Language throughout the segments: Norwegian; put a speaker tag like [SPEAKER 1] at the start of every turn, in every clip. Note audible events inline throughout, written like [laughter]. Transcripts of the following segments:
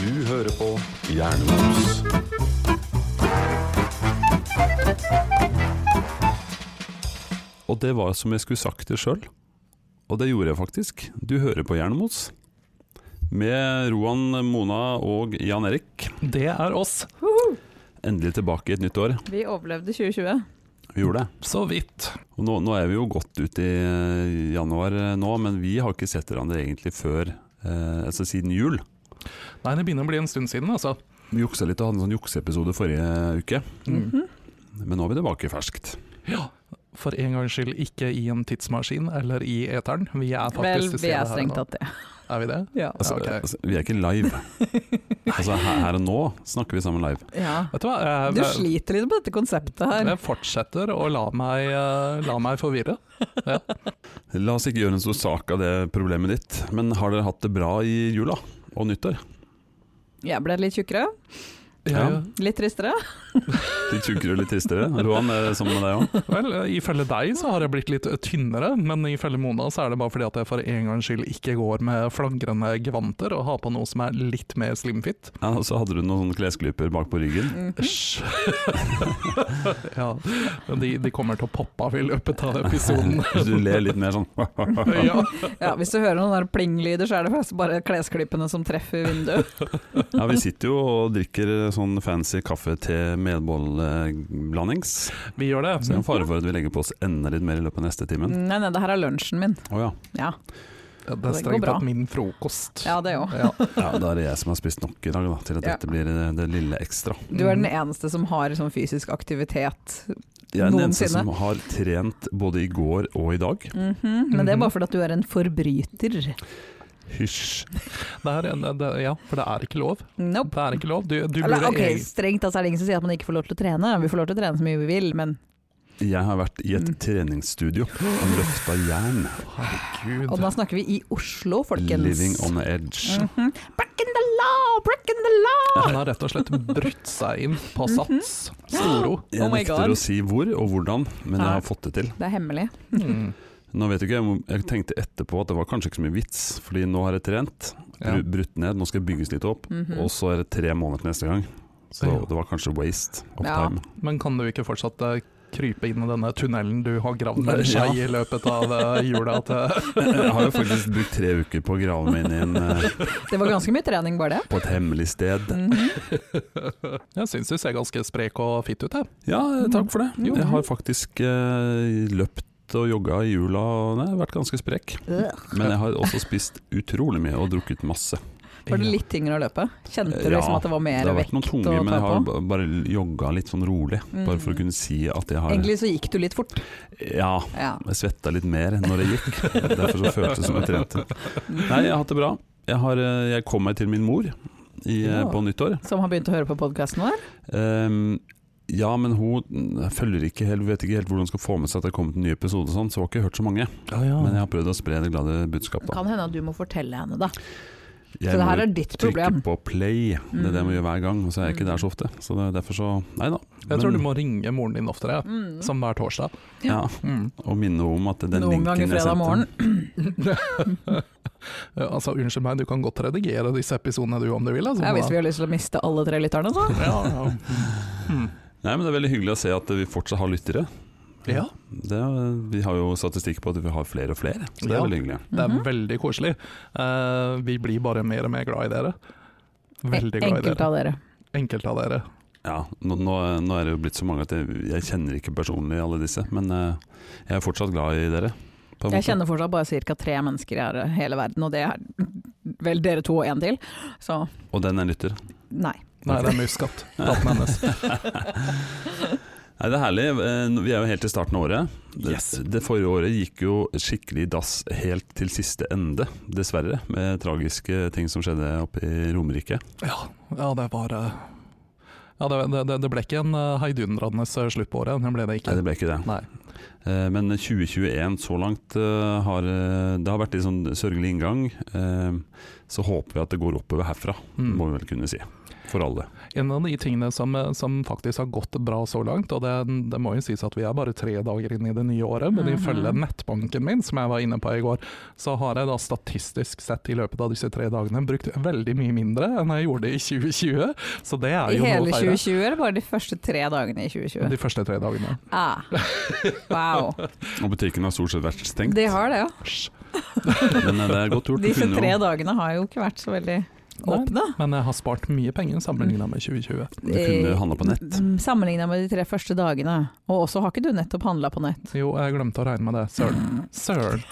[SPEAKER 1] Du hører på Hjernemos. Og det var som jeg skulle sagt det sjøl, og det gjorde jeg faktisk. Du hører på Hjernemos. Med Roan, Mona og Jan Erik.
[SPEAKER 2] Det er oss,
[SPEAKER 1] Endelig tilbake i et nytt år.
[SPEAKER 3] Vi overlevde 2020.
[SPEAKER 1] Vi gjorde det.
[SPEAKER 2] så vidt.
[SPEAKER 1] Og nå, nå er vi jo godt ut i eh, januar eh, nå, men vi har ikke sett hverandre egentlig før eh, altså siden jul.
[SPEAKER 2] Nei, det begynner å bli en stund siden, altså.
[SPEAKER 1] Vi juksa litt og hadde en sånn jukseepisode forrige uke,
[SPEAKER 3] Mhm.
[SPEAKER 1] men nå er vi tilbake ferskt.
[SPEAKER 2] For en gangs skyld ikke i en tidsmaskin eller i eteren. Vi er
[SPEAKER 3] Vel,
[SPEAKER 2] faktisk til
[SPEAKER 3] vi
[SPEAKER 2] stede
[SPEAKER 3] er
[SPEAKER 2] her
[SPEAKER 3] strengt
[SPEAKER 2] nå.
[SPEAKER 3] tatt det.
[SPEAKER 2] Er vi det?
[SPEAKER 3] Ja.
[SPEAKER 1] Altså,
[SPEAKER 2] Ja, ok.
[SPEAKER 1] altså, vi er ikke live. altså, her, her og nå snakker vi sammen live.
[SPEAKER 2] Vet du hva, jeg,
[SPEAKER 3] Du sliter litt med dette konseptet her.
[SPEAKER 2] jeg fortsetter å la meg, eh, la meg forvirre.
[SPEAKER 1] La oss ikke gjøre en stor sak av det problemet ditt, men har dere hatt det bra i jula og nyttår?
[SPEAKER 3] Jeg ble litt tjukkere,
[SPEAKER 1] Ja.
[SPEAKER 3] litt tristere.
[SPEAKER 1] Litt tjukkere og litt tristere. Roan, er det sammen med deg òg?
[SPEAKER 2] Vel, eh, ifølge deg så har jeg blitt litt tynnere, men ifølge Mona så er det bare fordi at jeg for en gangs skyld ikke går med flagrende gevanter og har på noe som er litt mer slimfit.
[SPEAKER 1] Ja, og så hadde du noen sånne klesklyper bak på ryggen.
[SPEAKER 3] Mm.
[SPEAKER 1] [laughs]
[SPEAKER 2] Æsj. ja, de, de kommer til å poppe av i løpet av
[SPEAKER 1] [laughs]
[SPEAKER 2] episoden.
[SPEAKER 1] Du ler litt mer sånn. [laughs]
[SPEAKER 2] ja.
[SPEAKER 3] Ja, hvis du hører noen der pling-lyder, så er det faktisk bare klesklippene som treffer vinduet.
[SPEAKER 2] [laughs]
[SPEAKER 1] Ja, vi sitter jo og drikker sånn fancy kaffe-te-medbolleblandings.
[SPEAKER 2] Vi gjør det.
[SPEAKER 1] Så det er en fare for at vi legger på oss enda litt mer i løpet av neste timen.
[SPEAKER 3] Nei, nei, det her er lunsjen min.
[SPEAKER 1] Å ja.
[SPEAKER 3] Ja,
[SPEAKER 2] Ja, det
[SPEAKER 3] går
[SPEAKER 2] er strengt
[SPEAKER 3] bra.
[SPEAKER 2] tatt min frokost.
[SPEAKER 3] ja det òg.
[SPEAKER 2] Ja.
[SPEAKER 1] ja. Da er det jeg som har spist nok i dag, da, til at
[SPEAKER 3] Ja.
[SPEAKER 1] dette blir det, det lille ekstra.
[SPEAKER 3] Du
[SPEAKER 2] Mm.
[SPEAKER 3] er den eneste som har sånn fysisk aktivitet.
[SPEAKER 1] Jeg er den eneste
[SPEAKER 3] Noensinne.
[SPEAKER 1] som har trent både i går og i dag.
[SPEAKER 3] Mhm, Men det er
[SPEAKER 2] Mm-hmm.
[SPEAKER 3] bare fordi at du er en forbryter.
[SPEAKER 1] Hysj.
[SPEAKER 2] Det er en, det, ja, for det er ikke lov.
[SPEAKER 3] Nope.
[SPEAKER 2] Det er ikke lov. Du, du
[SPEAKER 3] Eller,
[SPEAKER 2] burde
[SPEAKER 3] ok,
[SPEAKER 2] egen-
[SPEAKER 3] strengt tatt så er det ingen som sier at man ikke får lov til å trene. Vi får lov til å trene så mye vi vil, men
[SPEAKER 1] Jeg har vært i et
[SPEAKER 3] Mm.
[SPEAKER 1] treningsstudio og løfta jern.
[SPEAKER 2] Herregud.
[SPEAKER 3] Og da snakker vi i Oslo, folkens.
[SPEAKER 1] Living on the edge.
[SPEAKER 3] Mhm. Break in the law, break in the law!
[SPEAKER 2] Han har rett og slett brutt seg inn på sats. Storo.
[SPEAKER 1] Jeg
[SPEAKER 3] Mhm. Oh my
[SPEAKER 1] nekter
[SPEAKER 3] God.
[SPEAKER 1] å si hvor og hvordan, men jeg
[SPEAKER 3] Ja.
[SPEAKER 1] har fått det til.
[SPEAKER 3] Det er hemmelig.
[SPEAKER 2] Mm.
[SPEAKER 1] Nå vet du ikke, jeg må- Jeg tenkte etterpå at det var kanskje ikke så mye vits, fordi nå har jeg trent,
[SPEAKER 2] Ja.
[SPEAKER 1] bru- brutt ned, nå skal jeg bygges litt opp,
[SPEAKER 3] Mhm.
[SPEAKER 1] og så er det tre måneder til neste gang.
[SPEAKER 2] Ja.
[SPEAKER 1] Så det var kanskje waste of
[SPEAKER 3] Ja.
[SPEAKER 1] time.
[SPEAKER 2] Men kan du ikke fortsatt eh, krype inn i denne tunnelen du har gravd
[SPEAKER 1] [laughs]
[SPEAKER 2] med
[SPEAKER 1] Ja.
[SPEAKER 2] skei i løpet av eh, jula til
[SPEAKER 1] Jeg
[SPEAKER 2] [laughs]
[SPEAKER 1] har jo faktisk brukt tre uker på å grave meg inn i en, eh,
[SPEAKER 3] Det var ganske mye trening, bare det. Mhm.
[SPEAKER 1] på et hemmelig sted.
[SPEAKER 2] Jeg syns du ser ganske sprek og fit ut, jeg.
[SPEAKER 1] Ja, eh, takk for det.
[SPEAKER 3] Mm. Jo.
[SPEAKER 1] Jeg har faktisk eh, løpt og jogga i jula og nei, vært ganske sprek. Men jeg har også spist utrolig mye og drukket masse.
[SPEAKER 3] Var det litt tyngre å løpe? Kjente du
[SPEAKER 1] Ja,
[SPEAKER 3] liksom at det var
[SPEAKER 1] Det
[SPEAKER 3] mer
[SPEAKER 1] har vært
[SPEAKER 3] vekt
[SPEAKER 1] noen
[SPEAKER 3] å
[SPEAKER 1] tunge,
[SPEAKER 3] ta
[SPEAKER 1] men jeg har
[SPEAKER 3] på?
[SPEAKER 1] ba- bare jogga litt sånn rolig. Bare for å
[SPEAKER 3] Mm.
[SPEAKER 1] kunne si at jeg har
[SPEAKER 3] Egentlig så gikk du litt fort.
[SPEAKER 1] Ja.
[SPEAKER 3] Ja.
[SPEAKER 1] Jeg svetta litt mer når jeg gikk. Derfor så føltes det som jeg trente. Nei, jeg har hatt det bra. Jeg, har, eh, jeg kom meg til min mor i, eh,
[SPEAKER 2] Ja.
[SPEAKER 1] på nyttår.
[SPEAKER 3] Som har begynt å høre på podkasten vår?
[SPEAKER 1] Ehm, ja, men hun mm, følger ikke helt, vet ikke helt hvordan hun skal få med seg at det har kommet en ny episode, og sånn, så hun har ikke hørt så mange.
[SPEAKER 3] Mm.
[SPEAKER 1] Men jeg har prøvd å spre det glade budskapet.
[SPEAKER 3] Kan hende at du må fortelle henne, da.
[SPEAKER 1] Jeg
[SPEAKER 3] Så det
[SPEAKER 1] må
[SPEAKER 3] her
[SPEAKER 1] jo
[SPEAKER 3] er ditt
[SPEAKER 1] trykke
[SPEAKER 3] problem. Mm.
[SPEAKER 1] på play, det er det jeg må gjøre hver gang, og så er jeg ikke der så ofte. Så det er derfor så Nei da.
[SPEAKER 2] Jeg tror du må ringe moren din oftere, jeg.
[SPEAKER 3] Mm.
[SPEAKER 2] som hver torsdag.
[SPEAKER 1] ja,
[SPEAKER 2] Mm.
[SPEAKER 1] Og minne henne om at den
[SPEAKER 3] Noen
[SPEAKER 1] linken
[SPEAKER 3] ganger
[SPEAKER 1] jeg
[SPEAKER 3] fredag
[SPEAKER 1] sendte
[SPEAKER 3] morgen.
[SPEAKER 2] Ja, altså, unnskyld meg, du kan godt redigere disse episodene du om du vil. Altså,
[SPEAKER 3] Ja, hvis vi har lyst til å miste alle tre
[SPEAKER 1] [laughs]
[SPEAKER 3] lytterne, så.
[SPEAKER 2] ja, ja. Mm.
[SPEAKER 1] Nei, men Det er veldig hyggelig å se at vi fortsatt har lyttere.
[SPEAKER 2] ja.
[SPEAKER 1] Det, er- vi har jo statistikk på at vi har flere og flere, så det er
[SPEAKER 2] Ja.
[SPEAKER 1] veldig hyggelig.
[SPEAKER 2] Det er
[SPEAKER 3] Mhm.
[SPEAKER 2] veldig koselig. Eh, vi blir bare mer og mer glad i dere. Veldig glad i
[SPEAKER 3] Enkelt
[SPEAKER 2] dere.
[SPEAKER 3] av dere.
[SPEAKER 2] Enkelt av dere.
[SPEAKER 1] Ja, nå, nå, nå er det jo blitt så mange at jeg, jeg kjenner ikke personlig alle disse, men eh, jeg er fortsatt glad i dere. på en
[SPEAKER 3] Jeg
[SPEAKER 1] måte.
[SPEAKER 3] kjenner fortsatt bare ca. tre mennesker i her- hele verden, og det er vel dere to og en til. Så
[SPEAKER 1] Og den jeg lytter.
[SPEAKER 3] nei.
[SPEAKER 2] Nei, det er muskat. Daten hennes.
[SPEAKER 1] Nei, Det er herlig. Eh, nå- Vi er jo helt i starten av året. Det,
[SPEAKER 2] Yes.
[SPEAKER 1] det forrige året gikk jo skikkelig i dass helt til siste ende, dessverre. Med tragiske ting som skjedde oppe i Romerike.
[SPEAKER 2] Ja, ja det var eh, ja, det, det- det, det ble ikke en eh, heidundrende slutt på året. Det ble det
[SPEAKER 1] Nei,
[SPEAKER 2] ikke.
[SPEAKER 1] det ble ikke det.
[SPEAKER 2] Nei.
[SPEAKER 1] Eh, Men 2021 så langt eh, har eh, Det har vært litt sånn sørgelig inngang. Eh, Så håper vi at det går oppover herfra,
[SPEAKER 2] Mm.
[SPEAKER 1] må vi vel kunne si. for alle.
[SPEAKER 2] En av de tingene som, eh, som faktisk har gått bra så langt, og det, det må jo sies at vi er bare tre dager inn i det nye året, men
[SPEAKER 3] Mhm.
[SPEAKER 2] ifølge nettbanken min, som jeg var inne på i går, så har jeg da statistisk sett i løpet av disse tre dagene brukt veldig mye mindre enn jeg gjorde i 2020, så det er
[SPEAKER 3] I
[SPEAKER 2] jo noe
[SPEAKER 3] hele
[SPEAKER 2] å feire.
[SPEAKER 3] 2020, eller bare de første tre dagene i 2020?
[SPEAKER 2] De første tre dagene.
[SPEAKER 3] Ah.
[SPEAKER 2] [laughs]
[SPEAKER 3] Wow.
[SPEAKER 1] Og butikken har stort sett vært stengt,
[SPEAKER 3] De har det, ja.
[SPEAKER 1] men eh, det er godt gjort. Du
[SPEAKER 3] Disse
[SPEAKER 1] kunne jo-
[SPEAKER 3] tre dagene har jo ikke vært så veldig åpne.
[SPEAKER 2] Men jeg har spart mye penger sammenlignet med 2020.
[SPEAKER 1] Du kunne handla på nett.
[SPEAKER 3] Sammenligna mm, med de tre første dagene. Og også har ikke du nettopp handla på nett.
[SPEAKER 2] Jo, jeg glemte å regne med det. Søren.
[SPEAKER 3] Mm.
[SPEAKER 2] Søren.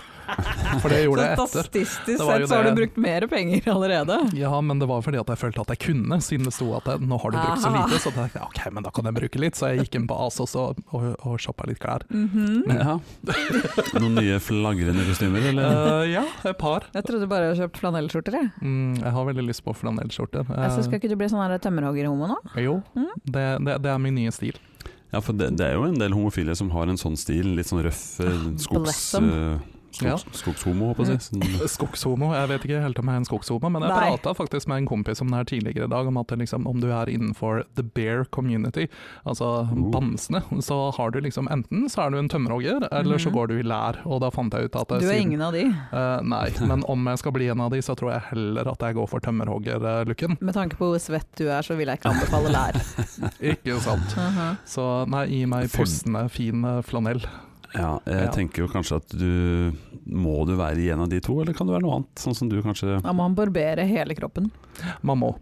[SPEAKER 2] For det gjorde jeg
[SPEAKER 3] så
[SPEAKER 2] etter.
[SPEAKER 3] statistisk
[SPEAKER 2] Det var jo
[SPEAKER 3] sett så har
[SPEAKER 2] det-
[SPEAKER 3] du brukt mer penger allerede.
[SPEAKER 2] Ja, men det var fordi at jeg følte at jeg kunne, siden det sto at jeg, nå har du brukt så
[SPEAKER 3] Aha.
[SPEAKER 2] lite. Så tenkte jeg ok, men da kan jeg bruke litt. Så jeg gikk inn på ASOS og, og, og shoppa litt klær. Eh.
[SPEAKER 3] Mhm.
[SPEAKER 1] Ja. Noen nye flagrende kostymer,
[SPEAKER 2] [laughs]
[SPEAKER 1] eller?
[SPEAKER 2] Eh, ja, et par.
[SPEAKER 3] Jeg trodde du bare hadde kjøpt flanellskjorter. Jeg.
[SPEAKER 2] Mm, jeg har veldig lyst på flanellskjorte. Eh,
[SPEAKER 3] Altså, skal ikke du bli sånn her tømmerhoggerhomo nå?
[SPEAKER 2] jo,
[SPEAKER 3] Mm.
[SPEAKER 2] det, det, det er min nye stil.
[SPEAKER 1] Ja, for det, det er jo en del homofile som har en sånn stil, litt sånn røff eh, skogs...
[SPEAKER 3] bless 'em.
[SPEAKER 1] eh,
[SPEAKER 2] Ja.
[SPEAKER 1] Skogs, Skogshomo, håper jeg å si. Sånn-
[SPEAKER 2] Skogshomo, jeg vet ikke helt om jeg er en skogshomo, men jeg
[SPEAKER 3] Nei.
[SPEAKER 2] prata faktisk med en kompis om det her tidligere i dag, om at det liksom, om du er innenfor the bear community, altså
[SPEAKER 3] Uh.
[SPEAKER 1] Oh.
[SPEAKER 2] bamsene, så har du liksom enten så er du en tømmerhogger, eller så
[SPEAKER 3] Mhm.
[SPEAKER 2] går du i lær. Og da fant jeg ut at
[SPEAKER 3] Du er
[SPEAKER 2] siden-
[SPEAKER 3] ingen av de,
[SPEAKER 2] Eh,
[SPEAKER 1] [laughs]
[SPEAKER 2] nei, men om jeg skal bli en av de, så tror jeg heller at jeg går for tømmerhogger-looken.
[SPEAKER 3] med tanke på hvor svett du er, så vil jeg
[SPEAKER 2] [laughs]
[SPEAKER 3] ikke anbefale lær.
[SPEAKER 2] Ikke sant?
[SPEAKER 3] Mhm.
[SPEAKER 2] Så nei, gi meg
[SPEAKER 1] For-
[SPEAKER 2] pustende, fin eh, flanell.
[SPEAKER 1] Ja, jeg
[SPEAKER 2] Ja.
[SPEAKER 1] tenker jo kanskje at du Må du være i en av de to, eller kan det være noe annet? Sånn som du kanskje
[SPEAKER 3] Da må han barbere hele kroppen.
[SPEAKER 2] Man må.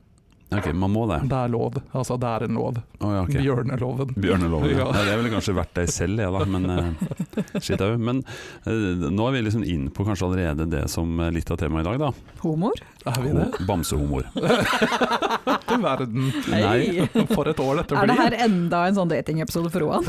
[SPEAKER 1] Ok, man må det.
[SPEAKER 2] Det er lov. Altså, det er en lov.
[SPEAKER 1] Å ja, ok.
[SPEAKER 2] Bjørneloven.
[SPEAKER 1] Bjørneloven. Ja.
[SPEAKER 2] Ja.
[SPEAKER 1] Nei, jeg ville kanskje vært deg selv, jeg da, men eh, shit au. Men eh, nå er vi liksom inn på kanskje allerede det som er litt av temaet i dag, da.
[SPEAKER 3] Homoer?
[SPEAKER 2] Er vi det?
[SPEAKER 1] Ho- Bamsehomoer.
[SPEAKER 2] Du verden.
[SPEAKER 1] Nei.
[SPEAKER 3] Hei.
[SPEAKER 2] For et år dette
[SPEAKER 3] Er
[SPEAKER 2] blir.
[SPEAKER 3] det her enda en sånn datingepisode for Roan?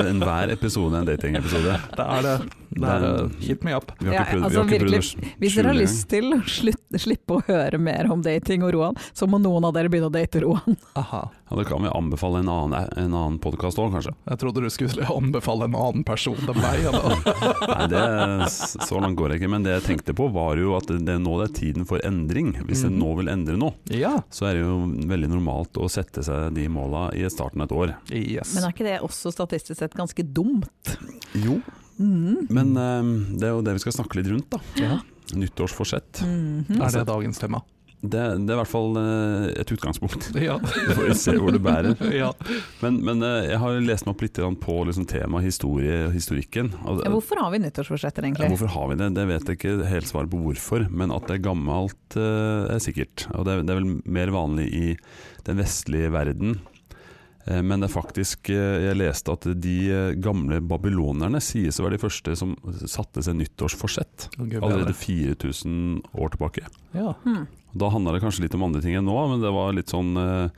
[SPEAKER 1] Enhver episode er en datingepisode.
[SPEAKER 2] Det er det. Det er,
[SPEAKER 1] Den-
[SPEAKER 2] eh, hit me up.
[SPEAKER 1] Vi har
[SPEAKER 3] Ja,
[SPEAKER 1] ikke prøvd, vi
[SPEAKER 3] altså
[SPEAKER 1] har ikke prøvd å
[SPEAKER 3] virkelig,
[SPEAKER 1] sk-
[SPEAKER 3] Hvis dere har
[SPEAKER 1] skjule
[SPEAKER 3] lyst til å slutt- slippe å høre mer om dating og Roan, så må noen av dere begynne å date Roan.
[SPEAKER 2] Aha.
[SPEAKER 1] Ja, da kan vi anbefale en annen, en annen podkast òg, kanskje.
[SPEAKER 2] Jeg trodde du skulle anbefale en annen person enn meg.
[SPEAKER 1] [laughs]
[SPEAKER 2] ja, da.
[SPEAKER 1] Nei, det, så langt går jeg ikke. Men det jeg tenkte på, var jo at det, det, nå det er tiden for endring. Hvis en
[SPEAKER 2] Mhm.
[SPEAKER 1] nå vil endre noe,
[SPEAKER 2] Ja.
[SPEAKER 1] så er det jo veldig normalt å sette seg de måla i starten av et år.
[SPEAKER 2] Yes.
[SPEAKER 3] Men er ikke det også statistisk sett ganske dumt?
[SPEAKER 1] Jo.
[SPEAKER 3] Mm.
[SPEAKER 1] Men eh, det er jo det vi skal snakke litt rundt, da.
[SPEAKER 2] Ja.
[SPEAKER 1] Nyttårsforsett.
[SPEAKER 3] Mhm.
[SPEAKER 2] Er det dagens tema?
[SPEAKER 1] Det, det er i hvert fall eh, et utgangspunkt. [laughs]
[SPEAKER 2] Ja.
[SPEAKER 1] Vi får se hvor det bærer.
[SPEAKER 2] ja.
[SPEAKER 1] Men, men eh, jeg har lest meg opp litt grann på liksom, temaet historie og historikken. Og,
[SPEAKER 3] Ja, hvorfor har vi nyttårsforsetter
[SPEAKER 1] Ja,
[SPEAKER 3] egentlig?
[SPEAKER 1] hvorfor har vi det? Det vet jeg ikke helt svaret på hvorfor, men at det er gammelt eh, er sikkert. Og det er, det er vel mer vanlig i den vestlige verden. Eh, Men det er faktisk, eh, jeg leste at de eh, gamle babylonerne sies å være de første som satte seg nyttårsforsett.
[SPEAKER 2] Å, Gud,
[SPEAKER 1] Allerede
[SPEAKER 2] bedre.
[SPEAKER 1] 4000 år tilbake.
[SPEAKER 2] ja.
[SPEAKER 3] Hmm.
[SPEAKER 1] Da handla det kanskje litt om andre ting enn nå, men det var litt sånn eh,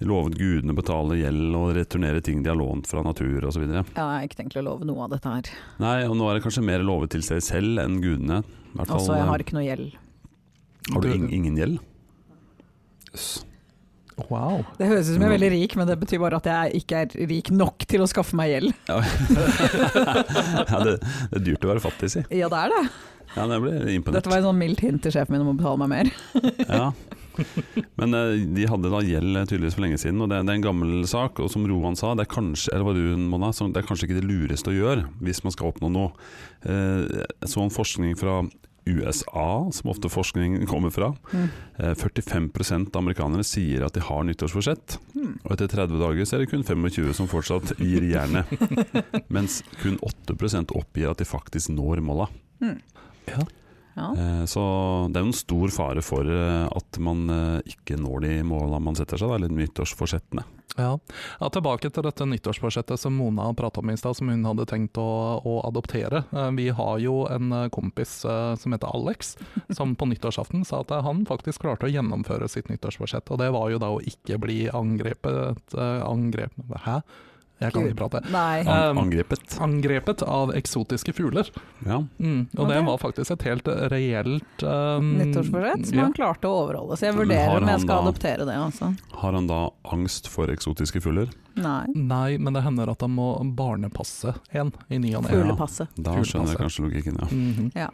[SPEAKER 1] De lovet gudene å betale gjeld og returnere ting de har lånt fra natur osv.
[SPEAKER 3] Ja, jeg har ikke tenkt å love noe av dette her.
[SPEAKER 1] Nei, og nå er det kanskje mer lovet til seg selv enn gudene. I hvert fall,
[SPEAKER 3] Altså, jeg
[SPEAKER 1] eh,
[SPEAKER 3] har ikke noe gjeld.
[SPEAKER 1] Har du
[SPEAKER 2] Du-
[SPEAKER 1] ing- ingen gjeld?
[SPEAKER 2] Wow.
[SPEAKER 3] Det høres ut som jeg er veldig rik, men det betyr bare at jeg ikke er rik nok til å skaffe meg gjeld.
[SPEAKER 1] Ja. [laughs] ja, det, det er dyrt å være fattig, si.
[SPEAKER 3] Ja, det er det.
[SPEAKER 1] Ja, det blir imponert.
[SPEAKER 3] Dette var et sånn mildt hint til sjefen min om å betale meg mer.
[SPEAKER 1] Ja. Men eh, de hadde da gjeld eh, tydeligvis for lenge siden, og det, det er en gammel sak. Og som Roan sa, det er kanskje eller var du, Mona, som- det er kanskje ikke det lureste å gjøre hvis man skal oppnå noe. Eh, Jeg så en forskning fra USA, som ofte forskningen kommer fra.
[SPEAKER 3] Mm.
[SPEAKER 1] Eh, 45 av amerikanere sier at de har nyttårsforsett.
[SPEAKER 3] Hmm.
[SPEAKER 1] Og etter 30 dager så er det kun 25 som fortsatt gir
[SPEAKER 3] [laughs]
[SPEAKER 1] jernet. Mens kun 8 oppgir at de faktisk når måla.
[SPEAKER 3] Ja.
[SPEAKER 1] Eh, Så det er jo en stor fare for eh, at man eh, ikke når de måla man setter seg, da, eller nyttårsforsettene.
[SPEAKER 2] Ja. ja, Tilbake til dette nyttårsbudsjettet som Mona prata om i stad, som hun hadde tenkt å, å adoptere. Eh, Vi har jo en eh, kompis eh, som heter Alex, som på [laughs] nyttårsaften sa at eh, han faktisk klarte å gjennomføre sitt nyttårsbudsjett. Og det var jo da å ikke bli angrepet eh, Angrep... Hæ? Jeg kan ikke prate.
[SPEAKER 3] Nei.
[SPEAKER 2] Ja.
[SPEAKER 1] An
[SPEAKER 2] Um,
[SPEAKER 1] angrepet.
[SPEAKER 2] Angrepet av eksotiske fugler.
[SPEAKER 1] Ja.
[SPEAKER 2] Mm, og
[SPEAKER 3] Ja,
[SPEAKER 2] det
[SPEAKER 3] det-
[SPEAKER 2] var faktisk et helt reelt um,
[SPEAKER 3] Nyttårsforsett som
[SPEAKER 2] ja.
[SPEAKER 3] han klarte å overholde. Så jeg
[SPEAKER 1] Mm, Men har
[SPEAKER 3] vurderer om
[SPEAKER 1] han
[SPEAKER 3] jeg skal
[SPEAKER 1] da-
[SPEAKER 3] adoptere det, altså.
[SPEAKER 1] Har han da angst for eksotiske fugler?
[SPEAKER 3] Nei.
[SPEAKER 2] Nei, men det hender at han må barnepasse en i ny og ne.
[SPEAKER 1] Fugle.
[SPEAKER 3] Fuglepasset.
[SPEAKER 2] altså.
[SPEAKER 1] Da skjønner jeg kanskje logikken, ja.
[SPEAKER 2] Mhm.
[SPEAKER 3] Ja.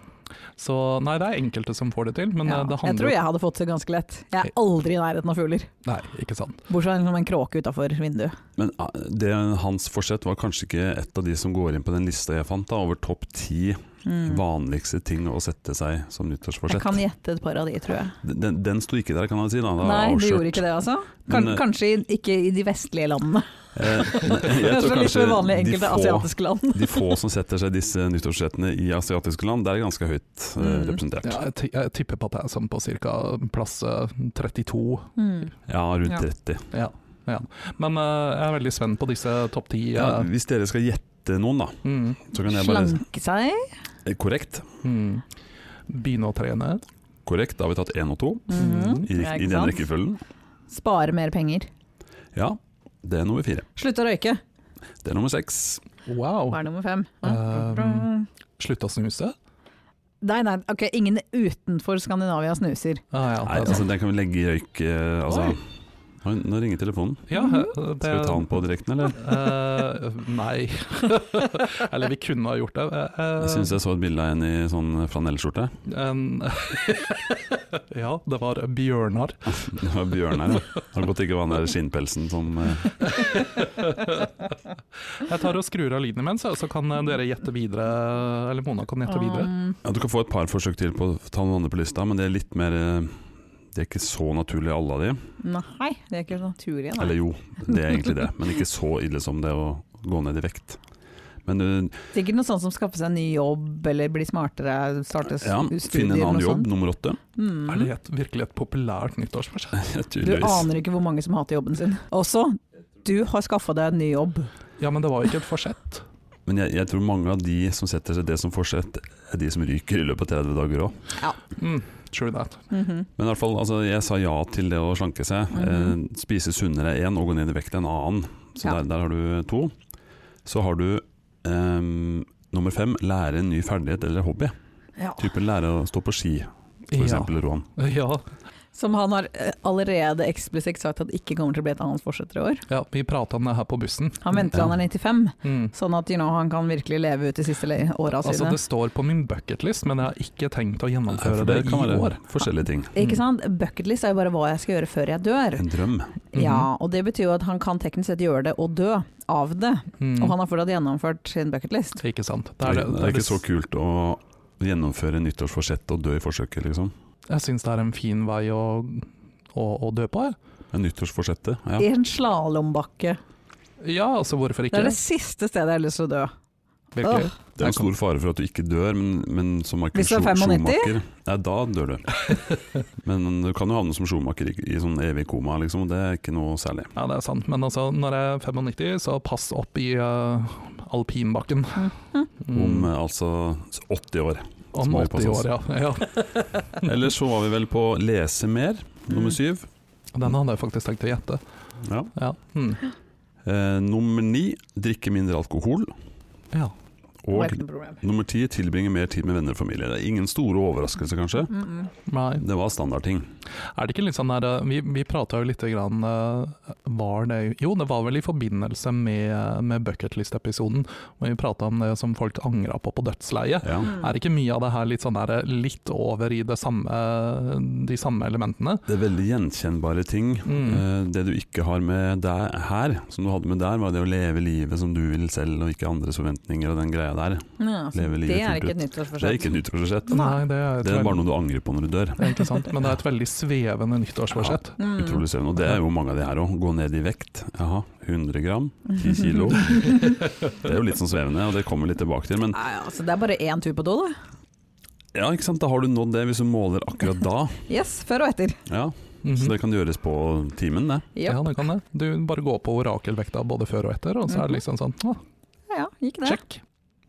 [SPEAKER 2] Så nei, det er enkelte som får det til, men
[SPEAKER 3] Ja,
[SPEAKER 2] eh, det
[SPEAKER 3] jeg tror
[SPEAKER 2] handler
[SPEAKER 3] jeg hadde fått det ganske lett. Jeg er aldri i nærheten av fugler.
[SPEAKER 2] Nei, ikke sant.
[SPEAKER 3] Bortsett fra en kråke utafor vinduet.
[SPEAKER 1] Men eh, det, hans forsett var kanskje ikke et av de som går inn på den lista jeg fant, da, over topp ti
[SPEAKER 3] Mm.
[SPEAKER 1] vanligste ting å sette seg som
[SPEAKER 3] Jeg
[SPEAKER 1] nyttårsforsett.
[SPEAKER 3] kan gjette et par av de, tror jeg.
[SPEAKER 1] Den, den sto ikke der, kan man si. Da. Da
[SPEAKER 3] Nei,
[SPEAKER 1] er
[SPEAKER 3] du
[SPEAKER 1] jeg
[SPEAKER 3] gjorde ikke det, altså? Kan,
[SPEAKER 1] Men, eh,
[SPEAKER 3] kanskje i- ikke i de vestlige landene.
[SPEAKER 1] Eh, nei,
[SPEAKER 3] [laughs]
[SPEAKER 1] jeg
[SPEAKER 3] Kanskje
[SPEAKER 1] tror
[SPEAKER 3] litt for vanlig i
[SPEAKER 1] kanskje de
[SPEAKER 3] enkelte
[SPEAKER 1] få,
[SPEAKER 3] asiatiske land.
[SPEAKER 1] de få som setter seg disse nyttårsforsettene i asiatiske land, det er ganske høyt eh,
[SPEAKER 3] Mm.
[SPEAKER 1] representert.
[SPEAKER 2] Ja, jeg, ti- jeg tipper på at jeg er sånn på ca. plass eh, 32.
[SPEAKER 3] Mm.
[SPEAKER 1] Ja, rundt
[SPEAKER 3] Ja.
[SPEAKER 1] 30.
[SPEAKER 2] Ja, ja. Men eh, jeg er veldig spent på disse topp ti. eh.
[SPEAKER 1] Ja, hvis dere skal gjette noen, da,
[SPEAKER 2] mm,
[SPEAKER 1] så kan jeg bare
[SPEAKER 3] Slanke seg.
[SPEAKER 1] Eh, Korrekt.
[SPEAKER 2] mm. Begynne å trene.
[SPEAKER 1] Korrekt, da har vi tatt én og to
[SPEAKER 3] Mhm.
[SPEAKER 1] Mm-hmm. i,
[SPEAKER 3] Ja,
[SPEAKER 1] rik-
[SPEAKER 3] ikke
[SPEAKER 1] i den
[SPEAKER 3] sant?
[SPEAKER 1] rekkefølgen.
[SPEAKER 3] Spare mer penger.
[SPEAKER 1] Ja, det er nummer fire.
[SPEAKER 3] Slutte å røyke.
[SPEAKER 1] Det er nummer seks.
[SPEAKER 2] Wow.
[SPEAKER 3] Hva er nummer fem?
[SPEAKER 2] Um, Slutte å snuse.
[SPEAKER 3] Nei, nei, ok, ingen utenfor Skandinavia snuser.
[SPEAKER 2] Ah, ja,
[SPEAKER 1] Nei,
[SPEAKER 2] det er sant.
[SPEAKER 1] altså, den kan vi legge i røyk eh, altså. Oi, Nå ringer telefonen.
[SPEAKER 2] Ja,
[SPEAKER 3] Mhm.
[SPEAKER 2] eh, det-
[SPEAKER 1] Skal vi ta den på direkten, eller?
[SPEAKER 2] Eh, nei. [laughs] Eller vi kunne ha gjort det. Eh, eh,
[SPEAKER 1] Jeg syns jeg så et bilde av en i sånn flanellskjorte. [laughs]
[SPEAKER 2] en- [laughs] ja, det var Bjørnar.
[SPEAKER 1] Det var Bjørnar. ja. Har du gått ikke var den der skinnpelsen som eh,
[SPEAKER 2] Jeg tar og skrur av lyden imens, ja, så kan eh, dere gjette videre. Eller Mona kan gjette videre.
[SPEAKER 3] Um,
[SPEAKER 1] Ja, du kan få et par forsøk til på å ta noen andre på lista, men det er litt mer eh, Det er ikke så naturlig alle av de.
[SPEAKER 3] nei, det er ikke sånn. så naturlig. Nei.
[SPEAKER 1] Eller jo, det er egentlig det,
[SPEAKER 3] [laughs]
[SPEAKER 1] men ikke så ille som det å gå ned i vekt. Men eh,
[SPEAKER 3] Sikkert noe sånt som skaffe seg en ny jobb, eller bli smartere, starte s-
[SPEAKER 1] ja,
[SPEAKER 3] studier.
[SPEAKER 1] finne en annen
[SPEAKER 3] noe
[SPEAKER 1] jobb,
[SPEAKER 3] sånt.
[SPEAKER 1] nummer åtte. [laughs]
[SPEAKER 3] Mm.
[SPEAKER 2] Er det et, virkelig et populært nyttårsforsett?
[SPEAKER 3] Du
[SPEAKER 1] Tydeligvis.
[SPEAKER 3] aner ikke hvor mange som hater jobben sin. Også, du har skaffa deg en ny jobb.
[SPEAKER 2] Ja, men det var jo ikke et forsett.
[SPEAKER 1] Men jeg, jeg tror mange av de som setter seg det som forsett, er de som ryker i løpet av 30 dager òg.
[SPEAKER 2] Mm, true that.
[SPEAKER 3] Mhm.
[SPEAKER 1] Men i hvert fall, altså, jeg sa ja til det å slanke seg.
[SPEAKER 3] Mhm.
[SPEAKER 1] eh, spise sunnere én og gå ned i vekt en annen. Så
[SPEAKER 3] Ja.
[SPEAKER 1] der, der har du to. Så har du ehm, nummer fem, lære en ny ferdighet eller hobby.
[SPEAKER 3] ja.
[SPEAKER 1] Typen lære å stå på ski, for eksempel, Roan.
[SPEAKER 2] Ja, ja,
[SPEAKER 3] Som han har eh, allerede eksplisitt sagt at ikke kommer til å bli et annet fortsetter i år.
[SPEAKER 2] ja, vi prata om det her på bussen.
[SPEAKER 3] Han venter til han er 95,
[SPEAKER 2] Mm.
[SPEAKER 3] sånn at you know, han kan virkelig leve ut de siste le- åra
[SPEAKER 2] Altså,
[SPEAKER 3] sine.
[SPEAKER 2] det står på min bucketlist, men jeg har ikke tenkt å gjennomføre
[SPEAKER 1] Eh, For
[SPEAKER 2] det
[SPEAKER 1] det
[SPEAKER 2] i
[SPEAKER 1] kan
[SPEAKER 2] år.
[SPEAKER 1] være forskjellige ting.
[SPEAKER 3] Ikke sant? Bucketlist er jo bare hva jeg skal gjøre før jeg dør.
[SPEAKER 1] En drøm.
[SPEAKER 2] Mhm.
[SPEAKER 3] Ja, og det betyr jo at han kan teknisk sett gjøre det og dø av det.
[SPEAKER 2] Mm.
[SPEAKER 3] Og han har fortsatt gjennomført sin bucketlist.
[SPEAKER 2] Ikke sant.
[SPEAKER 1] Det er, det, er ikke
[SPEAKER 2] det-
[SPEAKER 1] så kult å gjennomføre nyttårsforsett og dø i forsøket, liksom.
[SPEAKER 2] Jeg syns det er en fin vei å, å, å dø på. jeg.
[SPEAKER 1] Men nyttårsforsettet, ja.
[SPEAKER 3] I en slalåmbakke.
[SPEAKER 2] Ja, altså hvorfor
[SPEAKER 3] Det
[SPEAKER 2] ikke?
[SPEAKER 3] er det siste stedet jeg har lyst til å dø.
[SPEAKER 2] Virkelig.
[SPEAKER 1] Det er en stor fare for at du ikke dør, men, men som Michael
[SPEAKER 3] Hvis du er
[SPEAKER 1] Schu-
[SPEAKER 3] 95?
[SPEAKER 1] Schumacher Nei, da dør du.
[SPEAKER 2] [laughs]
[SPEAKER 1] Men du kan jo havne som Schumacher i, i sånn evig koma, liksom. og Det er ikke noe særlig.
[SPEAKER 2] Ja, det er sant. Men altså, når jeg er 95, så pass opp i eh, alpinbakken. Mm.
[SPEAKER 1] Om eh, altså 80 år.
[SPEAKER 2] [laughs] Om
[SPEAKER 1] må vi
[SPEAKER 2] 80
[SPEAKER 1] passe oss.
[SPEAKER 2] år, ja. [laughs] ja.
[SPEAKER 1] Ellers så var vi vel på lese mer,
[SPEAKER 3] Mm.
[SPEAKER 1] nummer syv.
[SPEAKER 2] Den hadde jeg faktisk tenkt å gjette.
[SPEAKER 1] Ja.
[SPEAKER 2] Ja. Mm.
[SPEAKER 1] Eh, nummer ni drikke mindre alkohol.
[SPEAKER 2] ja.
[SPEAKER 3] Det er
[SPEAKER 1] Og
[SPEAKER 3] ikke noe problem.
[SPEAKER 1] nummer ti tilbringe mer tid med venner og familie. Det er ingen store overraskelser, kanskje.
[SPEAKER 3] Mm -mm.
[SPEAKER 2] Nei.
[SPEAKER 1] Det var standardting.
[SPEAKER 2] Er det ikke litt sånn der eh, Vi, vi prata jo lite grann eh, Var det Jo, det var vel i forbindelse med, med bucketlist-episoden, hvor vi prata om det som folk angra på på dødsleiet.
[SPEAKER 1] Ja.
[SPEAKER 3] Mm.
[SPEAKER 2] Er ikke mye av det her litt, sånn der, litt over i det samme, de samme elementene?
[SPEAKER 1] Det er veldig gjenkjennbare ting.
[SPEAKER 2] Mm.
[SPEAKER 1] Eh, Det du ikke har med der, her, som du hadde med der, var det å leve livet som du vil selv, og ikke andres forventninger og den greia der.
[SPEAKER 3] Ja, så
[SPEAKER 1] Leve livet
[SPEAKER 3] det er
[SPEAKER 1] fullt
[SPEAKER 3] ikke et
[SPEAKER 1] Det er ikke
[SPEAKER 3] nyttårsforsett.
[SPEAKER 1] et nyttårsforsett.
[SPEAKER 2] Nei, det Mm. er, et
[SPEAKER 1] Det er
[SPEAKER 2] veldig-
[SPEAKER 1] bare noe du angrer på når du dør.
[SPEAKER 2] det er ikke sant, men det er et veldig svevende nyttårsforsett.
[SPEAKER 3] Mm.
[SPEAKER 1] Utrolig søvn. Og det er jo mange av de her òg. Gå ned i vekt. Jaha, 100 gram. 10
[SPEAKER 2] [laughs]
[SPEAKER 1] kilo. Det er jo litt sånn svevende, og det kommer vi litt tilbake til. Men
[SPEAKER 3] Nei, altså, det er bare én tur på do, da.
[SPEAKER 1] ja, ikke sant. Da har du nådd det, hvis du måler akkurat da.
[SPEAKER 3] Yes, før og etter.
[SPEAKER 1] Ja,
[SPEAKER 2] Mhm.
[SPEAKER 1] Så det kan gjøres på timen, det.
[SPEAKER 3] Yep.
[SPEAKER 2] Ja, det kan det. Du bare går på orakelvekta både før og etter, og så er det liksom sånn ah,
[SPEAKER 3] Ja, Mhm. ja, gikk det.
[SPEAKER 2] check.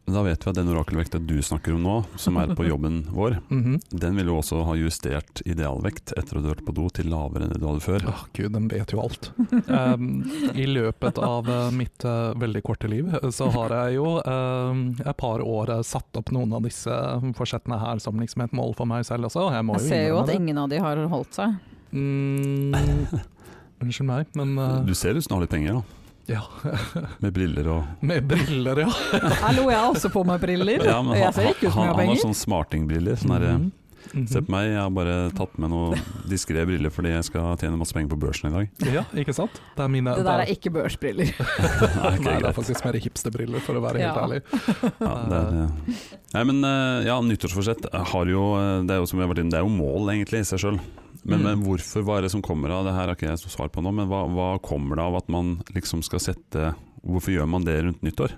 [SPEAKER 1] Men Da vet vi at den orakelvekta du snakker om nå, som er
[SPEAKER 3] [laughs]
[SPEAKER 1] på jobben vår,
[SPEAKER 2] Mhm.
[SPEAKER 1] den vil jo også ha justert idealvekt etter at du har vært på do til lavere enn det du hadde før.
[SPEAKER 2] Åh, Gud, den vet jo
[SPEAKER 3] [laughs]
[SPEAKER 2] alt. Um, I løpet av eh, mitt eh, veldig korte liv, eh, så har jeg jo um, et par år eh, satt opp noen av disse forsettene her som liksom et mål for meg selv også. og Jeg, må
[SPEAKER 3] Jeg ser jo
[SPEAKER 2] innrømme
[SPEAKER 3] at
[SPEAKER 2] det.
[SPEAKER 3] ingen av de har holdt seg.
[SPEAKER 2] Mm, Unnskyld meg, men eh,
[SPEAKER 1] Du ser ut som du har litt penger, da.
[SPEAKER 2] Ja.
[SPEAKER 1] [laughs] Med briller og
[SPEAKER 2] Med briller, ja.
[SPEAKER 3] Her lo jeg også på meg briller.
[SPEAKER 1] Ja, men
[SPEAKER 3] jeg
[SPEAKER 1] han,
[SPEAKER 3] ser ikke ut som
[SPEAKER 1] han,
[SPEAKER 3] jeg
[SPEAKER 1] han har
[SPEAKER 3] har penger.
[SPEAKER 1] sånn smartingbriller. Sånn der,
[SPEAKER 2] Mhm. Mhm.
[SPEAKER 1] Se på meg, jeg har bare tatt med noen diskré briller fordi jeg skal tjene masse penger på børsen i dag.
[SPEAKER 2] Mhm. Ja, ikke sant? Det er
[SPEAKER 1] sånn-
[SPEAKER 2] mine
[SPEAKER 3] Det der er ikke
[SPEAKER 1] [laughs] Nei,
[SPEAKER 3] børsbriller.
[SPEAKER 1] ikke
[SPEAKER 2] Nei, det er
[SPEAKER 1] greit.
[SPEAKER 2] faktisk mer hipsterbriller, for å være helt
[SPEAKER 3] Ja.
[SPEAKER 2] ærlig.
[SPEAKER 1] Ja, det er, eh, [laughs] nei, men eh, ja, nyttårsforsett har jo eh, Det er jo som vi har vært inne, det er jo mål egentlig i seg sjøl. Men,
[SPEAKER 2] Mm.
[SPEAKER 1] men hvorfor, hva er det som kommer av det her har ikke jeg så svar på nå, men hva, hva kommer det av at man liksom skal sette Hvorfor gjør man det rundt nyttår?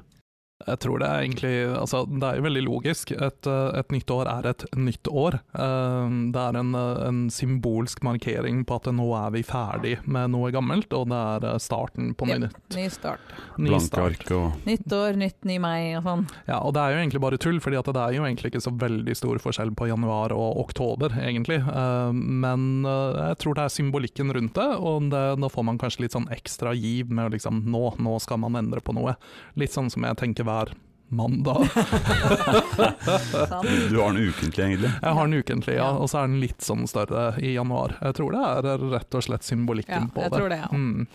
[SPEAKER 2] Jeg tror det er egentlig Altså, det er jo veldig logisk. Et, eh, et nytt år er et nytt år. Eh, Det er en, eh, en symbolsk markering på at nå er vi ferdig med noe gammelt, og det er eh, starten på
[SPEAKER 3] Ja.
[SPEAKER 2] ny,
[SPEAKER 3] Ny start.
[SPEAKER 2] ny
[SPEAKER 1] Blanke
[SPEAKER 2] start.
[SPEAKER 1] ark og
[SPEAKER 3] Nytt år, nytt ny meg og
[SPEAKER 1] [laughs]
[SPEAKER 3] sånn.
[SPEAKER 2] Ja, og det er jo egentlig bare tull, fordi at det er jo egentlig ikke så veldig stor forskjell på januar og oktober, egentlig. Eh, Men eh, jeg tror det er symbolikken rundt det, og det, da får man kanskje litt sånn ekstra giv med å liksom nå, nå skal man endre på noe. Litt sånn som jeg tenker hver mandag.
[SPEAKER 3] Sant?
[SPEAKER 1] Du har den ukentlig, egentlig.
[SPEAKER 2] Jeg har den ukentlig, ja,
[SPEAKER 3] Ja.
[SPEAKER 2] og så er den litt sånn større i januar. Jeg tror det er rett og slett
[SPEAKER 3] Ja,
[SPEAKER 2] symbolikken på
[SPEAKER 3] jeg
[SPEAKER 2] det.
[SPEAKER 3] tror det. Ja.
[SPEAKER 2] Mm.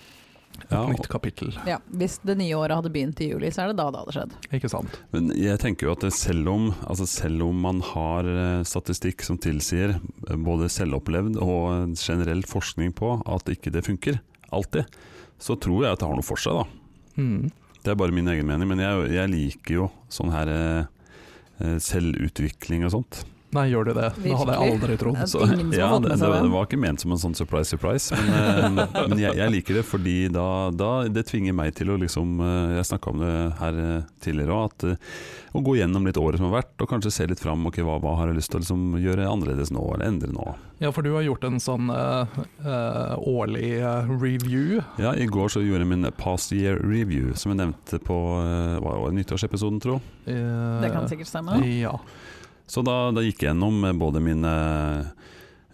[SPEAKER 2] Et
[SPEAKER 1] [laughs] Ja,
[SPEAKER 2] nytt kapittel,
[SPEAKER 3] Ja, hvis det nye året hadde begynt i juli, så er det da det hadde skjedd.
[SPEAKER 2] ikke sant.
[SPEAKER 1] Men jeg tenker jo at det selv om, altså selv om man har eh, statistikk som tilsier eh, både selvopplevd og generell forskning på at ikke det funker, alltid, så tror jeg at det har noe for seg. da.
[SPEAKER 2] Mm.
[SPEAKER 1] Det er bare min egen mening, men jeg, jeg liker jo sånn her eh, eh, selvutvikling og sånt.
[SPEAKER 2] Nei, gjør du det? Det hadde jeg
[SPEAKER 3] Virkelig.
[SPEAKER 2] aldri trodd.
[SPEAKER 3] Det er ingen som
[SPEAKER 1] ja,
[SPEAKER 3] har fått
[SPEAKER 1] det,
[SPEAKER 3] med
[SPEAKER 1] det,
[SPEAKER 3] seg
[SPEAKER 1] det
[SPEAKER 3] det.
[SPEAKER 1] var ikke ment som en sånn surprise, surprise.
[SPEAKER 3] [laughs]
[SPEAKER 1] Men, eh, men jeg, jeg liker det fordi da, da det tvinger meg til å liksom eh, Jeg snakka om det her eh, tidligere òg, at eh, å gå gjennom litt året som har vært, og kanskje se litt fram. Ok, hva, hva har jeg lyst til å liksom, gjøre annerledes nå, eller endre nå?
[SPEAKER 2] Ja, for du har gjort en sånn eh, eh, årlig eh, review.
[SPEAKER 1] Ja, I går så gjorde jeg min past year review, som jeg nevnte på eh, hva var det, nyttårsepisoden, tro.
[SPEAKER 2] Eh,
[SPEAKER 3] Det kan sikkert stemme.
[SPEAKER 2] Ja.
[SPEAKER 1] Så da, da gikk jeg gjennom eh, både min, eh,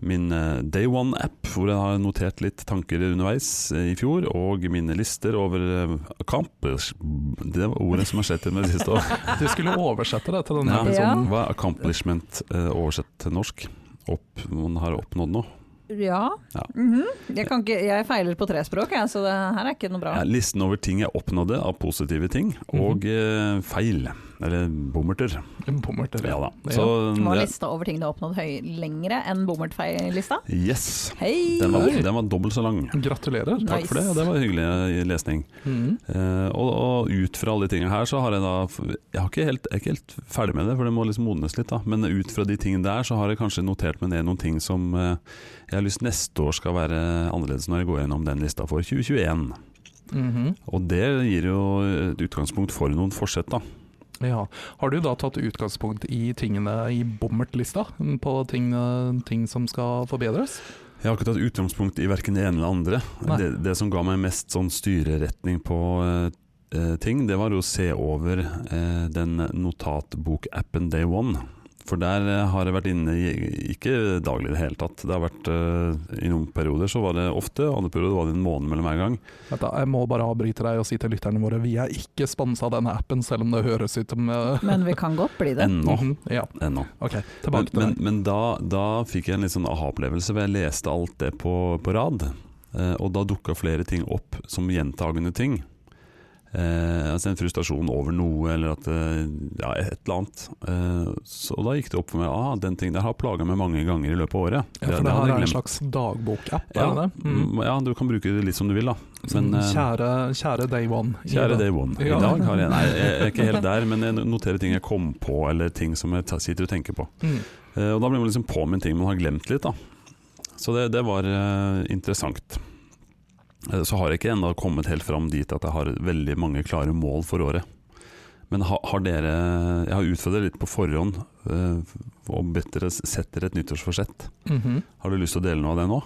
[SPEAKER 1] min eh, Day One-app, hvor jeg har notert litt tanker underveis eh, i fjor, og mine lister over eh, kamp. Det var ordet som har skjedd til meg det siste år.
[SPEAKER 2] Du skulle oversette Sånn det til denne
[SPEAKER 1] Ja.
[SPEAKER 2] episoden.
[SPEAKER 1] Hva er accomplishment eh, oversett til norsk? Opp, man har oppnådd noe.
[SPEAKER 3] Ja.
[SPEAKER 1] Ja.
[SPEAKER 3] Mhm. jeg, kan ikke, jeg feiler på tre språk, jeg, så det her er ikke noe bra.
[SPEAKER 1] Ja, listen over ting jeg oppnådde av positive ting, og eh, feil. Eller bommerter.
[SPEAKER 2] Bommert, eller?
[SPEAKER 1] Ja da.
[SPEAKER 2] Ja.
[SPEAKER 1] Så eh,
[SPEAKER 3] Var
[SPEAKER 1] det,
[SPEAKER 3] lista over ting du har oppnådd høy lengre enn bommertfeil-lista?
[SPEAKER 1] yes.
[SPEAKER 3] Hei!
[SPEAKER 1] Den var,
[SPEAKER 2] Oi.
[SPEAKER 1] den var dobbelt så lang.
[SPEAKER 2] Gratulerer.
[SPEAKER 1] Takk for det,
[SPEAKER 3] Nice.
[SPEAKER 1] det var hyggelig lesning.
[SPEAKER 2] Mm.
[SPEAKER 1] Eh, og, og ut fra alle de tingene her, så har jeg da Jeg, har ikke helt, jeg er ikke helt ferdig med det, for det må liksom modnes litt. da Men ut fra de tingene der, så har jeg kanskje notert meg ned noen ting som eh, jeg har lyst neste år skal være annerledes, når jeg går gjennom den lista for 2021.
[SPEAKER 2] Mhm.
[SPEAKER 1] Og det gir jo et utgangspunkt for noen forsett, da.
[SPEAKER 2] Ja. Har du da tatt utgangspunkt i tingene i bommertlista, på ting, eh, ting som skal forbedres?
[SPEAKER 1] Jeg har ikke tatt utgangspunkt i verken det ene eller det andre.
[SPEAKER 2] Nei.
[SPEAKER 1] Det, det som ga meg mest sånn styreretning på eh, eh, ting, det var jo å se over eh, den notatbok-appen Day One. For der eh, har jeg vært inne i, ikke daglig i det hele tatt. Det har vært eh, I noen perioder så var det ofte, andre perioder var det en måned mellom hver gang.
[SPEAKER 2] Vet du, jeg må bare avbryte deg og si til lytterne våre vi er ikke sponsa av denne appen, selv om det høres ut som eh,
[SPEAKER 3] Men vi kan godt bli det.
[SPEAKER 1] Ennå.
[SPEAKER 2] mhm, Ja,
[SPEAKER 1] Ennå.
[SPEAKER 2] ok.
[SPEAKER 1] Men,
[SPEAKER 2] Tilbake til
[SPEAKER 1] men,
[SPEAKER 2] deg.
[SPEAKER 1] men da, da fikk jeg en litt sånn aha-opplevelse, hvor jeg leste alt det på, på rad. Eh, og da dukka flere ting opp som gjentagende ting. Eh, altså en frustrasjon over noe, eller at eh, Ja, et eller annet. Eh, så da gikk det opp for meg ah, den ting der har plaga meg mange ganger i løpet av året.
[SPEAKER 2] Ja, for det,
[SPEAKER 1] det hadde jeg
[SPEAKER 2] her er en
[SPEAKER 1] glemt.
[SPEAKER 2] slags dagbokapp, er
[SPEAKER 1] Ja,
[SPEAKER 2] det det? Mm.
[SPEAKER 1] mm, ja, du kan bruke det litt som du vil, da.
[SPEAKER 2] Men,
[SPEAKER 1] Men, eh,
[SPEAKER 2] Mm, kjære, kjære Day One.
[SPEAKER 1] Kjære Day One. I
[SPEAKER 2] Ja.
[SPEAKER 1] dag har jeg Nei, jeg er ikke helt der, men jeg noterer ting jeg kom på, eller ting som jeg ta- sitter og tenker på.
[SPEAKER 2] Mm.
[SPEAKER 1] Eh, Og da blir man liksom påminnet ting man har glemt litt. Da. Så det, det var eh, interessant. Eh, Så har jeg ikke ennå kommet helt fram dit at jeg har veldig mange klare mål for året. Men ha, har dere Jeg har utfordret dere litt på forhånd eh, og bedt dere s- sett dere et nyttårsforsett.
[SPEAKER 2] Mhm.
[SPEAKER 1] Har du lyst til å dele noe av det nå?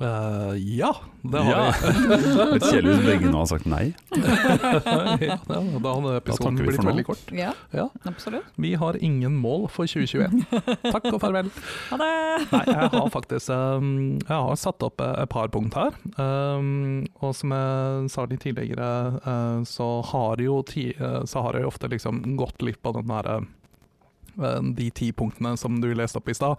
[SPEAKER 2] Eh, ja, det har
[SPEAKER 1] Ja. [laughs]
[SPEAKER 2] vi. [laughs]
[SPEAKER 1] Litt kjedelig hvis begge nå har sagt nei.
[SPEAKER 2] ja, da hadde
[SPEAKER 1] takker
[SPEAKER 2] episoden
[SPEAKER 1] vi
[SPEAKER 2] blitt
[SPEAKER 1] for nå.
[SPEAKER 2] veldig kort.
[SPEAKER 3] Ja,
[SPEAKER 2] Ja.
[SPEAKER 3] absolutt.
[SPEAKER 2] Vi har ingen mål for
[SPEAKER 1] [laughs]
[SPEAKER 2] 2021. Takk og farvel.
[SPEAKER 3] Ha det!
[SPEAKER 2] Nei, jeg har faktisk um, Jeg har satt opp eh, et par punkt her. Um, og som jeg sa litt tidligere, eh, så har jo ti, eh, så har jeg ofte liksom gått litt på den derre eh, de ti punktene som du leste opp i stad.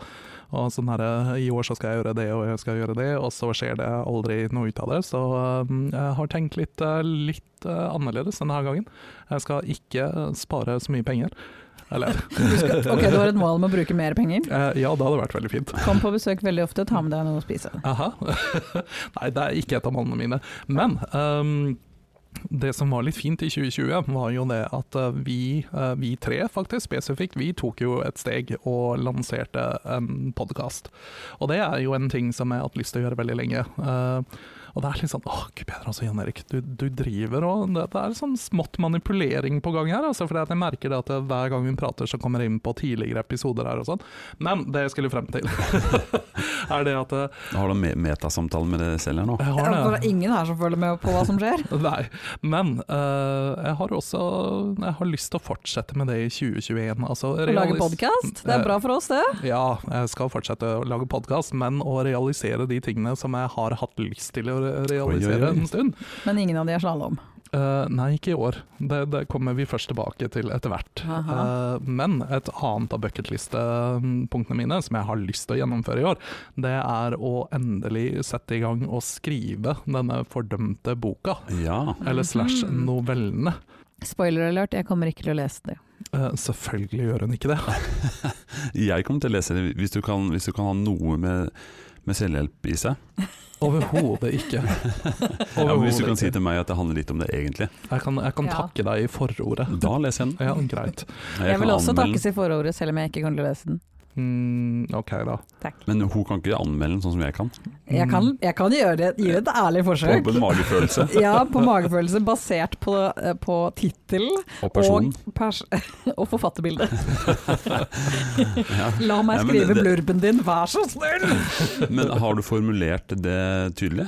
[SPEAKER 2] Og sånn her, I år så skal jeg gjøre det, og jeg skal gjøre det, og så skjer det aldri noe ut av det. Så eh, jeg har tenkt litt, eh, litt eh, annerledes denne gangen. Jeg skal ikke spare så mye penger. Eller
[SPEAKER 3] Du skal, ok, du har et mål med å bruke mer penger.
[SPEAKER 2] eh, Ja, det hadde vært veldig fint.
[SPEAKER 3] Kom på besøk veldig ofte, ta med deg noe å spise.
[SPEAKER 2] Aha. [laughs] Nei, det er ikke et av målene mine. Men ehm, det som var litt fint i 2020, var jo det at eh, vi, eh, vi tre faktisk spesifikt, vi tok jo et steg og lanserte en podkast. Og det er jo en ting som jeg har hatt lyst til å gjøre veldig lenge. Eh, og det er litt sånn Åh, gud bedre altså, Jan Erik. Du, du driver og det, det er sånn smått manipulering på gang her. Altså, for jeg merker det at eh, hver gang vi prater, så kommer jeg inn på tidligere episoder her og sånn. Men det jeg skulle frem til, [laughs] er det at eh,
[SPEAKER 1] Har du me- metasamtale med deg selv her nå?
[SPEAKER 2] jeg
[SPEAKER 3] Det
[SPEAKER 2] har
[SPEAKER 3] er
[SPEAKER 2] det.
[SPEAKER 3] ingen her som følger med på hva som skjer.
[SPEAKER 2] Nei, men eh, jeg har også Jeg har lyst til å fortsette med det i 2021. Altså,
[SPEAKER 3] Å lage
[SPEAKER 2] realis-
[SPEAKER 3] podkast,
[SPEAKER 1] Eh.
[SPEAKER 3] det er bra for oss det.
[SPEAKER 2] Ja, jeg skal fortsette å lage podkast, men å realisere de tingene som jeg har hatt lyst til å re- realisere
[SPEAKER 1] Oi, oi, oi.
[SPEAKER 2] en stund.
[SPEAKER 3] Men ingen av de er slalåm.
[SPEAKER 2] Eh, nei, ikke i år. Det, det kommer vi først tilbake til etter hvert.
[SPEAKER 3] Aha.
[SPEAKER 2] Eh, men et annet av bucketliste-punktene mine som jeg har lyst til å gjennomføre i år, det er å endelig sette i gang og skrive denne fordømte boka.
[SPEAKER 1] Ja.
[SPEAKER 2] Eller slash
[SPEAKER 3] Mhm.
[SPEAKER 2] novellene.
[SPEAKER 3] Spoiler alert, jeg kommer ikke til å lese det.
[SPEAKER 2] Eh, selvfølgelig gjør hun ikke det.
[SPEAKER 1] Jeg kommer til å lese det hvis du kan, hvis du kan ha noe med, med selvhjelp i seg.
[SPEAKER 2] Overhodet ikke.
[SPEAKER 1] [laughs] Ja, men hvis du
[SPEAKER 2] Overhodet
[SPEAKER 1] kan si
[SPEAKER 2] ikke.
[SPEAKER 1] til meg at det handler litt om det egentlig,
[SPEAKER 2] Jeg kan, jeg kan
[SPEAKER 3] Ja.
[SPEAKER 2] takke deg i forordet.
[SPEAKER 1] da leser jeg den.
[SPEAKER 2] Ja, greit.
[SPEAKER 3] Jeg
[SPEAKER 1] kan
[SPEAKER 3] vil også
[SPEAKER 1] anmelde
[SPEAKER 3] takkes i forordet, selv om jeg ikke kommer til å lese den.
[SPEAKER 2] Mm, ok, da.
[SPEAKER 1] den. Men hun kan ikke anmelde den sånn som jeg kan.
[SPEAKER 3] Jeg kan, jeg kan gjøre det, gi det et ærlig forsøk.
[SPEAKER 1] På en
[SPEAKER 2] [laughs]
[SPEAKER 1] magefølelse
[SPEAKER 3] Ja, på magefølelse, basert på, eh, på tittel
[SPEAKER 1] og
[SPEAKER 3] og,
[SPEAKER 1] person.
[SPEAKER 3] pers [laughs] og forfatterbilde.
[SPEAKER 1] Ja.
[SPEAKER 3] La meg
[SPEAKER 1] Nei, men
[SPEAKER 3] skrive
[SPEAKER 1] det-
[SPEAKER 3] blurben din, vær så snill!
[SPEAKER 1] Men har du formulert det tydelig?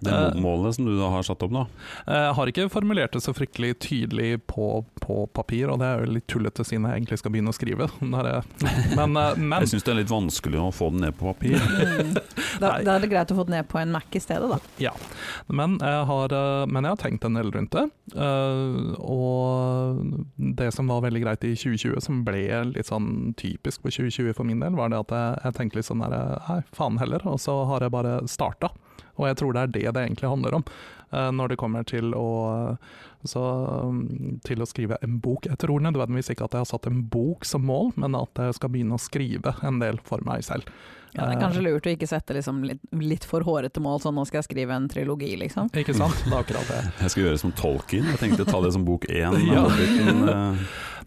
[SPEAKER 1] Det må-
[SPEAKER 2] Eh.
[SPEAKER 1] målet som du da har satt opp nå?
[SPEAKER 2] Jeg Eh, har ikke formulert det så fryktelig tydelig på, på papir, og det er jo litt tullete siden jeg egentlig skal begynne å skrive. Der er, men eh, men
[SPEAKER 1] Jeg syns det er litt vanskelig å få den ned på papir.
[SPEAKER 3] Mm. Da,
[SPEAKER 2] Nei.
[SPEAKER 3] da er det greit å få det ned på en Mac i stedet, da.
[SPEAKER 2] Ja, men jeg har, eh, men jeg har tenkt en del rundt det. eh, Og det som var veldig greit i 2020, som ble litt sånn typisk på 2020 for min del, var det at jeg, jeg tenkte litt sånn der eh, Nei, faen heller. Og så har jeg bare starta. Og jeg tror det er det det egentlig handler om. eh, Når det kommer til å, så, mm, til å skrive en bok. Jeg tror nødvendigvis ikke at jeg har satt en bok som mål, men at jeg skal begynne å skrive en del for meg selv.
[SPEAKER 3] Ja, det er kanskje lurt å ikke sette liksom litt, litt for hårete mål, sånn nå skal jeg skrive en trilogi, liksom.
[SPEAKER 2] Ikke sant? Det er akkurat det.
[SPEAKER 1] Jeg skal gjøre som Tolkien. Jeg tenkte ta det som bok
[SPEAKER 2] [laughs]
[SPEAKER 1] én.
[SPEAKER 2] Ja.
[SPEAKER 1] men, eh,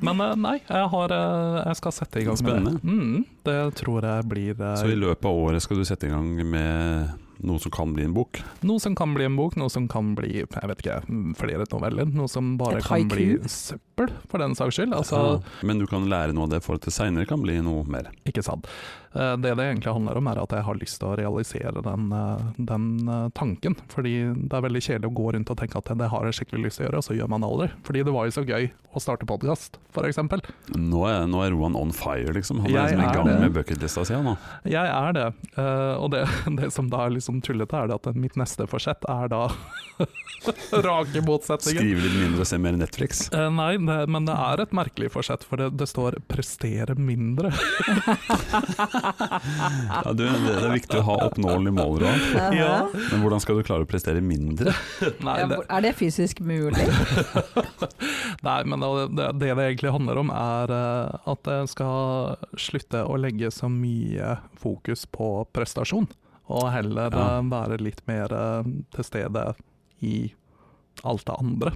[SPEAKER 2] Men eh, nei, jeg, har, eh, jeg skal sette i gang
[SPEAKER 1] Spennende.
[SPEAKER 2] med det. Mm, det tror jeg blir eh,
[SPEAKER 1] Så i løpet av året skal du sette i gang med noe som kan bli en bok?
[SPEAKER 2] noe som kan bli en bok, noe som kan bli jeg vet ikke, mm, flere noveller. Noe som bare
[SPEAKER 3] Et
[SPEAKER 2] kan bli
[SPEAKER 3] haiku?
[SPEAKER 2] søppel, for den saks skyld.
[SPEAKER 1] Ja.
[SPEAKER 2] Altså,
[SPEAKER 1] Men du kan lære noe av det for at det seinere kan bli noe mer.
[SPEAKER 2] Ikke sant. Eh, Det det egentlig handler om, er at jeg har lyst til å realisere den, eh, den eh, tanken. Fordi det er veldig kjedelig å gå rundt og tenke at det har jeg skikkelig lyst til å gjøre, og så gjør man det aldri. Fordi det var jo så gøy å starte podkast, f.eks.
[SPEAKER 1] Nå er, nå er Roan on fire, liksom. Han er,
[SPEAKER 2] Jeg
[SPEAKER 1] liksom i
[SPEAKER 2] er
[SPEAKER 1] gang
[SPEAKER 2] det.
[SPEAKER 1] med bucketlista si han, nå.
[SPEAKER 2] Jeg er det. eh, og det, [laughs] det som da er liksom tullete, er det at mitt neste forsett er da [laughs] rake motsetninger.
[SPEAKER 1] Skrive litt mindre og se mer Netflix.
[SPEAKER 2] Eh, nei, det, men det er et merkelig forsett, for det, det står 'prestere mindre'.
[SPEAKER 1] Ja, du, det det er viktig å ha oppnåelige mål, Roan.
[SPEAKER 2] Ja.
[SPEAKER 3] [laughs] Aha.
[SPEAKER 1] Men hvordan skal du klare å prestere mindre?
[SPEAKER 2] Nei,
[SPEAKER 3] Ja,
[SPEAKER 2] det,
[SPEAKER 3] hvor- Er det fysisk mulig?
[SPEAKER 2] nei men det, det det det egentlig handler om, er eh, at jeg skal slutte å legge så mye fokus på prestasjon, og heller
[SPEAKER 1] Ja.
[SPEAKER 2] eh, være litt mer eh, til stede i alt det andre.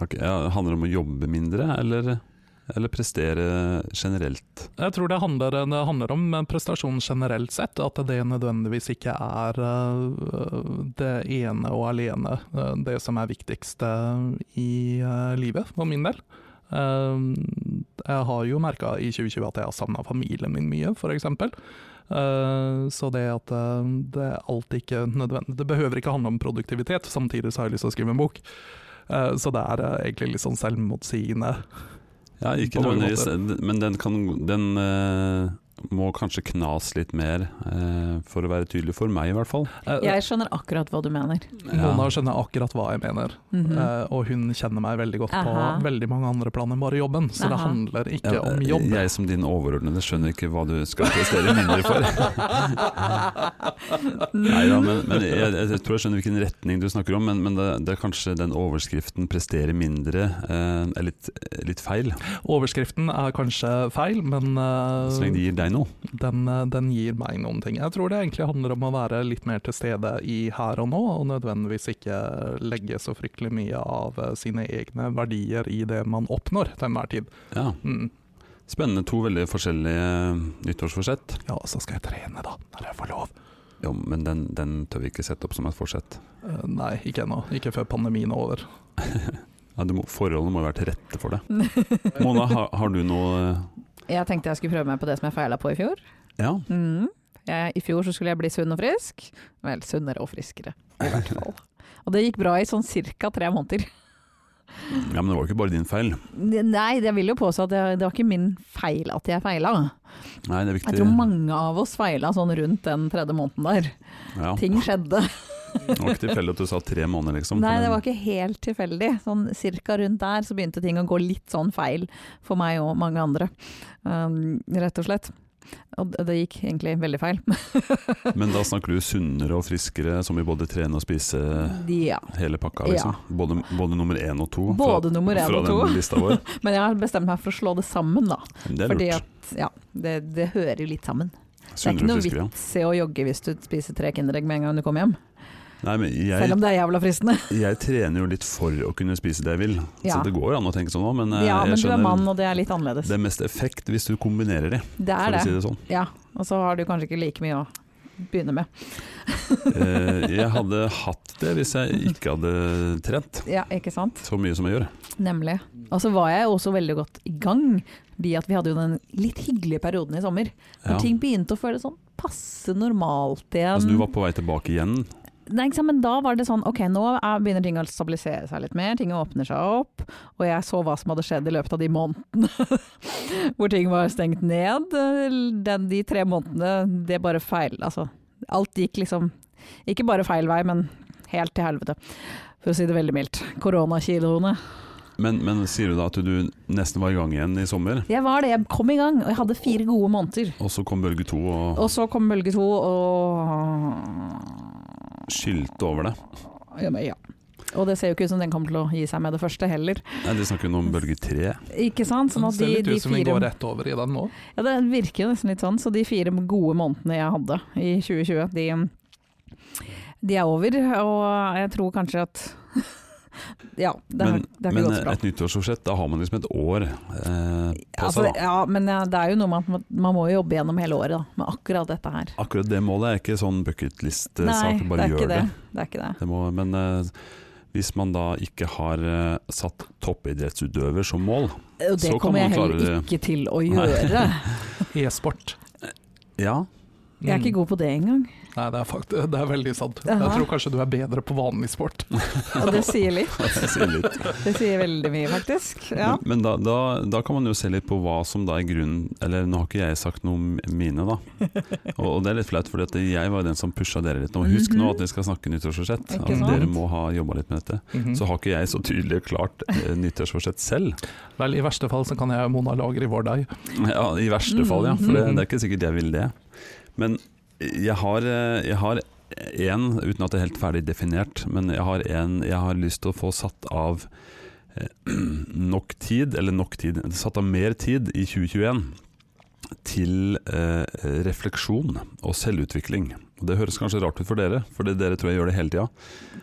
[SPEAKER 1] Ok, ja, handler det om å jobbe mindre, eller, eller prestere generelt?
[SPEAKER 2] Jeg tror det handler, det handler om eh, prestasjon generelt sett, at det nødvendigvis ikke er øh, det ene og alene øh, det som er viktigst øh, i øh, livet, for min del. Ehm, Jeg har jo merka i 2020 at jeg har savna familien min mye, f.eks. Så det at øh, det er alltid ikke nødvendig Det behøver ikke handle om produktivitet, samtidig så har jeg lyst til å skrive en bok. Eh, Så det er øh, egentlig litt sånn selvmotsigende.
[SPEAKER 1] Ja, ikke
[SPEAKER 2] På mange
[SPEAKER 1] nødvendigvis, men den, kan, den eh, må kanskje knas litt mer, eh, for å være tydelig for meg i hvert fall.
[SPEAKER 2] Eh,
[SPEAKER 3] Jeg skjønner akkurat hva du mener.
[SPEAKER 2] Mona skjønner akkurat hva jeg mener,
[SPEAKER 3] Mhm.
[SPEAKER 2] eh, og hun kjenner meg veldig godt
[SPEAKER 3] Aha.
[SPEAKER 2] på veldig mange andre plan enn bare jobben, så det
[SPEAKER 3] Aha.
[SPEAKER 2] handler ikke
[SPEAKER 1] Ja,
[SPEAKER 2] om jobb.
[SPEAKER 1] Jeg som din overordnede skjønner ikke hva du skal prestere mindre for. Nei da, men, men jeg, jeg tror jeg skjønner hvilken retning du snakker om, men, men det, det er kanskje den overskriften 'prestere mindre' eh, er litt, litt feil,
[SPEAKER 2] Overskriften er kanskje feil, men eh,
[SPEAKER 1] så lenge det gir deg noe.
[SPEAKER 2] den, eh, den gir meg noen ting. Jeg tror det egentlig handler om å være litt mer til stede i her og nå, og nødvendigvis ikke legge så fryktelig mye av eh, sine egne verdier i det man oppnår til enhver tid.
[SPEAKER 1] Ja,
[SPEAKER 2] Mm.
[SPEAKER 1] Spennende. To veldig forskjellige nyttårsforsett.
[SPEAKER 2] Ja, så skal jeg trene, da, når jeg får lov.
[SPEAKER 1] Jo, men den, den tør vi ikke sette opp som et forsett.
[SPEAKER 2] Eh, Nei, ikke ennå. Ikke før pandemien er over.
[SPEAKER 1] Ja, du må, forholdene må jo være til rette for det. Mona, har, har du noe
[SPEAKER 3] Jeg tenkte jeg skulle prøve meg på det som jeg feila på i fjor.
[SPEAKER 1] Ja,
[SPEAKER 3] Mm. Jeg, I fjor så skulle jeg bli sunn og frisk. Vel, sunnere og friskere, i hvert fall. Og det gikk bra i sånn ca. tre måneder.
[SPEAKER 1] ja men det var jo ikke bare din feil.
[SPEAKER 3] Nei, jeg vil jo påstå at det, det var ikke min feil at jeg feila.
[SPEAKER 1] Nei, det er
[SPEAKER 3] Jeg
[SPEAKER 1] viktig.
[SPEAKER 3] tror mange av oss feila sånn rundt den tredje måneden der.
[SPEAKER 1] Ja.
[SPEAKER 3] Ting skjedde.
[SPEAKER 1] Det var ikke tilfeldig at du sa tre måneder, liksom.
[SPEAKER 3] Nei, det var ikke helt tilfeldig. Sånn cirka rundt der så begynte ting å gå litt sånn feil for meg og mange andre, um, rett og slett. Og det- det gikk egentlig veldig feil.
[SPEAKER 1] Men da snakker du sunnere og friskere, som i både trene og spise
[SPEAKER 3] [laughs] Ja.
[SPEAKER 1] hele pakka, liksom? Både, både nummer én og to? fra-
[SPEAKER 3] Både nummer én og
[SPEAKER 1] Fra
[SPEAKER 3] to.
[SPEAKER 1] den lista vår.
[SPEAKER 3] Men jeg har bestemt meg for å slå det sammen, da.
[SPEAKER 1] Det er
[SPEAKER 3] Fordi
[SPEAKER 1] lurt.
[SPEAKER 3] at, ja, det, det hører jo litt sammen. Det er ikke
[SPEAKER 1] Sunnere og
[SPEAKER 3] noe
[SPEAKER 1] friskere.
[SPEAKER 3] vits i å jogge hvis du spiser tre Kinderegg med en gang du kommer hjem.
[SPEAKER 1] Nei, men
[SPEAKER 3] Selv
[SPEAKER 1] jeg,
[SPEAKER 3] om det er jævla fristende.
[SPEAKER 1] jeg trener jo litt for å kunne spise det jeg vil, så
[SPEAKER 3] Ja.
[SPEAKER 1] det går jo an å tenke sånn òg, men eh,
[SPEAKER 3] Ja, men
[SPEAKER 1] jeg
[SPEAKER 3] du er mann,
[SPEAKER 1] skjønner
[SPEAKER 3] og det er litt annerledes.
[SPEAKER 1] det er mest effekt hvis du kombinerer de,
[SPEAKER 3] Det
[SPEAKER 1] for
[SPEAKER 3] er
[SPEAKER 1] å si
[SPEAKER 3] det.
[SPEAKER 1] det sånn.
[SPEAKER 3] Ja, og så har du kanskje ikke like mye å begynne med.
[SPEAKER 1] Eh, Jeg hadde hatt det hvis jeg ikke hadde trent
[SPEAKER 3] Ja, ikke sant?
[SPEAKER 1] så mye som jeg gjør.
[SPEAKER 3] Nemlig. Og så var jeg jo også veldig godt i gang, fordi at vi hadde jo den litt hyggelige perioden i sommer. Hvor
[SPEAKER 1] Ja.
[SPEAKER 3] ting begynte å føles sånn passe normalt igjen.
[SPEAKER 1] Altså, du var på vei tilbake igjen.
[SPEAKER 3] Nei, ikke sant, men da var det sånn Ok, nå er, begynner ting å stabilisere seg litt mer, ting åpner seg opp. Og jeg så hva som hadde skjedd i løpet av de månedene [laughs] hvor ting var stengt ned. Den, de tre månedene, det bare feil Altså, alt gikk liksom Ikke bare feil vei, men helt til helvete. For å si det veldig mildt. Koronakiloene.
[SPEAKER 1] Men, men sier du da at du nesten var i gang igjen i sommer,
[SPEAKER 3] Jeg var det, jeg kom i gang, og jeg hadde fire gode måneder.
[SPEAKER 1] og så kom bølge to og
[SPEAKER 3] Og så kom bølge to, og
[SPEAKER 1] skylte over det?
[SPEAKER 3] ja, men ja. Og det ser jo ikke ut som den kommer til å gi seg med det første heller.
[SPEAKER 1] Nei, de snakker jo nå om bølge tre.
[SPEAKER 3] Ikke sant? Sånn
[SPEAKER 2] Det
[SPEAKER 3] at
[SPEAKER 2] ser
[SPEAKER 3] de,
[SPEAKER 2] litt
[SPEAKER 3] de
[SPEAKER 2] ut som vi
[SPEAKER 3] fire,
[SPEAKER 2] går rett over i den nå.
[SPEAKER 3] ja, det virker jo nesten litt sånn. Så de fire gode månedene jeg hadde i 2020, de, de er over. Og jeg tror kanskje at [laughs] Ja, det har,
[SPEAKER 1] Men,
[SPEAKER 3] det har
[SPEAKER 1] men eh,
[SPEAKER 3] ikke gått så bra.
[SPEAKER 1] et nyttårsforsett, da har man liksom et år eh, på
[SPEAKER 3] Altså,
[SPEAKER 1] seg. da.
[SPEAKER 3] ja, men eh, det er jo noe med at man- man må jo jobbe gjennom hele året da, med akkurat dette her.
[SPEAKER 1] Akkurat det målet er ikke sånn bucketlist-sak,
[SPEAKER 3] det
[SPEAKER 1] bare
[SPEAKER 3] er
[SPEAKER 1] gjør det.
[SPEAKER 3] ikke det. Det er ikke det.
[SPEAKER 1] det må, men eh, hvis man da ikke har eh, satt toppidrettsutøver som mål
[SPEAKER 3] Og det
[SPEAKER 1] Så kan
[SPEAKER 3] kommer
[SPEAKER 1] man
[SPEAKER 3] jeg heller
[SPEAKER 1] klare det.
[SPEAKER 3] ikke til å
[SPEAKER 1] Nei.
[SPEAKER 3] gjøre.
[SPEAKER 2] E-sport.
[SPEAKER 1] [laughs]
[SPEAKER 2] Mm.
[SPEAKER 1] Ja,
[SPEAKER 3] Jeg
[SPEAKER 1] Mm.
[SPEAKER 3] er ikke god på det engang.
[SPEAKER 2] Nei, det er, fakt det er veldig sant. Jeg
[SPEAKER 3] Aha.
[SPEAKER 2] tror kanskje du er bedre på vanlig sport.
[SPEAKER 3] Og det sier litt.
[SPEAKER 1] jeg sier litt.
[SPEAKER 3] Det sier veldig mye, faktisk. Ja.
[SPEAKER 1] Men, men da, da, da kan man jo se litt på hva som da er grunnen Eller nå har ikke jeg sagt noe om mine,
[SPEAKER 3] [laughs]
[SPEAKER 1] da. Og, og det er litt flaut, for jeg var jo den som pusha dere litt. nå. Husk nå at vi skal snakke nyttårsforsett.
[SPEAKER 3] Mhm. Ikke
[SPEAKER 1] At
[SPEAKER 3] sant? Mhm.
[SPEAKER 1] dere må ha jobba litt med dette. Mhm.
[SPEAKER 2] [laughs]
[SPEAKER 1] Så har ikke jeg så tydelig og klart eh, nyttårsforsett selv.
[SPEAKER 2] Vel, i verste fall så kan jeg Mona Lager i vår dag.
[SPEAKER 1] Ja, I verste fall, ja. For det, det er ikke sikkert jeg vil det. Men jeg har, eh, jeg har én, uten at det er helt ferdig definert, men jeg har en jeg har lyst til å få satt av eh, [clears throat] nok tid, eller nok tid, satt av mer tid i 2021 til eh, refleksjon og selvutvikling. Og Det høres kanskje rart ut for dere, for det, dere tror jeg gjør det hele tida.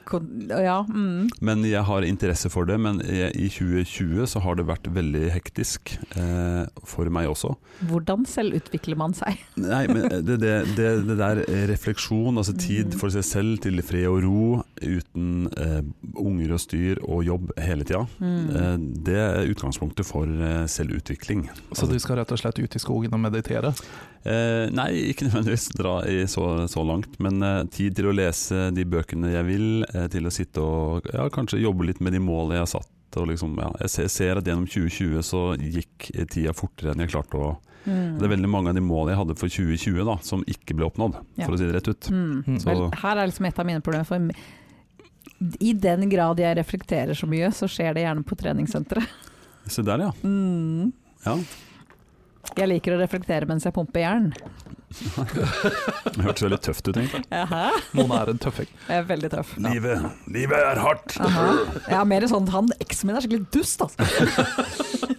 [SPEAKER 3] Kon- ja mm.
[SPEAKER 1] Men jeg har interesse for det. Men jeg, i 2020 så har det vært veldig hektisk eh, for meg også.
[SPEAKER 3] Hvordan selvutvikler man seg?
[SPEAKER 1] Nei, men eh, det, det, det, det der eh, refleksjon, altså tid for seg selv til fred og ro uten eh, unger og styr og jobb hele tida,
[SPEAKER 3] Mm.
[SPEAKER 1] eh, det er utgangspunktet for eh, selvutvikling.
[SPEAKER 2] Så du skal rett og slett ut i skogen og meditere.
[SPEAKER 1] Eh, nei, ikke nødvendigvis dra i så, så langt, men eh, tid til å lese de bøkene jeg vil, eh, til å sitte og ja, kanskje jobbe litt med de målene jeg har satt måte. Og liksom, ja, jeg ser, ser at gjennom 2020 så gikk tida fortere enn jeg klarte å
[SPEAKER 3] Mm.
[SPEAKER 1] Det er veldig mange av de målene jeg hadde for 2020 da, som ikke ble oppnådd,
[SPEAKER 3] Ja.
[SPEAKER 1] for å si det rett ut.
[SPEAKER 3] Mm.
[SPEAKER 2] Så-
[SPEAKER 3] Vel, her er liksom et av mine problemer. For i den grad jeg reflekterer så mye, så skjer det gjerne på treningssenteret.
[SPEAKER 1] Se der, ja.
[SPEAKER 3] [laughs] Mm.
[SPEAKER 1] ja.
[SPEAKER 3] Jeg liker å reflektere mens jeg pumper jern.
[SPEAKER 1] Det hørtes veldig tøft ut, egentlig.
[SPEAKER 3] Jaha.
[SPEAKER 2] Mona er en tøffing.
[SPEAKER 3] Jeg er veldig tøff.
[SPEAKER 1] [laughs] Livet, livet er hardt!
[SPEAKER 3] Aha. Ja, mer sånn han eksen min er skikkelig dust, altså.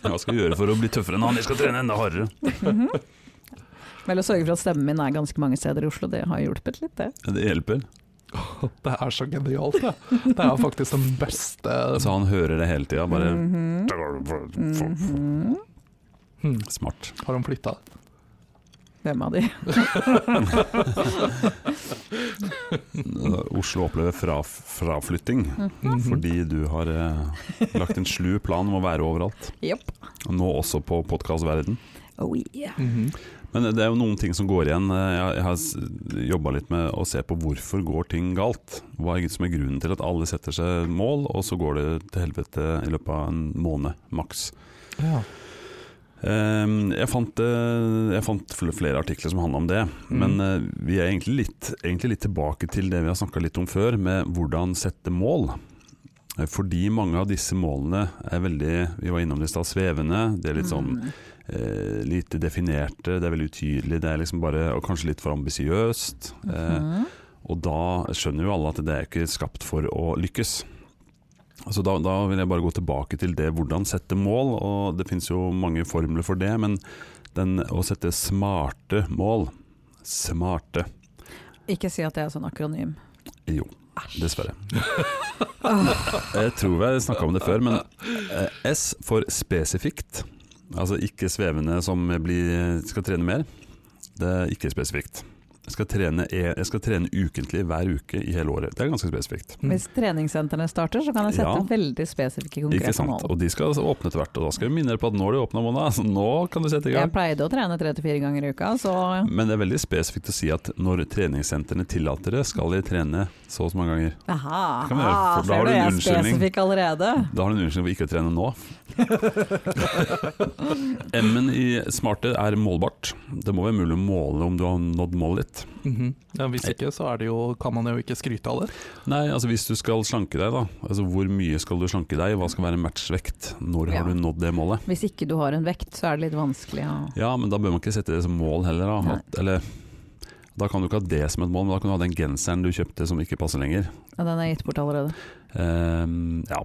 [SPEAKER 1] Hva skal jeg gjøre for å bli tøffere enn han? Jeg skal trene enda hardere.
[SPEAKER 3] Vel å sørge for at stemmen min er ganske mange steder i Oslo, det har hjulpet litt, det.
[SPEAKER 1] Det hjelper.
[SPEAKER 2] Det er så genialt, det. Det er faktisk den beste
[SPEAKER 1] Altså, han hører det hele tida, bare Mm-hmm.
[SPEAKER 3] Mhm.
[SPEAKER 1] Mm.
[SPEAKER 3] Mhm.
[SPEAKER 2] Hmm,
[SPEAKER 1] Smart.
[SPEAKER 2] Har hun flytta?
[SPEAKER 3] Hvem av de?
[SPEAKER 1] Oslo opplever fra, fraflytting
[SPEAKER 2] Mhm.
[SPEAKER 1] fordi du har eh, lagt en slu plan om å være overalt.
[SPEAKER 3] Jepp.
[SPEAKER 1] Nå også på podkastverden.
[SPEAKER 3] Oh yeah.
[SPEAKER 2] Mhm.
[SPEAKER 1] Men det er jo noen ting som går igjen. Jeg jeg har jobba litt med å se på hvorfor går ting galt. Hva er som er grunnen til at alle setter seg mål, og så går det til helvete i løpet av en måned maks.
[SPEAKER 2] Ja.
[SPEAKER 1] Ehm, Jeg fant, eh, jeg fant fl- flere artikler som handla om det. Men eh, vi er egentlig litt, egentlig litt tilbake til det vi har snakka litt om før, med hvordan sette mål. Eh, Fordi mange av disse målene er veldig Vi var innom det i stad. Svevende. Det er litt sånn
[SPEAKER 3] Mm.
[SPEAKER 1] eh, lite definerte, det er veldig utydelig, det er liksom bare og kanskje litt for ambisiøst. Eh,
[SPEAKER 3] Mhm.
[SPEAKER 1] og da skjønner jo alle at det er ikke skapt for å lykkes. Altså da, da vil jeg bare gå tilbake til det hvordan sette mål, og det finnes jo mange formler for det, men den å sette smarte mål Smarte,
[SPEAKER 3] Ikke si at det er sånn akronym.
[SPEAKER 1] jo.
[SPEAKER 3] Æsj.
[SPEAKER 1] Dessverre. [laughs] Jeg tror vi har snakka om det før, men eh, S for spesifikt. Altså ikke svevende som blir, skal trene mer. Det er ikke spesifikt. Jeg skal, trene, e, jeg skal trene ukentlig hver uke i hele året. Det er ganske spesifikt.
[SPEAKER 2] Mm.
[SPEAKER 3] Hvis treningssentrene starter, så kan jeg
[SPEAKER 1] Ja.
[SPEAKER 3] sette veldig spesifikke
[SPEAKER 1] Ikke
[SPEAKER 3] konkrete
[SPEAKER 1] sant?
[SPEAKER 3] mål.
[SPEAKER 1] Og de skal altså åpne etter hvert, og da skal vi minne deg på at nå har de åpna måneden, så nå kan du sette i
[SPEAKER 3] Jeg
[SPEAKER 1] gang.
[SPEAKER 3] pleide å trene tre til fire ganger i uka, så
[SPEAKER 1] Men det er veldig spesifikt å si at når treningssentrene tillater det, skal de trene så og så mange ganger. Det
[SPEAKER 3] Aha,
[SPEAKER 1] kan vi gjøre, for da
[SPEAKER 3] ser
[SPEAKER 1] har du en
[SPEAKER 3] jeg er
[SPEAKER 1] unnskyldning.
[SPEAKER 3] spesifikk allerede.
[SPEAKER 1] Da har du en unnskyldning for ikke å trene nå. M-en i smarte er målbart. Det må være mulig å måle om du har nådd målet ditt.
[SPEAKER 2] Mhm. ja. Hvis ikke, så er det jo, kan man jo ikke skryte av det.
[SPEAKER 1] Nei, altså hvis du skal slanke deg, da. Altså hvor mye skal du slanke deg? Hva skal være matchvekt? Når har
[SPEAKER 3] Ja.
[SPEAKER 1] du nådd det målet?
[SPEAKER 3] Hvis ikke du har en vekt, så er det litt vanskelig å
[SPEAKER 1] Ja, men da bør man ikke sette det som mål heller, da. At, eller da kan du ikke ha det som et mål, men da kan du ha den genseren du kjøpte som ikke passer lenger.
[SPEAKER 3] Ja, den er gitt bort allerede.
[SPEAKER 1] Ehm, ja.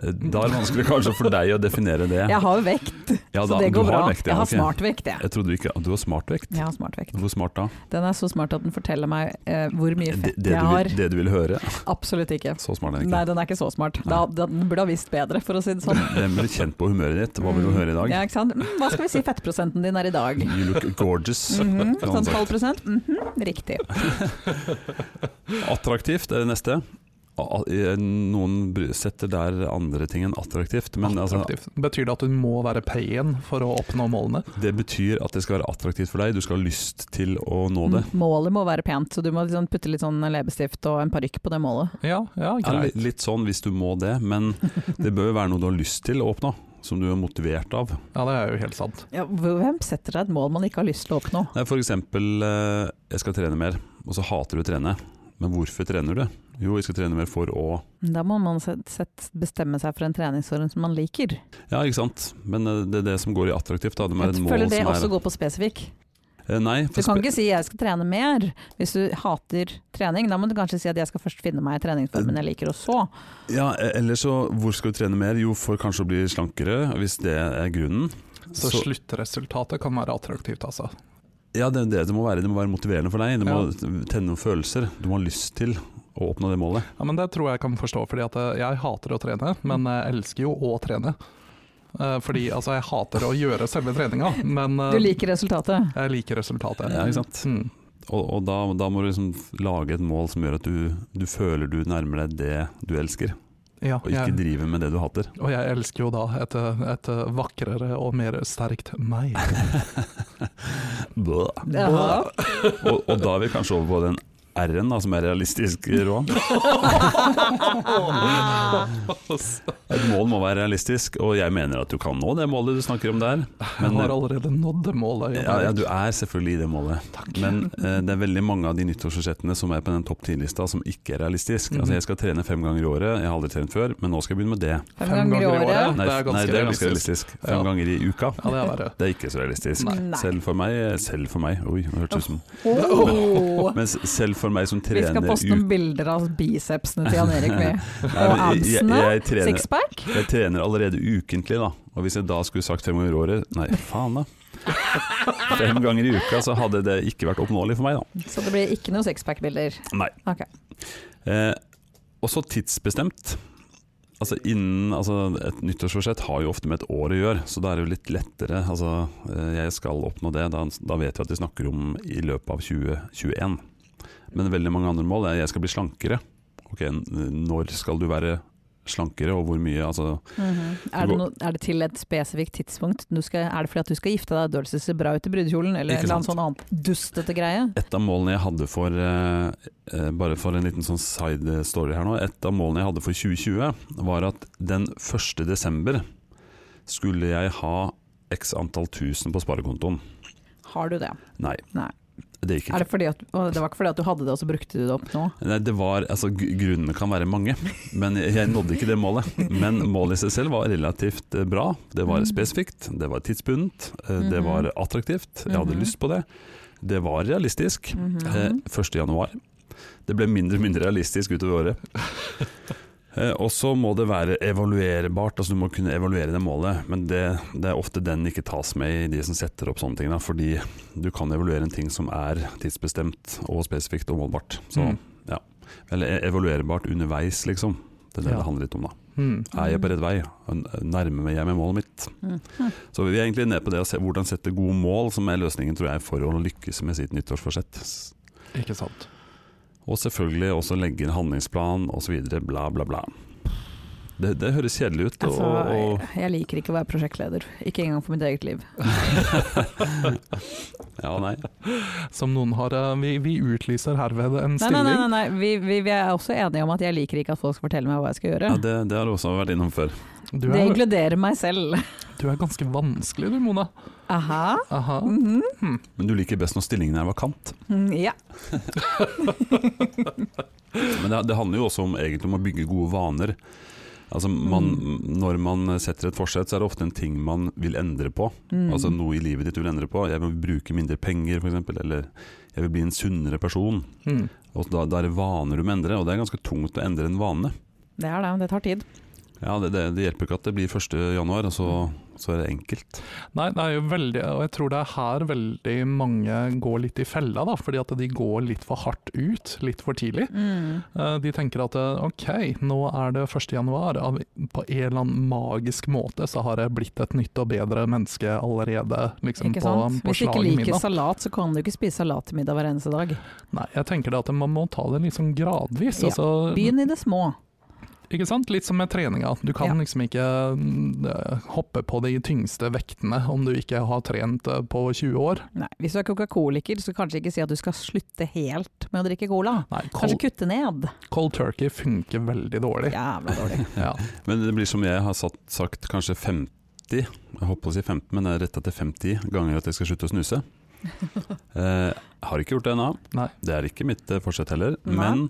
[SPEAKER 1] Eh, Da er det vanskelig kanskje for deg å definere det.
[SPEAKER 3] Jeg har jo vekt,
[SPEAKER 1] Ja,
[SPEAKER 3] så
[SPEAKER 1] da-
[SPEAKER 3] det
[SPEAKER 1] du
[SPEAKER 3] går bra.
[SPEAKER 1] vekt, ja,
[SPEAKER 3] jeg har
[SPEAKER 1] ok.
[SPEAKER 3] smart vekt, jeg.
[SPEAKER 1] Jeg trodde du ikke Du har smart vekt.
[SPEAKER 3] Jeg har smart vekt.
[SPEAKER 1] Hvor smart da?
[SPEAKER 3] Den er så smart at den forteller meg eh, hvor mye
[SPEAKER 1] Det,
[SPEAKER 3] fett
[SPEAKER 1] det,
[SPEAKER 3] jeg
[SPEAKER 1] du,
[SPEAKER 3] har.
[SPEAKER 1] vil- det du vil høre?
[SPEAKER 3] Absolutt ikke.
[SPEAKER 1] Så smart er den
[SPEAKER 3] Nei,
[SPEAKER 1] ikke.
[SPEAKER 3] den er ikke så smart. Da, den burde ha visst bedre, for å si det sånn.
[SPEAKER 1] Hvem blir kjent på humøret ditt? Hva vil du
[SPEAKER 3] Mm.
[SPEAKER 1] høre i dag?
[SPEAKER 3] Ja, ikke sant? Mm, Hva skal vi si fettprosenten din er i dag?
[SPEAKER 1] You look gorgeous.
[SPEAKER 3] Mhm,
[SPEAKER 1] kan man
[SPEAKER 3] Sånn
[SPEAKER 1] sagt.
[SPEAKER 3] 12 mhm, Riktig. sånn-
[SPEAKER 1] Attraktivt er det neste. A- a- Noen bry- setter der andre ting enn attraktivt, men altså,
[SPEAKER 2] Attraktivt. Betyr det at du må være payen for å oppnå målene?
[SPEAKER 1] det betyr at det skal være attraktivt for deg. Du skal ha lyst til å nå det.
[SPEAKER 3] Målet må være pent, så du må liksom putte litt sånn leppestift og en parykk på det målet.
[SPEAKER 2] Ja, ja
[SPEAKER 1] Ja, li-
[SPEAKER 2] greit.
[SPEAKER 1] litt sånn hvis du må det,
[SPEAKER 3] [laughs]
[SPEAKER 1] men det bør jo være noe du har lyst til å oppnå. Som du er motivert av.
[SPEAKER 2] Ja, det er jo helt sant.
[SPEAKER 3] Ja, hvem setter seg et mål man ikke har lyst til å oppnå?
[SPEAKER 1] Nei, For eksempel eh, 'jeg skal trene mer', og så hater du å trene. Men hvorfor trener du? Jo, jeg skal trene mer for å
[SPEAKER 3] Da må man set- set- bestemme seg for en treningsform som man liker.
[SPEAKER 1] Ja, ikke sant. Men eh, det er det som går i attraktivt. Da. Det må være et
[SPEAKER 3] Jeg
[SPEAKER 1] mål
[SPEAKER 3] føler det
[SPEAKER 1] som er
[SPEAKER 3] også går på spesifikk.
[SPEAKER 1] Eh, Nei, for
[SPEAKER 3] Du kan
[SPEAKER 1] spe-
[SPEAKER 3] ikke si 'jeg skal trene mer' hvis du hater trening. Da må du kanskje si at 'jeg skal først finne meg treningsformen jeg liker', og så.
[SPEAKER 1] Ja, e- eller så hvor skal du trene mer? Jo, for kanskje å bli slankere, hvis det er grunnen.
[SPEAKER 2] Så,
[SPEAKER 1] Så-
[SPEAKER 2] sluttresultatet kan være attraktivt, altså.
[SPEAKER 1] Ja, det, er det det må være. Det må være motiverende for deg. Det må tenne noen følelser. Du må ha lyst til å oppnå det målet.
[SPEAKER 2] Ja, men det tror jeg kan forstå, fordi at eh, jeg hater å trene, men jeg elsker jo å trene. Eh, Fordi altså, jeg hater å gjøre selve treninga, men eh,
[SPEAKER 3] Du liker resultatet.
[SPEAKER 2] jeg liker resultatet.
[SPEAKER 1] Ja, ikke sant?
[SPEAKER 2] Mm.
[SPEAKER 1] Og, og da, da må du liksom lage et mål som gjør at du, du føler du nærmer deg det du elsker,
[SPEAKER 2] Ja,
[SPEAKER 1] og ikke
[SPEAKER 2] jeg,
[SPEAKER 1] driver med det du
[SPEAKER 3] [laughs]
[SPEAKER 1] hater.
[SPEAKER 2] og jeg elsker jo da et, eh, et eh, vakrere og mer sterkt
[SPEAKER 1] [laughs]
[SPEAKER 2] meg.
[SPEAKER 1] Blah.
[SPEAKER 3] Jaha.
[SPEAKER 1] Og, og da er vi kanskje over på den R-en, da, som er realistisk, Roan. Et mål må være realistisk, og jeg mener at du kan nå det målet du snakker om der.
[SPEAKER 2] Jeg har allerede nådd det målet. Jan
[SPEAKER 1] eh, Ja, ja,
[SPEAKER 2] Erik.
[SPEAKER 1] du er selvfølgelig i det målet, men eh, det er veldig mange av de nyttårsforsettene som er på den topp 10-lista som ikke er realistisk. Altså, jeg skal trene fem ganger i året, jeg har aldri trent før, men nå skal jeg begynne med det.
[SPEAKER 3] Fem ganger i året.
[SPEAKER 1] Nei, f- nei, det er ganske realistisk. Fem
[SPEAKER 2] Ja.
[SPEAKER 1] ganger i uka.
[SPEAKER 2] Ja, det er verre.
[SPEAKER 1] Det er ikke så realistisk.
[SPEAKER 3] Nei.
[SPEAKER 1] Selv for meg Selv for meg, oi, det hørtes ut som [laughs]
[SPEAKER 3] Åh.
[SPEAKER 1] Men s- selv for meg som
[SPEAKER 3] Oh. Vi
[SPEAKER 1] trener
[SPEAKER 3] skal poste noen bilder av bicepsene til Jan Erik
[SPEAKER 1] [laughs]
[SPEAKER 3] med.
[SPEAKER 1] Nei,
[SPEAKER 3] Og
[SPEAKER 1] men jeg-
[SPEAKER 3] absene.
[SPEAKER 1] jeg trener-
[SPEAKER 3] Sixpack.
[SPEAKER 1] Jeg trener allerede ukentlig, da. Og hvis jeg da skulle sagt fem ganger i året Nei, faen, da. Fem ganger i uka, så hadde det ikke vært oppnåelig for meg, da.
[SPEAKER 3] Så det blir ikke noen sixpack-bilder.
[SPEAKER 1] Nei.
[SPEAKER 3] Ok.
[SPEAKER 1] Eh, også tidsbestemt. Altså innen, altså Et nyttårsforsett har jo ofte med et år å gjøre, så da er det jo litt lettere. Altså, eh, jeg skal oppnå det, da, da vet vi at vi snakker om i løpet av 2021. Men veldig mange andre mål er jeg skal bli slankere. Ok, n- Når skal du være slankere, og hvor mye? Altså,
[SPEAKER 3] Mhm. er, det no, er det til et spesifikt tidspunkt? Du skal, er det fordi at du skal gifte deg og dølse ser bra ut i brudekjolen, eller en
[SPEAKER 1] Ikke
[SPEAKER 3] eller annen
[SPEAKER 1] sant.
[SPEAKER 3] sånn annen dustete greie?
[SPEAKER 1] Et av målene jeg hadde for eh, eh, Bare for en liten sånn side story her nå. Et av målene jeg hadde for 2020, var at den 1. desember skulle jeg ha x antall tusen på sparekontoen.
[SPEAKER 3] Har du det?
[SPEAKER 1] Nei.
[SPEAKER 3] Nei.
[SPEAKER 1] Det gikk
[SPEAKER 3] Er
[SPEAKER 1] ikke.
[SPEAKER 3] det, fordi at, å, det var ikke fordi at du hadde det, og så brukte du det opp nå?
[SPEAKER 1] Nei, det var, altså, gr- grunnene kan være mange, men jeg jeg nådde ikke det målet. Men målet i seg selv var relativt eh, bra. Det var
[SPEAKER 3] Mhm.
[SPEAKER 1] spesifikt, det var tidsbundet, eh, det var attraktivt. Jeg hadde
[SPEAKER 3] Mhm.
[SPEAKER 1] lyst på det. Det var realistisk. Eh, 1. januar. Det ble mindre og mindre realistisk utover året.
[SPEAKER 2] [laughs]
[SPEAKER 1] Eh, og så må det være evaluerbart, altså du må kunne evaluere det målet. Men det, det er ofte den ikke tas med i de som setter opp sånne ting. Da, fordi du kan evaluere en ting som er tidsbestemt og spesifikt og målbart. [laughs] Så,
[SPEAKER 2] Mm.
[SPEAKER 1] ja. Eller e- evaluerbart underveis, liksom. Det er det
[SPEAKER 2] Ja.
[SPEAKER 1] det handler litt om, da.
[SPEAKER 2] Mm.
[SPEAKER 1] Er jeg på rett vei? Nærmer jeg meg målet mitt?
[SPEAKER 3] Mhm.
[SPEAKER 1] Så vi er egentlig nede på det å se hvordan sette gode mål, som er løsningen tror jeg, for å lykkes med sitt nyttårsforsett.
[SPEAKER 2] Ikke sant.
[SPEAKER 1] Og selvfølgelig også legge en handlingsplan osv. bla, bla, bla. Det, det høres kjedelig ut.
[SPEAKER 3] Altså,
[SPEAKER 1] og, [laughs]
[SPEAKER 3] jeg- jeg liker ikke å være prosjektleder, ikke engang for mitt eget liv.
[SPEAKER 1] og, ja, nei.
[SPEAKER 2] Som noen har eh, Vi, vi utlyser herved en
[SPEAKER 3] Nei, nei,
[SPEAKER 2] stilling.
[SPEAKER 3] nei, nei, nei. Vi, vi, vi er også enige om at jeg liker ikke at folk skal fortelle meg hva jeg skal gjøre.
[SPEAKER 1] Ja, det, det har du også vært innom før.
[SPEAKER 2] Du,
[SPEAKER 3] Det
[SPEAKER 2] er,
[SPEAKER 3] inkluderer meg selv.
[SPEAKER 2] du er ganske vanskelig du, Mona.
[SPEAKER 3] Aha.
[SPEAKER 2] Aha.
[SPEAKER 3] Mhm.
[SPEAKER 1] Men du liker best når stillingen er vakant.
[SPEAKER 3] Mm, Ja.
[SPEAKER 1] Men det, det handler jo også om, egentlig om å bygge gode vaner. Altså man,
[SPEAKER 3] Mm.
[SPEAKER 1] Når man setter et forsett, så er det ofte en ting man vil endre på.
[SPEAKER 3] Mm.
[SPEAKER 1] Altså noe i livet ditt du vil endre på. Jeg vil bruke mindre penger, f.eks. Eller jeg vil bli en sunnere person.
[SPEAKER 2] Mm.
[SPEAKER 1] Og da, da er det vaner du må endre, og det er ganske tungt å endre en vane.
[SPEAKER 3] Det er det, det tar tid.
[SPEAKER 1] Ja, det, det, det hjelper ikke at det blir 1. januar, og så, så er det enkelt.
[SPEAKER 2] Nei, det er jo veldig Og jeg tror det er her veldig mange går litt i fella, da. Fordi at de går litt for hardt ut litt for tidlig.
[SPEAKER 3] Mm.
[SPEAKER 2] Eh, De tenker at eh, ok, nå er det 1. januar, av- på en eller annen magisk måte så har jeg blitt et nytt og bedre menneske allerede liksom,
[SPEAKER 3] Ikke
[SPEAKER 2] på,
[SPEAKER 3] sant?
[SPEAKER 2] på
[SPEAKER 3] Hvis du ikke
[SPEAKER 2] slaget
[SPEAKER 3] liker
[SPEAKER 2] middag.
[SPEAKER 3] salat, så kan du ikke spise salat til middag hver eneste dag.
[SPEAKER 2] Nei, jeg tenker det at man må ta det liksom gradvis.
[SPEAKER 3] Ja,
[SPEAKER 2] altså-
[SPEAKER 3] Begynn i det
[SPEAKER 1] [laughs]
[SPEAKER 3] små.
[SPEAKER 2] Ikke sant? Litt som med treninga. Du kan
[SPEAKER 3] Ja.
[SPEAKER 2] liksom ikke mm, eh, hoppe på de tyngste vektene om du ikke har trent eh, på 20 år.
[SPEAKER 3] Nei, hvis du er coca-coliker, så kanskje ikke si at du skal slutte helt med å drikke cola.
[SPEAKER 2] Nei,
[SPEAKER 3] Kanskje
[SPEAKER 2] cold,
[SPEAKER 3] kutte ned.
[SPEAKER 2] cold turkey funker veldig dårlig.
[SPEAKER 3] Jævla
[SPEAKER 1] [laughs]
[SPEAKER 3] dårlig.
[SPEAKER 2] Ja.
[SPEAKER 1] Men det blir som jeg har satt, sagt, kanskje 50, jeg holdt på å si 15, men det er retta til 50 ganger at jeg skal slutte å
[SPEAKER 3] [laughs]
[SPEAKER 1] snuse. Eh, har ikke gjort det ennå.
[SPEAKER 2] Nei.
[SPEAKER 1] Det er ikke mitt eh, forsett heller.
[SPEAKER 3] Nei.
[SPEAKER 1] Men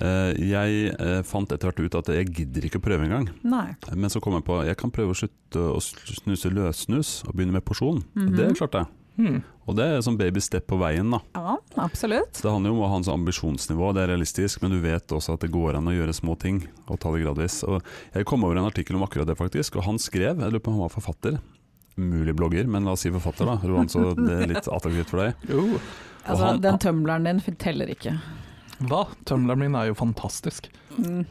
[SPEAKER 1] eh, jeg eh, fant etter hvert ut at jeg gidder ikke å prøve engang.
[SPEAKER 3] Nei.
[SPEAKER 1] Men så kom jeg på jeg kan prøve å slutte å snuse løssnus og begynne med porsjon.
[SPEAKER 3] Mhm.
[SPEAKER 1] Det klarte jeg.
[SPEAKER 2] Hmm.
[SPEAKER 1] Og det er sånn baby step på veien, da.
[SPEAKER 3] Ja, absolutt.
[SPEAKER 1] Så Det handler jo om å ha en sånn ambisjonsnivå, det er realistisk, men du vet også at det går an å gjøre små ting og ta det gradvis. Og jeg kom over en artikkel om akkurat det, faktisk, og han skrev, jeg lurer på om han var forfatter. Mulig blogger, men la oss si forfatter, da. Roan, så det er litt attraktivt for deg.
[SPEAKER 2] Jo.
[SPEAKER 3] Altså,
[SPEAKER 1] han-
[SPEAKER 3] den tømleren din teller ikke.
[SPEAKER 2] Hva? Tømleren min er jo fantastisk.
[SPEAKER 3] Mm.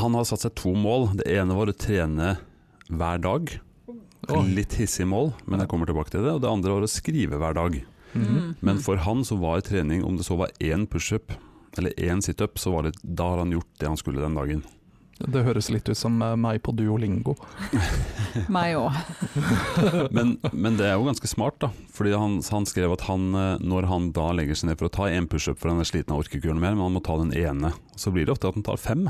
[SPEAKER 1] Han har satt seg to mål. Det ene var å trene hver dag.
[SPEAKER 2] Oi.
[SPEAKER 1] Litt hissig mål, men jeg kommer tilbake til det. Og det andre var å skrive hver dag.
[SPEAKER 3] Mm.
[SPEAKER 2] Mhm.
[SPEAKER 1] Men for han så var trening, om det så var én pushup eller én situp, så var det, da har han gjort det han skulle den dagen.
[SPEAKER 2] Det høres litt ut som eh, meg på Duolingo.
[SPEAKER 3] Meg òg.
[SPEAKER 1] Men, men det er jo ganske smart, da. Fordi han, han skrev at han, eh, når han da legger seg ned for å ta én pushup, for han er sliten og orker ikke gjøre noe mer, men han må ta den ene. Så blir det ofte at han tar fem.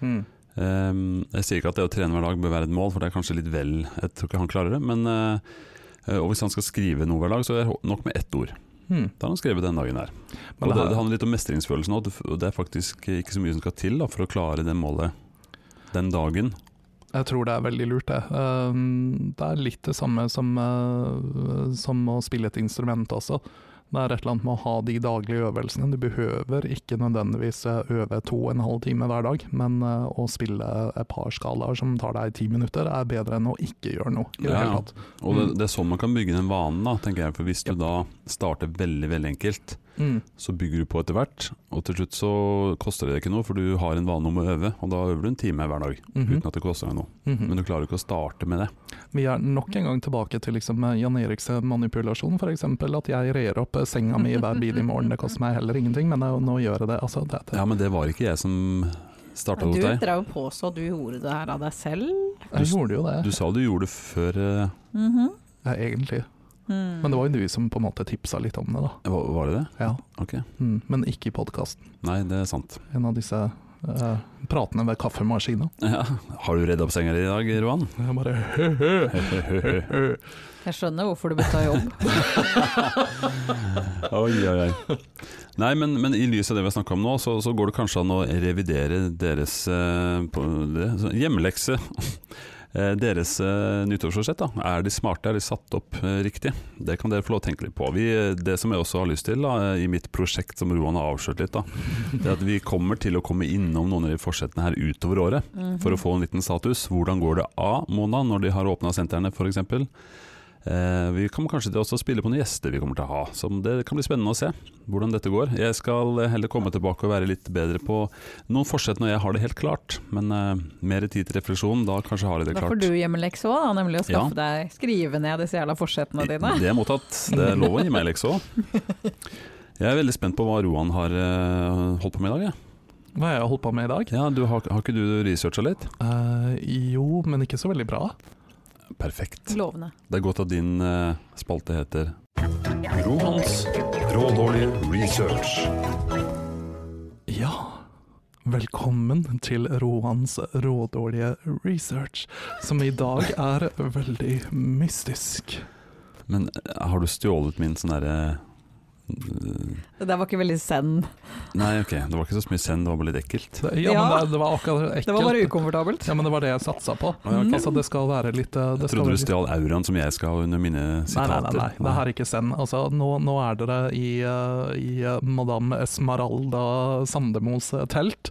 [SPEAKER 2] Mm.
[SPEAKER 1] Ehm, jeg sier ikke at det å trene hver dag bør være et mål, for det er kanskje litt vel Jeg tror ikke han klarer det. Men eh, og hvis han skal skrive noe hver dag, så er det nok med ett ord.
[SPEAKER 2] Mm.
[SPEAKER 1] Da har han skrevet den dagen der.
[SPEAKER 2] Men
[SPEAKER 1] og det,
[SPEAKER 2] her-
[SPEAKER 1] det handler litt om mestringsfølelsen òg. Det er faktisk ikke så mye som skal til da, for å klare det målet den dagen.
[SPEAKER 2] Jeg tror det er veldig lurt, det. Um, Det er litt det samme som, uh, som å spille et instrument også. Det er et eller annet med å ha de daglige øvelsene. Du behøver ikke nødvendigvis uh, øve to og en halv time hver dag, men uh, å spille et par skalaer som tar deg ti minutter, er bedre enn å ikke gjøre noe. i det
[SPEAKER 1] Ja.
[SPEAKER 2] hele tatt.
[SPEAKER 1] Og det,
[SPEAKER 2] Mm.
[SPEAKER 1] det er sånn man kan bygge den vanen, da, tenker jeg. For hvis du da starter veldig veldig enkelt,
[SPEAKER 2] Mm.
[SPEAKER 1] så bygger du på etter hvert. Og til slutt så koster det ikke noe, for du har en vane om å øve. Og da øver du en time hver dag
[SPEAKER 2] Mhm.
[SPEAKER 1] uten at det koster deg noe.
[SPEAKER 2] Mhm.
[SPEAKER 1] Men du klarer ikke å starte med det.
[SPEAKER 2] Vi er nok en gang tilbake til liksom Jan Eriks manipulasjon, f.eks. At jeg rer opp eh, senga mi i hver bil i morgen. Det koster meg heller ingenting, men jeg- nå gjør jeg det. Altså, det, det.
[SPEAKER 1] Ja, men det var ikke jeg som starta
[SPEAKER 3] Du
[SPEAKER 1] hos deg.
[SPEAKER 3] drev og påstå at du gjorde det her av deg selv.
[SPEAKER 2] Jeg gjorde jo det,
[SPEAKER 1] Du sa du gjorde det før eh,
[SPEAKER 3] Mhm.
[SPEAKER 2] jeg, egentlig.
[SPEAKER 3] Mm.
[SPEAKER 2] Men det var jo du som på en måte tipsa litt om det, da.
[SPEAKER 1] Var, var det det?
[SPEAKER 2] Ja.
[SPEAKER 1] Ok.
[SPEAKER 2] Mm, men ikke i podkasten.
[SPEAKER 1] Nei, det er sant.
[SPEAKER 2] En av disse eh, pratene ved kaffemaskina.
[SPEAKER 1] Ja. Har du redd opp senga di i dag, Roan?
[SPEAKER 2] Jeg bare hø-hø. hø-hø.
[SPEAKER 3] Jeg skjønner hvorfor du bytta jobb.
[SPEAKER 1] [laughs] Oi, oi, oi. Nei, men, men i lys av det vi har snakka om nå, så, så går det kanskje an å revidere deres eh, på det, så, hjemmelekse. Eh, Deres eh, nyttårsforsett, da. Er de smarte, er de satt opp eh, riktig? Det kan dere få lov å tenke litt på. Vi, eh, det som jeg også har lyst til da, eh, i mitt prosjekt som Roan har avslørt litt, da, det er at vi kommer til å komme innom noen av de forsettene her utover året.
[SPEAKER 3] Mhm.
[SPEAKER 1] for å få en liten status. Hvordan går det av Mona når de har åpna sentrene f.eks.? Eh, vi kommer kanskje til også å spille på noen gjester vi kommer til å ha. Så det kan bli spennende å se hvordan dette går. Jeg skal heller komme tilbake og være litt bedre på noen forsett når jeg har det helt klart. Men eh, mer tid til refleksjon, da kanskje har jeg det
[SPEAKER 3] Da får
[SPEAKER 1] klart.
[SPEAKER 3] du hjemmelekse òg, da, nemlig å
[SPEAKER 1] Ja.
[SPEAKER 3] skaffe deg skrive ned disse jævla forsettene dine.
[SPEAKER 1] Det er mottatt. Det er lov å gi meg lekse
[SPEAKER 3] [laughs]
[SPEAKER 1] òg. Jeg er veldig spent på hva Roan har eh, holdt på med i dag. jeg.
[SPEAKER 2] [laughs] Hva har jeg holdt på med i dag?
[SPEAKER 1] Ja, du, har, har ikke du researcha litt?
[SPEAKER 2] Eh, jo, men ikke så veldig bra.
[SPEAKER 1] Perfekt.
[SPEAKER 3] Lovende.
[SPEAKER 1] Det er godt at din eh, spalte heter
[SPEAKER 4] Rohans rådårlige research.
[SPEAKER 2] Ja. Velkommen til Roans rådårlige research, som i
[SPEAKER 1] [laughs]
[SPEAKER 2] dag er veldig mystisk.
[SPEAKER 1] Men eh, har du stjålet min sånn derre eh,
[SPEAKER 3] Det der var ikke veldig zen.
[SPEAKER 1] Nei, ok, det var ikke så mye send, det var bare litt ekkelt.
[SPEAKER 2] Det, ja,
[SPEAKER 3] Ja.
[SPEAKER 2] men det, det var akkurat ekkelt.
[SPEAKER 3] Det var bare ukomfortabelt.
[SPEAKER 2] Ja, men det var det jeg satsa på.
[SPEAKER 1] Å, ja, ok.
[SPEAKER 2] Altså, det skal være litt eh, det
[SPEAKER 1] Jeg
[SPEAKER 2] skal
[SPEAKER 1] trodde
[SPEAKER 2] være
[SPEAKER 1] du stjal auraen som jeg skal ha under mine
[SPEAKER 2] Nei, nei, nei,
[SPEAKER 1] sitater.
[SPEAKER 2] nei. det her er ikke send. Altså, nå, nå er dere i, eh, i eh, Madame Esmeralda Sandemos eh, telt.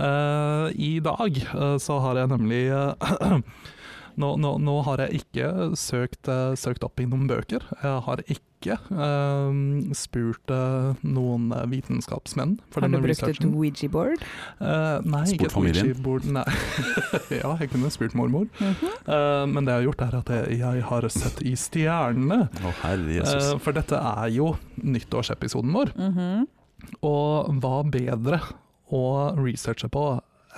[SPEAKER 2] Eh, I dag eh, så har jeg nemlig eh, [clears throat] nå, nå, nå har jeg ikke søkt, eh, søkt opp i noen bøker. Jeg har ikke eh, spurt eh, noen eh, vitenskapsmenn. for
[SPEAKER 3] Har du
[SPEAKER 2] denne
[SPEAKER 3] brukt et
[SPEAKER 2] researchen.
[SPEAKER 3] Ouija-board?
[SPEAKER 2] Eh, nei,
[SPEAKER 1] Spurt
[SPEAKER 2] ikke et
[SPEAKER 1] familien?
[SPEAKER 2] Ouija-bord, Nei. [laughs] ja, jeg kunne spurt mormor.
[SPEAKER 3] Mhm.
[SPEAKER 2] Eh, men det jeg har gjort, er at jeg, jeg har sett i stjernene.
[SPEAKER 1] Å, herre jesus.
[SPEAKER 2] Eh, for dette er jo nyttårsepisoden vår,
[SPEAKER 3] Mhm.
[SPEAKER 2] og hva bedre å researche på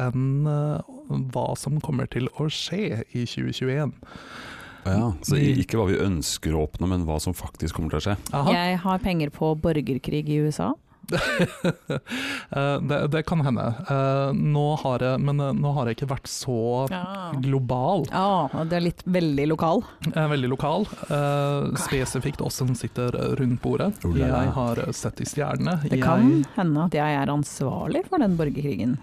[SPEAKER 2] enn eh, hva som kommer til å skje i 2021. Eh,
[SPEAKER 1] ja, så i- ikke hva vi ønsker å oppnå, men hva som faktisk kommer til å skje.
[SPEAKER 2] Aha.
[SPEAKER 3] Jeg har penger på borgerkrig i USA.
[SPEAKER 2] [laughs] Eh, det, det kan hende. Eh, nå har jeg, men eh, nå har jeg ikke vært så
[SPEAKER 3] Ja,
[SPEAKER 2] global.
[SPEAKER 3] det er litt veldig lokal.
[SPEAKER 2] Jeg er veldig lokal. eh, spesifikt oss som sitter rundt bordet.
[SPEAKER 1] Oh la la.
[SPEAKER 2] Jeg har sett i stjernene.
[SPEAKER 3] Det
[SPEAKER 2] Jeg-
[SPEAKER 3] kan hende at jeg er ansvarlig for den borgerkrigen.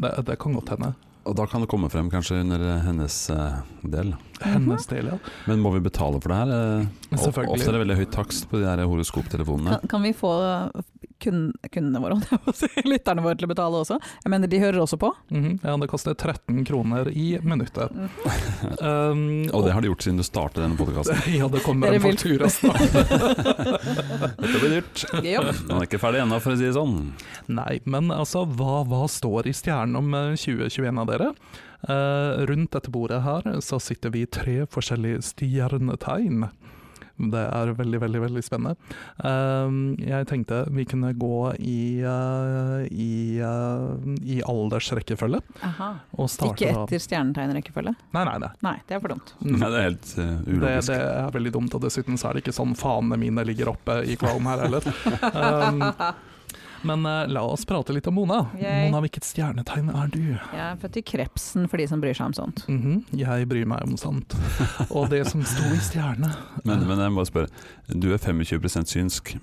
[SPEAKER 2] det, det kan godt hende.
[SPEAKER 1] Og da kan det komme frem kanskje under eh, hennes eh, del.
[SPEAKER 2] Hennes
[SPEAKER 3] Mhm.
[SPEAKER 2] del, ja.
[SPEAKER 1] Men må vi betale for det her? eh? O-
[SPEAKER 2] Selvfølgelig.
[SPEAKER 1] Ofte er det veldig høy takst på de her horoskoptelefonene.
[SPEAKER 3] Kan, kan vi få kun, kundene våre, [laughs] holdt jeg på å si, lytterne våre, til å betale også? Jeg mener, de hører også på.
[SPEAKER 2] Mhm. ja. Det koster 13 kroner i minuttet.
[SPEAKER 3] Mhm.
[SPEAKER 2] [laughs] Um,
[SPEAKER 1] Og det har de gjort siden du startet denne podkasten.
[SPEAKER 2] [laughs] ja, det kommer
[SPEAKER 3] Dere
[SPEAKER 2] en
[SPEAKER 3] vil- [laughs]
[SPEAKER 2] faktura snart.
[SPEAKER 1] Dette blir dyrt.
[SPEAKER 3] Gøy jobb.
[SPEAKER 1] Den er ikke ferdig ennå, for å si det sånn.
[SPEAKER 2] Nei, men altså, hva, hva står i stjernen om eh, 2021 av dere? Eh, rundt dette bordet her så sitter vi i tre forskjellige stjernetegn. Det er veldig, veldig veldig spennende. Ehm, Jeg tenkte vi kunne gå i, eh, i, eh, i aldersrekkefølge.
[SPEAKER 3] Aha.
[SPEAKER 2] Og starte
[SPEAKER 3] Ikke
[SPEAKER 2] da-
[SPEAKER 3] etter stjernetegnrekkefølge?
[SPEAKER 2] Nei, nei, det.
[SPEAKER 3] Nei, det er for dumt.
[SPEAKER 2] Mm.
[SPEAKER 1] Nei, det er helt eh,
[SPEAKER 2] Det,
[SPEAKER 1] ulogisk.
[SPEAKER 2] det er veldig dumt, og dessuten så er det ikke sånn fanene mine ligger oppe i kvalen her
[SPEAKER 3] [laughs]
[SPEAKER 2] heller. Ehm, men eh, la oss prate litt om Mona.
[SPEAKER 3] Yay.
[SPEAKER 2] Mona, hvilket stjernetegn er du?
[SPEAKER 3] Jeg er født i krepsen for de som bryr seg om sånt.
[SPEAKER 2] Mhm, jeg bryr meg om sant. Og det som sto i stjerne.
[SPEAKER 1] Men, men jeg må bare spørre, du er 25 synsk.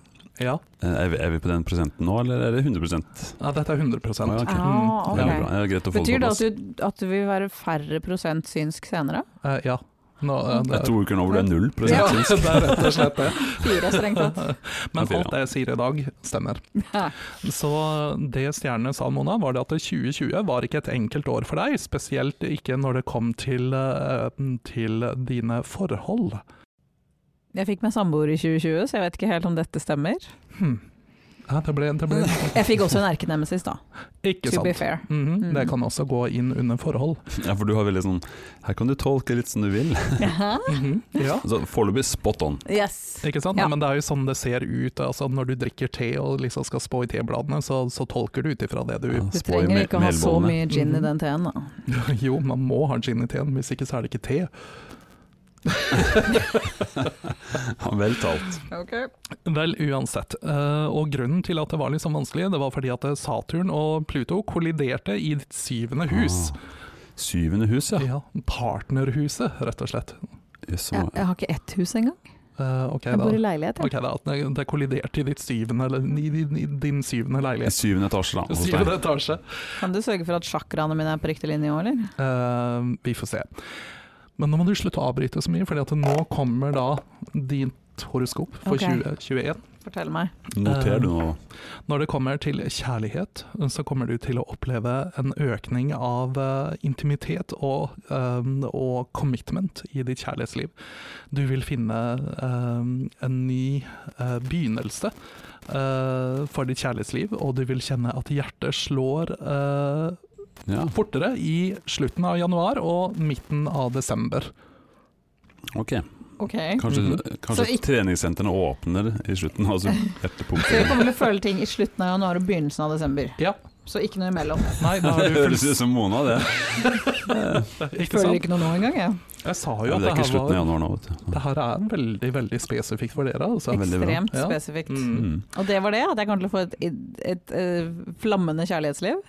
[SPEAKER 2] Ja,
[SPEAKER 1] Eh, Er vi, er vi på den prosenten nå, eller er det 100
[SPEAKER 2] ja dette er Mm. 100
[SPEAKER 1] Ja, ok.
[SPEAKER 3] Ah,
[SPEAKER 1] Det er
[SPEAKER 3] ok.
[SPEAKER 1] bra. Det er greit å få
[SPEAKER 3] Betyr
[SPEAKER 1] det
[SPEAKER 3] det
[SPEAKER 1] på plass.
[SPEAKER 3] at du, at du vil være færre prosent synsk senere?
[SPEAKER 2] Eh, ja. Nå, eh, det-
[SPEAKER 1] Jeg
[SPEAKER 2] [laughs]
[SPEAKER 1] tror ikke nå hvor du er null
[SPEAKER 2] ja,
[SPEAKER 1] prosent synsk.
[SPEAKER 2] det er rett og slett det.
[SPEAKER 3] Fire,
[SPEAKER 2] [laughs]
[SPEAKER 3] strengt tatt.
[SPEAKER 2] Men
[SPEAKER 1] Ja, fire,
[SPEAKER 2] alt det jeg sier i dag, stemmer.
[SPEAKER 3] Ja.
[SPEAKER 2] Så det stjernene sa, Mona, var det at 2020 var ikke et enkelt år for deg. Spesielt ikke når det kom til, eh, til dine forhold.
[SPEAKER 3] Jeg fikk meg samboer i 2020, så jeg vet ikke helt om dette stemmer.
[SPEAKER 2] Hm. Ja, det ble, det ble sånn.
[SPEAKER 3] Jeg fikk også en erkenemesis, da.
[SPEAKER 2] ikke
[SPEAKER 3] Mm. To be
[SPEAKER 2] sant.
[SPEAKER 3] fair.
[SPEAKER 2] Mhm, Det
[SPEAKER 3] Mm.
[SPEAKER 2] kan også gå inn under forhold.
[SPEAKER 1] Ja, for du har veldig sånn Her kan du tolke litt som du vil.
[SPEAKER 3] Jaha.
[SPEAKER 2] Mhm, Ja.
[SPEAKER 1] Altså, Foreløpig spot on.
[SPEAKER 3] Yes.
[SPEAKER 2] Ikke sant?
[SPEAKER 3] Mm. Ja.
[SPEAKER 2] Men det er jo sånn det ser ut. Altså, når du drikker te og liksom skal spå i tebladene, så, så tolker du ut ifra det du
[SPEAKER 1] Ja,
[SPEAKER 3] Du
[SPEAKER 1] spå i
[SPEAKER 3] trenger
[SPEAKER 1] me-
[SPEAKER 3] ikke å ha så
[SPEAKER 1] melbollene.
[SPEAKER 3] mye gin i
[SPEAKER 2] Mhm.
[SPEAKER 3] den teen, da.
[SPEAKER 2] [laughs] Jo, man må ha gin i teen, hvis ikke så er det ikke te.
[SPEAKER 1] Ja, vel talt.
[SPEAKER 2] Vel, uansett. Eh, Og grunnen til at det var litt sånn vanskelig, det var fordi at Saturn og Pluto kolliderte i ditt syvende hus.
[SPEAKER 1] Ah, syvende hus, ja.
[SPEAKER 2] Ja, partnerhuset, rett og slett.
[SPEAKER 1] Jøss,
[SPEAKER 3] Jeg, jeg har ikke ett hus engang.
[SPEAKER 2] Eh, ok,
[SPEAKER 3] Jeg
[SPEAKER 2] da.
[SPEAKER 3] bor i leilighet,
[SPEAKER 2] Ok,
[SPEAKER 3] jeg.
[SPEAKER 2] da. at Det det kolliderte i ditt syvende, eller i din, i din syvende
[SPEAKER 1] I
[SPEAKER 2] leilighet.
[SPEAKER 1] syvende etasje, da. hos deg.
[SPEAKER 2] Syvende etasje.
[SPEAKER 3] Kan du sørge for at sjakraene mine er på riktig linje òg, eller?
[SPEAKER 2] Eh, vi får se. Men nå må du slutte å avbryte så mye, fordi at nå kommer da ditt horoskop for
[SPEAKER 3] Ok.
[SPEAKER 2] 2021.
[SPEAKER 3] Fortell meg.
[SPEAKER 1] Noter du nå?
[SPEAKER 2] Når det kommer til kjærlighet, så kommer du til å oppleve en økning av eh, intimitet og, um, og commitment i ditt kjærlighetsliv. Du vil finne eh, en ny eh, begynnelse eh, for ditt kjærlighetsliv, og du vil kjenne at hjertet slår eh,
[SPEAKER 1] Ja,
[SPEAKER 2] fortere i slutten av januar og midten av desember.
[SPEAKER 1] ok.
[SPEAKER 3] Ok.
[SPEAKER 1] Kanskje, kanskje
[SPEAKER 3] Mm-hmm. Så ikk-
[SPEAKER 1] treningssentrene åpner i slutten,
[SPEAKER 3] [laughs]
[SPEAKER 1] altså hjertet
[SPEAKER 3] Så jeg
[SPEAKER 1] pumper.
[SPEAKER 3] kommer til å føle ting i slutten av januar og begynnelsen av desember.
[SPEAKER 2] Ja.
[SPEAKER 3] Så ikke noe imellom.
[SPEAKER 2] Nei,
[SPEAKER 1] [laughs]
[SPEAKER 2] da
[SPEAKER 1] Det
[SPEAKER 2] har du
[SPEAKER 1] høres ut som Mona, det.
[SPEAKER 2] Ikke
[SPEAKER 3] Føler
[SPEAKER 2] sant?
[SPEAKER 3] ikke noe nå engang, jeg.
[SPEAKER 2] Jeg sa jo
[SPEAKER 1] Ja,
[SPEAKER 2] at
[SPEAKER 1] det
[SPEAKER 2] det
[SPEAKER 1] er ikke
[SPEAKER 2] her
[SPEAKER 1] slutten av
[SPEAKER 2] var
[SPEAKER 1] januar nå, vet du.
[SPEAKER 2] det her er veldig veldig spesifikt for dere. Altså.
[SPEAKER 1] er veldig bra.
[SPEAKER 3] Ekstremt
[SPEAKER 2] Ja.
[SPEAKER 3] spesifikt.
[SPEAKER 2] Mm.
[SPEAKER 1] Mm.
[SPEAKER 3] Og det var det, at jeg kommer til å få et, et, et eh, flammende kjærlighetsliv.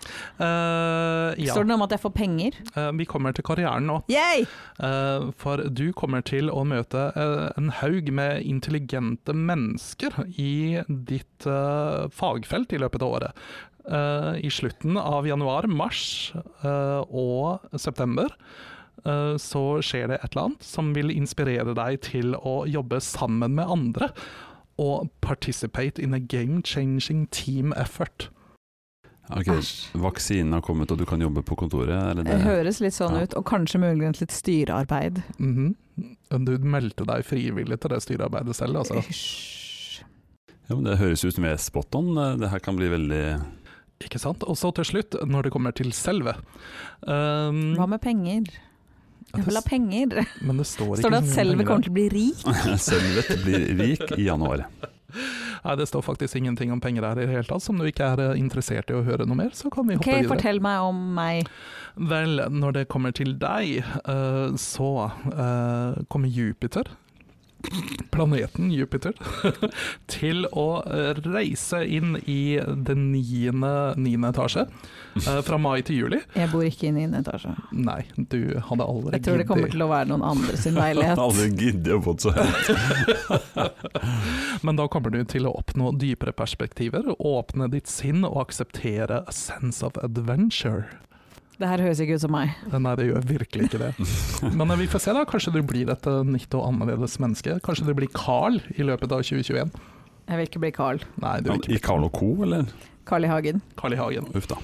[SPEAKER 2] Eh, ja,
[SPEAKER 3] Står det noe om at jeg får penger?
[SPEAKER 2] Eh, vi kommer til karrieren nå.
[SPEAKER 3] Yay!
[SPEAKER 2] Eh, for du kommer til å møte eh, en haug med intelligente mennesker i ditt eh, fagfelt i løpet av året. Eh, I slutten av januar, mars eh, og september eh, så skjer det et eller annet som vil inspirere deg til å jobbe sammen med andre. Og participate in a game-changing team effort.
[SPEAKER 1] Ok, Vaksinen har kommet, og du kan jobbe på kontoret? Eller
[SPEAKER 3] Det
[SPEAKER 1] det?
[SPEAKER 3] høres litt sånn
[SPEAKER 1] Ja.
[SPEAKER 3] ut, og kanskje muligens litt styrearbeid.
[SPEAKER 2] Mhm. Du meldte deg frivillig til det styrearbeidet selv, altså?
[SPEAKER 3] Hysj.
[SPEAKER 1] Ja, men det høres ut som vi er spot on. Det her kan bli veldig [laughs]
[SPEAKER 2] Ikke sant? Og så til slutt, når det kommer til selve um,
[SPEAKER 3] Hva med penger? Jeg vil ha penger.
[SPEAKER 2] Men det står, ikke
[SPEAKER 3] [laughs] Står
[SPEAKER 2] så
[SPEAKER 3] det at
[SPEAKER 2] mye
[SPEAKER 3] selve
[SPEAKER 2] penger
[SPEAKER 3] kommer
[SPEAKER 2] der.
[SPEAKER 3] til å bli rik?
[SPEAKER 1] Selvet blir rik i januar.
[SPEAKER 2] Nei, det står faktisk ingenting om penger her i det hele tatt. Så om du ikke er eh, interessert i å høre noe mer, så kan vi
[SPEAKER 3] Ok,
[SPEAKER 2] hoppe videre.
[SPEAKER 3] fortell meg om meg.
[SPEAKER 2] Vel, når det kommer til deg, eh, så eh, kommer Jupiter, planeten Jupiter, [laughs] til å eh, reise inn i den niende, niende etasje. eh, fra mai til juli.
[SPEAKER 3] Jeg bor ikke i 9. etasje.
[SPEAKER 2] Nei, du hadde aldri
[SPEAKER 3] Jeg tror det kommer
[SPEAKER 2] giddet.
[SPEAKER 3] til å være noen andre
[SPEAKER 2] [laughs]
[SPEAKER 3] sin
[SPEAKER 1] [laughs]
[SPEAKER 3] leilighet.
[SPEAKER 1] Aldri giddet å få så høyt.
[SPEAKER 2] Men da kommer du til å oppnå dypere perspektiver, åpne ditt sinn og akseptere a sense of adventure.
[SPEAKER 3] Det her høres ikke ut som meg.
[SPEAKER 2] Nei, det gjør virkelig ikke det. Men eh, vi får se, da. Kanskje du blir et eh, nytt og annerledes menneske. Kanskje du blir Carl i løpet av 2021.
[SPEAKER 3] Jeg vil ikke bli Carl.
[SPEAKER 2] Nei, du vil ikke
[SPEAKER 1] I
[SPEAKER 2] bli
[SPEAKER 1] Carl Co., eller?
[SPEAKER 3] Carl i Hagen.
[SPEAKER 2] Carl i Hagen.
[SPEAKER 1] Uff da.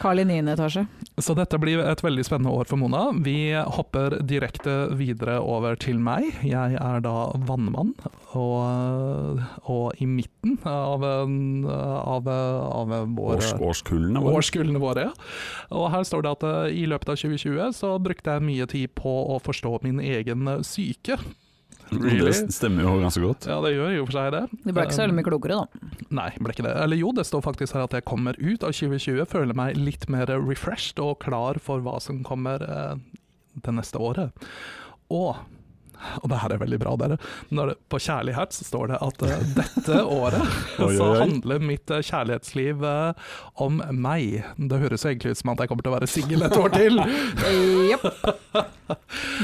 [SPEAKER 3] Carl i 9. etasje.
[SPEAKER 2] Så dette blir et veldig spennende år for Mona. Vi hopper direkte videre over til meg. Jeg er da vannmann, og, og i midten av, en- av, av vår
[SPEAKER 1] Års, årskullene våre.
[SPEAKER 2] årskullene våre. Ja. Og her står det at eh, i løpet av 2020 så brukte jeg mye tid på å forstå min egen eh, syke.
[SPEAKER 1] Og Mm, det stemmer jo ganske godt.
[SPEAKER 2] Ja, det gjør jo for seg det.
[SPEAKER 3] Du ble ikke så veldig mye klokere, da.
[SPEAKER 2] Nei, ble ikke det. Eller jo, det står faktisk her at jeg kommer ut av 2020, føler meg litt mer refreshed og klar for hva som kommer eh, det neste året. Og og det her er veldig bra, dere. Når det, på Kjærlighet så står det at [laughs] eh, dette året
[SPEAKER 1] Oi, oi,
[SPEAKER 2] så
[SPEAKER 1] oi.
[SPEAKER 2] handler mitt eh, kjærlighetsliv eh, om meg. Det høres jo egentlig ut som at jeg kommer til å være singel et år til.
[SPEAKER 3] Jepp.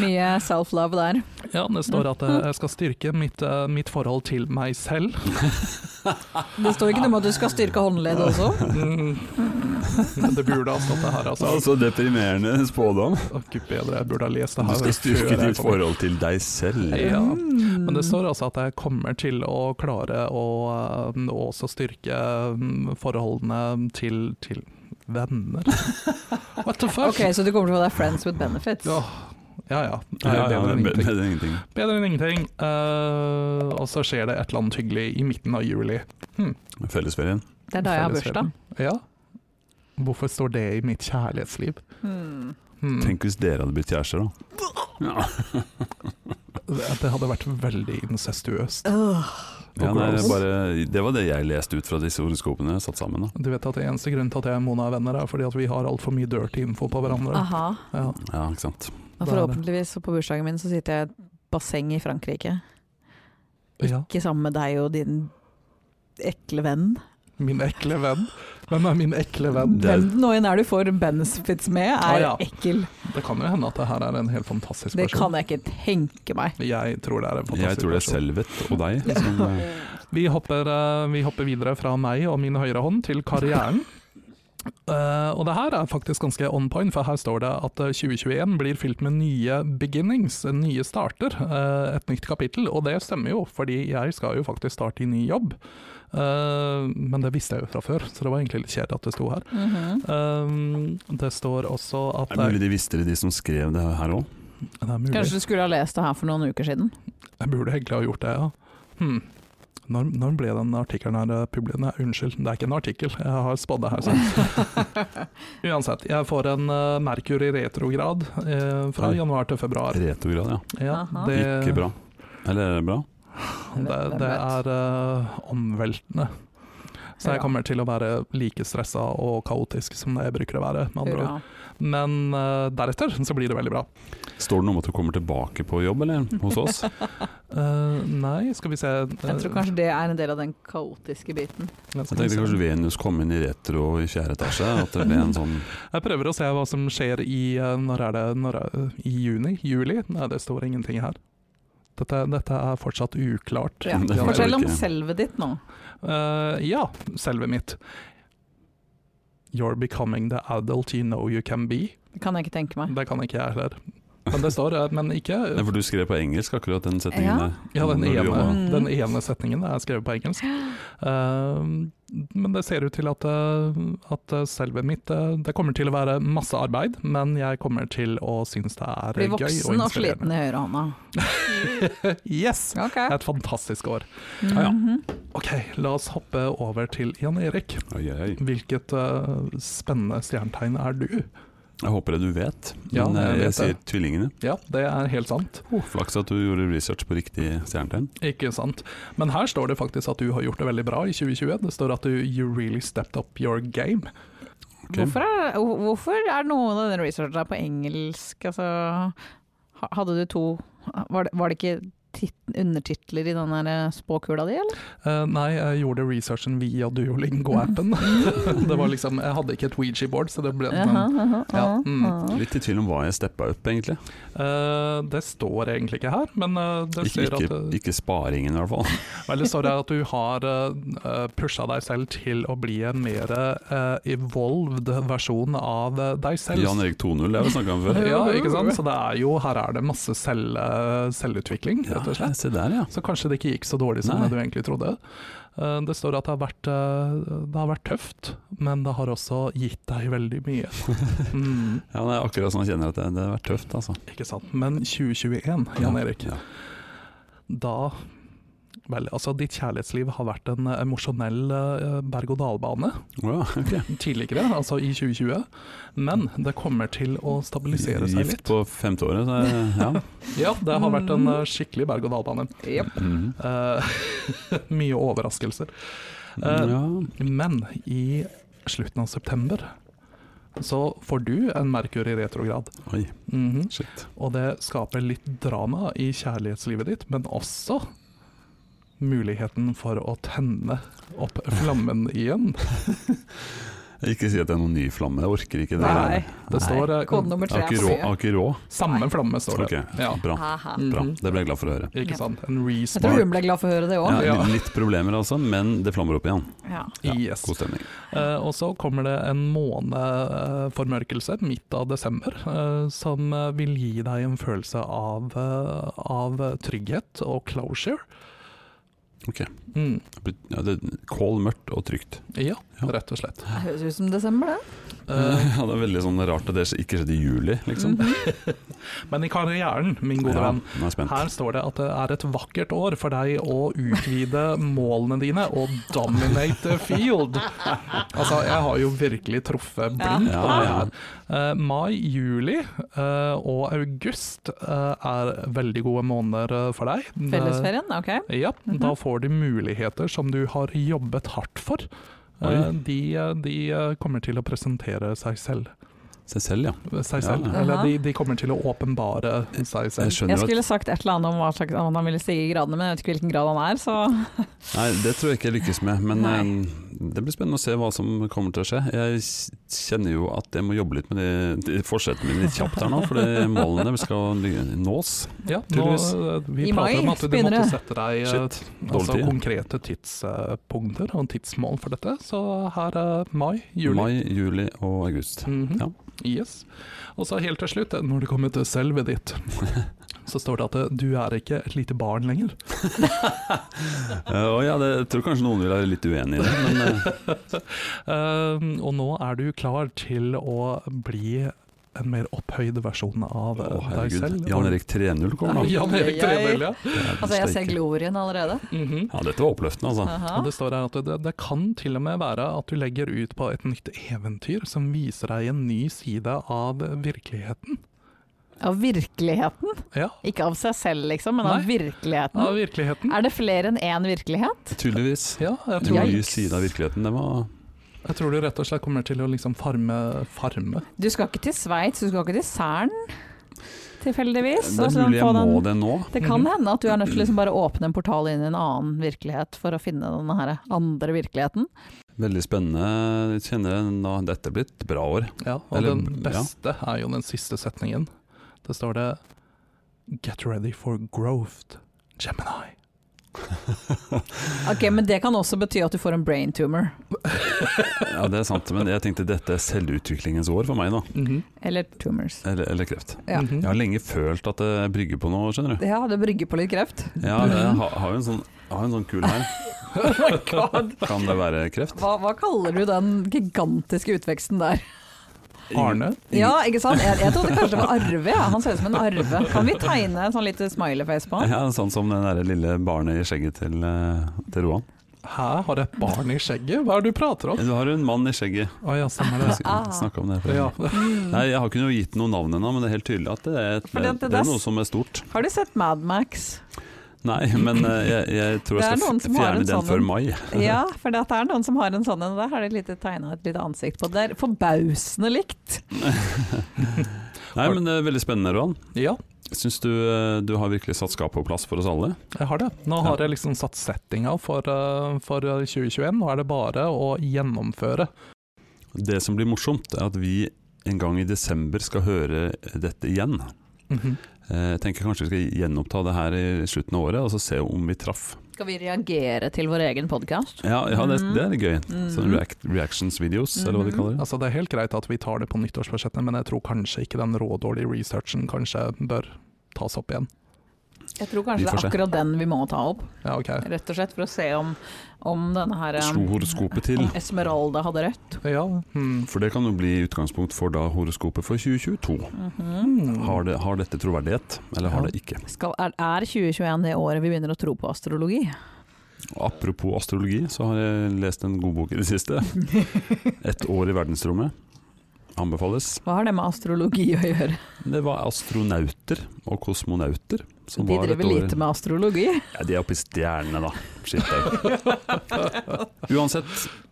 [SPEAKER 3] Mye self-love der.
[SPEAKER 2] Ja, det står at eh, jeg skal styrke mitt, eh, mitt forhold til meg
[SPEAKER 1] [laughs]
[SPEAKER 2] selv.
[SPEAKER 3] Det står ikke noe om at du skal styrke håndleddet også.
[SPEAKER 2] Mm. Det burde ha stått det her, altså.
[SPEAKER 1] Så deprimerende spådom.
[SPEAKER 2] Å, Gud bedre, jeg burde ha lest det
[SPEAKER 1] Du
[SPEAKER 2] her.
[SPEAKER 1] skal styrke
[SPEAKER 2] før jeg
[SPEAKER 1] ditt
[SPEAKER 2] kom.
[SPEAKER 1] forhold til deg selv.
[SPEAKER 2] Ja. Men det står altså at jeg kommer til å klare å eh, også styrke mm, forholdene til, til
[SPEAKER 1] [laughs]
[SPEAKER 2] venner. What the fuck?
[SPEAKER 3] Ok, så du kommer til å få deg friends with benefits.
[SPEAKER 2] Ja, ja. ja. Det
[SPEAKER 1] Ja,
[SPEAKER 2] er
[SPEAKER 1] ja,
[SPEAKER 2] bedre enn
[SPEAKER 1] be-
[SPEAKER 2] ingenting.
[SPEAKER 1] bedre enn ingenting.
[SPEAKER 2] Bedre enn ingenting. Eh, og så skjer det et eller annet hyggelig i midten av juli.
[SPEAKER 1] Fellesferien.
[SPEAKER 3] Det er da jeg har bursdag.
[SPEAKER 2] Ja. Hvorfor står det i mitt kjærlighetsliv?
[SPEAKER 3] Hmm.
[SPEAKER 2] Hmm.
[SPEAKER 1] Tenk hvis dere hadde blitt kjærester, da. Ja.
[SPEAKER 2] At det hadde vært veldig incestuøst.
[SPEAKER 3] Øh,
[SPEAKER 1] Ja, nei, det, er bare, det var det jeg leste ut fra disse horoskopene jeg satt sammen. Da.
[SPEAKER 2] Du vet at det Eneste grunnen til at jeg og Mona er venner, er fordi at vi har altfor mye dirty info på hverandre.
[SPEAKER 3] aha.
[SPEAKER 2] Ja.
[SPEAKER 1] Ja, ikke sant.
[SPEAKER 3] Og forhåpentligvis på bursdagen min så sitter jeg i et basseng i Frankrike.
[SPEAKER 2] Ja.
[SPEAKER 3] Ikke sammen med deg og din ekle venn.
[SPEAKER 2] Min ekle venn. Hvem er min ekle venn?
[SPEAKER 1] Det er-
[SPEAKER 3] Hvem nå enn er du får benefits med,
[SPEAKER 2] Ah,
[SPEAKER 3] er
[SPEAKER 2] ja.
[SPEAKER 3] ekkel.
[SPEAKER 2] Det kan jo hende at det her er en helt fantastisk
[SPEAKER 3] Det
[SPEAKER 2] person.
[SPEAKER 3] kan jeg ikke tenke meg.
[SPEAKER 2] Jeg tror det er en
[SPEAKER 1] Jeg
[SPEAKER 2] fantastisk
[SPEAKER 1] tror det er
[SPEAKER 2] person.
[SPEAKER 1] Selvet og deg som eh,
[SPEAKER 2] Vi hopper, eh, vi hopper videre fra meg og min høyre hånd
[SPEAKER 1] [laughs]
[SPEAKER 2] til karrieren. Eh, og det her er faktisk ganske on point, for her står det at eh, 2021 blir fylt med nye beginnings, nye starter. eh, et nytt kapittel, og det stemmer jo, fordi jeg skal jo faktisk starte i ny jobb. Eh, men det visste jeg jo fra før, så det var egentlig litt kjedelig at det sto her.
[SPEAKER 3] Mm-hmm.
[SPEAKER 2] Eh, det står også at
[SPEAKER 1] Er det mulig de visste det, de som skrev det her òg?
[SPEAKER 2] Det er mulig.
[SPEAKER 3] Kanskje du skulle ha lest det her for noen uker siden.
[SPEAKER 2] Jeg burde egentlig ha gjort det, ja. Hmm. Når, når ble den artikkelen her eh, publisert? Nei, unnskyld, det er ikke en artikkel. Jeg har spådd det her. Så.
[SPEAKER 3] [laughs]
[SPEAKER 2] Uansett, jeg får en uh, Mercury retrograd eh, fra
[SPEAKER 1] Oi.
[SPEAKER 2] januar til februar.
[SPEAKER 1] Retrograd, ja.
[SPEAKER 2] Ja,
[SPEAKER 3] Aha.
[SPEAKER 2] det,
[SPEAKER 1] Ikke bra. Eller er det bra?
[SPEAKER 2] Det,
[SPEAKER 3] Hvem
[SPEAKER 2] det
[SPEAKER 3] vet?
[SPEAKER 2] er eh, omveltende. Så jeg
[SPEAKER 3] Hurra.
[SPEAKER 2] kommer til å være like stressa og kaotisk som det jeg bruker å være. Med andre ord.
[SPEAKER 3] Hurra.
[SPEAKER 2] Men eh, deretter så blir det veldig bra.
[SPEAKER 1] Står det noe om at du kommer tilbake på jobb, eller? [laughs] Hos oss?
[SPEAKER 2] Eh, nei, skal vi se
[SPEAKER 3] Jeg tror kanskje det er en del av den kaotiske biten.
[SPEAKER 1] Jeg tenkte kanskje Venus kom inn i retro i fjerde etasje. At det ble en sånn [laughs]
[SPEAKER 2] Jeg prøver å se hva som skjer i eh, Når er det? Når er, I juni? Juli? Nei, det står ingenting her. Dette, dette er fortsatt uklart.
[SPEAKER 3] Ja.
[SPEAKER 1] Det var
[SPEAKER 3] Fortell om
[SPEAKER 1] ikke-
[SPEAKER 3] selvet ditt nå.
[SPEAKER 2] Eh, ja, selve mitt. You're becoming the adult you know you can be.
[SPEAKER 3] Det kan jeg ikke tenke meg.
[SPEAKER 2] Det kan ikke jeg heller. Men det står, eh, men ikke
[SPEAKER 1] Nei, for du skrev på engelsk akkurat den
[SPEAKER 3] Ja.
[SPEAKER 1] setningen der.
[SPEAKER 2] Ja, den
[SPEAKER 1] Når du
[SPEAKER 2] ene,
[SPEAKER 1] jobba.
[SPEAKER 3] Mm.
[SPEAKER 2] den ene setningen er skrevet på engelsk. Eh, men det ser ut til at, eh, at eh, selve mitt eh, Det kommer til å være masse arbeid, men jeg kommer til å synes det er
[SPEAKER 3] Bli
[SPEAKER 2] gøy og
[SPEAKER 3] voksen og
[SPEAKER 2] inspirerende.
[SPEAKER 3] sliten i høyrehånda.
[SPEAKER 2] Yes!
[SPEAKER 3] Ok.
[SPEAKER 2] Et fantastisk år.
[SPEAKER 3] Mhm.
[SPEAKER 2] Ok, la oss hoppe over til Jan Erik.
[SPEAKER 1] Oi, oi, oi.
[SPEAKER 2] Hvilket eh, spennende stjernetegn er du?
[SPEAKER 1] Jeg håper det du vet.
[SPEAKER 2] Ja,
[SPEAKER 1] Men eh,
[SPEAKER 2] jeg
[SPEAKER 1] jeg
[SPEAKER 2] vet det.
[SPEAKER 1] sier tvillingene.
[SPEAKER 2] Ja, det er helt sant.
[SPEAKER 1] Oh, Flaks at du gjorde research på riktig stjernetegn.
[SPEAKER 2] Ikke sant. Men her står det faktisk at du har gjort det veldig bra i 2020. Det står at du you really stepped up your game.
[SPEAKER 1] Ok.
[SPEAKER 3] Hvorfor, er, hvorfor er noen av denne researchen der på engelsk? Altså, ha- hadde du to Var det, var det ikke tit, undertitler i den der spåkula di, eller?
[SPEAKER 2] Eh, nei, jeg gjorde researchen via Duolingo-appen. [laughs] det var liksom, Jeg hadde ikke et Ouija-board, så det ble
[SPEAKER 3] Aha,
[SPEAKER 2] men,
[SPEAKER 3] aha,
[SPEAKER 2] ja,
[SPEAKER 3] aha,
[SPEAKER 2] mm.
[SPEAKER 3] aha.
[SPEAKER 1] Litt i tvil om hva jeg steppa opp, egentlig.
[SPEAKER 2] eh, Det står egentlig ikke her, men eh, det
[SPEAKER 1] Ikke,
[SPEAKER 2] sier at
[SPEAKER 1] ikke,
[SPEAKER 2] eh,
[SPEAKER 1] ikke sparingen, i hvert
[SPEAKER 2] [laughs]
[SPEAKER 1] fall.
[SPEAKER 2] Eller så er det
[SPEAKER 1] [laughs]
[SPEAKER 2] at du har uh, pusha deg selv til å bli en mer eh, evolved versjon av eh, deg selv.
[SPEAKER 1] Jan Erik 2.0, det har vi snakka om før.
[SPEAKER 2] Ja, ikke sant? Så det er jo, her er det masse selv, eh, selvutvikling,
[SPEAKER 1] Ja,
[SPEAKER 2] rett og slett.
[SPEAKER 1] se der, ja.
[SPEAKER 2] Så kanskje det ikke gikk så dårlig som
[SPEAKER 1] Nei.
[SPEAKER 2] det du egentlig trodde. Eh, Det står at det har, vært, eh, det har vært tøft, men det har også gitt deg veldig
[SPEAKER 1] [laughs]
[SPEAKER 2] mye. Mm,
[SPEAKER 1] ja det er akkurat sånn jeg kjenner at det, det har vært tøft, altså.
[SPEAKER 2] ikke sant. Men 2021, Jan Erik,
[SPEAKER 1] Ja.
[SPEAKER 2] da Veldig. Altså, ditt kjærlighetsliv har vært en eh, emosjonell eh, berg-og-dal-bane
[SPEAKER 1] Wow, ok.
[SPEAKER 2] tidligere, altså i 2020. Men det kommer til å stabilisere seg
[SPEAKER 1] Gift
[SPEAKER 2] litt.
[SPEAKER 1] på Mm. femte året, så er-
[SPEAKER 2] [laughs]
[SPEAKER 1] ja.
[SPEAKER 2] Ja, det har vært en eh, skikkelig berg-og-dal-bane.
[SPEAKER 3] Jepp.
[SPEAKER 1] Mhm.
[SPEAKER 2] Eh, [laughs] mye overraskelser. Eh,
[SPEAKER 1] Mm, ja.
[SPEAKER 2] Men i slutten av september så får du en Merkur i retrograd.
[SPEAKER 1] Oi,
[SPEAKER 2] Mhm.
[SPEAKER 1] shit.
[SPEAKER 2] Og det skaper litt drama i kjærlighetslivet ditt, men også muligheten for å tenne opp flammen igjen.
[SPEAKER 1] Ikke si at det er noen ny flamme, jeg orker ikke det.
[SPEAKER 3] Nei.
[SPEAKER 2] Det står eh,
[SPEAKER 3] Kode nummer
[SPEAKER 1] Jeg
[SPEAKER 3] tre
[SPEAKER 1] har ikke
[SPEAKER 3] er
[SPEAKER 1] råd.
[SPEAKER 3] fire.
[SPEAKER 1] jeg har ikke råd.
[SPEAKER 2] Samme flamme, står det.
[SPEAKER 1] Ok,
[SPEAKER 2] Ja.
[SPEAKER 1] bra.
[SPEAKER 3] Haha.
[SPEAKER 1] bra.
[SPEAKER 2] Mhm.
[SPEAKER 1] Det ble jeg glad for å høre.
[SPEAKER 2] Ikke
[SPEAKER 3] Ja.
[SPEAKER 2] sant? En
[SPEAKER 3] Jeg tror
[SPEAKER 2] resmart.
[SPEAKER 3] hun ble glad for å høre det òg.
[SPEAKER 1] Ja,
[SPEAKER 2] Ja.
[SPEAKER 1] litt problemer altså, men det flammer opp igjen.
[SPEAKER 3] Ja.
[SPEAKER 1] Ja.
[SPEAKER 2] Yes.
[SPEAKER 1] God stemning.
[SPEAKER 2] Eh, og så kommer det en måneformørkelse midt av desember, eh, som eh, vil gi deg en følelse av, eh, av trygghet og closure.
[SPEAKER 1] Ok.
[SPEAKER 2] Mm.
[SPEAKER 1] Ja, det er Kål, mørkt og trygt.
[SPEAKER 2] Ja,
[SPEAKER 1] Ja.
[SPEAKER 2] rett og slett.
[SPEAKER 3] Det høres ut som desember, det.
[SPEAKER 2] Eh,
[SPEAKER 1] [laughs]
[SPEAKER 2] Mhm,
[SPEAKER 1] ja, det er veldig sånn rart at det ikke skjedde i juli, liksom.
[SPEAKER 2] men i karrieren, min gode
[SPEAKER 1] ja,
[SPEAKER 2] venn,
[SPEAKER 1] nå er jeg spent.
[SPEAKER 2] her står det at det er et vakkert år for deg å utvide målene dine og dominate the field. Altså, jeg har jo virkelig truffet blink på
[SPEAKER 1] Ja,
[SPEAKER 2] det
[SPEAKER 1] ja.
[SPEAKER 2] her. Eh, mai, juli eh, og august eh, er veldig gode måneder eh, for deg. Det-
[SPEAKER 3] Fellesferien, ok.
[SPEAKER 2] Ja, da får du muligheter som du har jobbet hardt for. Eh,
[SPEAKER 1] Oi.
[SPEAKER 2] De, eh, de eh, kommer til å presentere seg selv.
[SPEAKER 1] Seg selv, ja.
[SPEAKER 2] Seg
[SPEAKER 1] Ja.
[SPEAKER 2] selv. Eller de, de kommer til å åpenbare seg
[SPEAKER 1] Jeg
[SPEAKER 2] selv.
[SPEAKER 1] skjønner
[SPEAKER 3] Jeg
[SPEAKER 1] jo at
[SPEAKER 3] skulle sagt et eller annet om hva slags om han ville stige i gradene, men jeg vet ikke hvilken grad han er, så
[SPEAKER 1] Nei, det tror jeg ikke jeg lykkes med, men
[SPEAKER 3] Nei.
[SPEAKER 1] eh, det blir spennende å se hva som kommer til å skje. Jeg s- kjenner jo at jeg må jobbe litt med det- de forsettene mine litt kjapt her nå, for
[SPEAKER 3] [laughs]
[SPEAKER 1] det- målene skal ly- nås.
[SPEAKER 2] Ja, nå,
[SPEAKER 1] Tydeligvis.
[SPEAKER 2] eh, vi
[SPEAKER 3] I mai
[SPEAKER 2] prater om at du
[SPEAKER 3] begynner
[SPEAKER 2] måtte
[SPEAKER 3] det.
[SPEAKER 2] sette deg eh,
[SPEAKER 1] Shit,
[SPEAKER 2] altså,
[SPEAKER 1] dårlig tid.
[SPEAKER 2] konkrete tidspunkter og tidsmål for dette. Så her er mai, juli.
[SPEAKER 1] Mai, juli og august.
[SPEAKER 2] Mhm.
[SPEAKER 1] Ja.
[SPEAKER 2] Yes. Og så helt til slutt, når det kommer til
[SPEAKER 1] [laughs]
[SPEAKER 2] selvet ditt, så står det at eh, du er ikke et lite barn lenger.
[SPEAKER 1] Eh, og ja, det, jeg tror kanskje noen vil være litt uenig i det, men
[SPEAKER 3] [laughs]
[SPEAKER 1] eh,
[SPEAKER 2] Eh, og nå er du klar til å bli en mer opphøyd versjon av eh,
[SPEAKER 1] Å,
[SPEAKER 2] deg selv.
[SPEAKER 1] herregud. Jan Erik 3.0, kommer nå.
[SPEAKER 2] Jan Erik
[SPEAKER 3] Ai, ai.
[SPEAKER 2] Trevel, ja.
[SPEAKER 3] Altså, jeg ser glorien allerede.
[SPEAKER 2] Mhm.
[SPEAKER 1] Ja, dette var oppløftende, altså.
[SPEAKER 2] Og
[SPEAKER 3] Aha.
[SPEAKER 2] det står her at det, det kan til og med være at du legger ut på et nytt eventyr som viser deg en ny side av virkeligheten.
[SPEAKER 3] Av virkeligheten.
[SPEAKER 2] Ja,
[SPEAKER 3] Ikke av seg selv, liksom, men av
[SPEAKER 2] Nei. av
[SPEAKER 3] virkeligheten.
[SPEAKER 2] virkeligheten.
[SPEAKER 3] Er det flere enn én virkelighet?
[SPEAKER 1] Tydeligvis.
[SPEAKER 2] Ja, jeg
[SPEAKER 1] En
[SPEAKER 2] tror,
[SPEAKER 1] ny
[SPEAKER 3] Yikes.
[SPEAKER 1] side av virkeligheten. Det var
[SPEAKER 2] jeg tror du rett og slett kommer til å liksom farme, farme.
[SPEAKER 3] Du skal ikke til Sveits, du skal ikke til Cern, tilfeldigvis?
[SPEAKER 1] Det
[SPEAKER 3] Og
[SPEAKER 1] er
[SPEAKER 3] så
[SPEAKER 1] mulig
[SPEAKER 3] få
[SPEAKER 1] jeg
[SPEAKER 3] den-
[SPEAKER 1] må det Mhm. nå.
[SPEAKER 3] Det kan hende at du er nødt til å liksom bare åpne en portal inn i en annen virkelighet for å finne den her andre virkeligheten.
[SPEAKER 1] Veldig spennende. Jeg kjenner nå, dette blir et bra år.
[SPEAKER 2] Ja, og
[SPEAKER 1] Eller-
[SPEAKER 2] den beste er jo den siste setningen. Det står det Get ready for growth, Gemini.
[SPEAKER 3] Ok, Men det kan også bety at du får en brain tumor.
[SPEAKER 1] Ja, det er sant, men jeg tenkte dette er selvutviklingens år for meg, da.
[SPEAKER 2] Mhm.
[SPEAKER 3] Eller tumors.
[SPEAKER 1] Eller, eller kreft.
[SPEAKER 3] Ja.
[SPEAKER 2] Mhm.
[SPEAKER 1] Jeg har lenge følt at jeg brygger på noe, skjønner du.
[SPEAKER 3] Ja, det brygger på litt kreft.
[SPEAKER 1] Ja, jeg har, har jo en sånn, jeg har en sånn kul her.
[SPEAKER 3] [laughs] Oh my god.
[SPEAKER 1] Kan det være kreft?
[SPEAKER 3] Hva, hva kaller du den gigantiske utveksten der?
[SPEAKER 2] Arne?
[SPEAKER 3] Ja, ikke sant? Jeg, jeg trodde kanskje det var Arve. Ja. Han ser ut som en arve. Kan vi tegne en sånn lite smileyface på han?
[SPEAKER 1] Ja, sånn som det der lille barnet i skjegget til, eh, til Roan.
[SPEAKER 2] Hæ, har du et barn i skjegget? Hva er det du prater om?
[SPEAKER 1] Du har jo en mann i skjegget.
[SPEAKER 2] Å ja, stemmer
[SPEAKER 1] Vi
[SPEAKER 2] det.
[SPEAKER 1] skal snakke om det. [laughs] for-
[SPEAKER 2] Ja.
[SPEAKER 1] Nei, jeg har ikke noe gitt noe navn ennå, men det er helt tydelig at det er, et,
[SPEAKER 3] For det- det-
[SPEAKER 1] det er noe som er stort.
[SPEAKER 3] Har du sett Mad
[SPEAKER 1] [laughs]
[SPEAKER 3] Max?
[SPEAKER 1] Nei, men eh, jeg, jeg tror
[SPEAKER 3] Det er
[SPEAKER 1] jeg skal
[SPEAKER 3] noen
[SPEAKER 1] f-
[SPEAKER 3] som har en
[SPEAKER 1] fjerne den
[SPEAKER 3] sånn
[SPEAKER 1] før
[SPEAKER 3] en.
[SPEAKER 1] mai.
[SPEAKER 3] Ja, for det er noen som har en sånn en. Der har de lite tegna et lite ansikt på. Det er forbausende likt.
[SPEAKER 1] Nei, men det er veldig spennende, Roan.
[SPEAKER 2] ja,
[SPEAKER 1] Syns du eh, du har virkelig satt skapet på plass for oss alle?
[SPEAKER 2] Jeg har det. Nå
[SPEAKER 1] Ja.
[SPEAKER 2] har jeg liksom satt settinga for, eh, for 2021. Nå er det bare å gjennomføre.
[SPEAKER 1] Det som blir morsomt, er at vi en gang i desember skal høre dette igjen. Eh, Jeg tenker kanskje vi skal gjenoppta det her i slutten av året, og så se om vi traff.
[SPEAKER 3] Skal vi reagere til vår egen podkast?
[SPEAKER 1] Ja, ja det,
[SPEAKER 3] Mhm.
[SPEAKER 1] det er gøy.
[SPEAKER 3] Mhm.
[SPEAKER 1] Sånne react reactions-videos, eller hva de kaller det.
[SPEAKER 2] [laughs] Altså, det er helt greit at vi tar det på nyttårsbudsjettet, men jeg tror kanskje ikke den rådårlige researchen kanskje bør tas opp igjen.
[SPEAKER 3] Jeg tror
[SPEAKER 1] Vi
[SPEAKER 3] kanskje det
[SPEAKER 1] får
[SPEAKER 3] er
[SPEAKER 1] se.
[SPEAKER 3] akkurat den vi må ta opp,
[SPEAKER 2] Ja, ok.
[SPEAKER 3] rett og slett for å se om, om denne her eh,
[SPEAKER 1] Slo horoskopet til.
[SPEAKER 3] Om Esmeralda hadde rødt.
[SPEAKER 2] Ja. Hmm.
[SPEAKER 1] For det kan jo bli utgangspunkt for da horoskopet for 2022.
[SPEAKER 3] Mhm.
[SPEAKER 2] Hmm.
[SPEAKER 1] Har, det, har dette troverdighet, eller har
[SPEAKER 2] Ja.
[SPEAKER 1] det ikke?
[SPEAKER 3] Skal, er, er 2021 det året vi begynner å tro på astrologi?
[SPEAKER 1] Og apropos astrologi, så har jeg lest en god bok i det siste. 'Ett år i verdensrommet'. Anbefales.
[SPEAKER 3] Hva har det med astrologi å gjøre?
[SPEAKER 1] Det var astronauter og kosmonauter som
[SPEAKER 3] De
[SPEAKER 1] var et
[SPEAKER 3] driver
[SPEAKER 1] år
[SPEAKER 3] lite med astrologi.
[SPEAKER 1] Ja, de er oppe i stjernene, da. Shit, au. Uansett,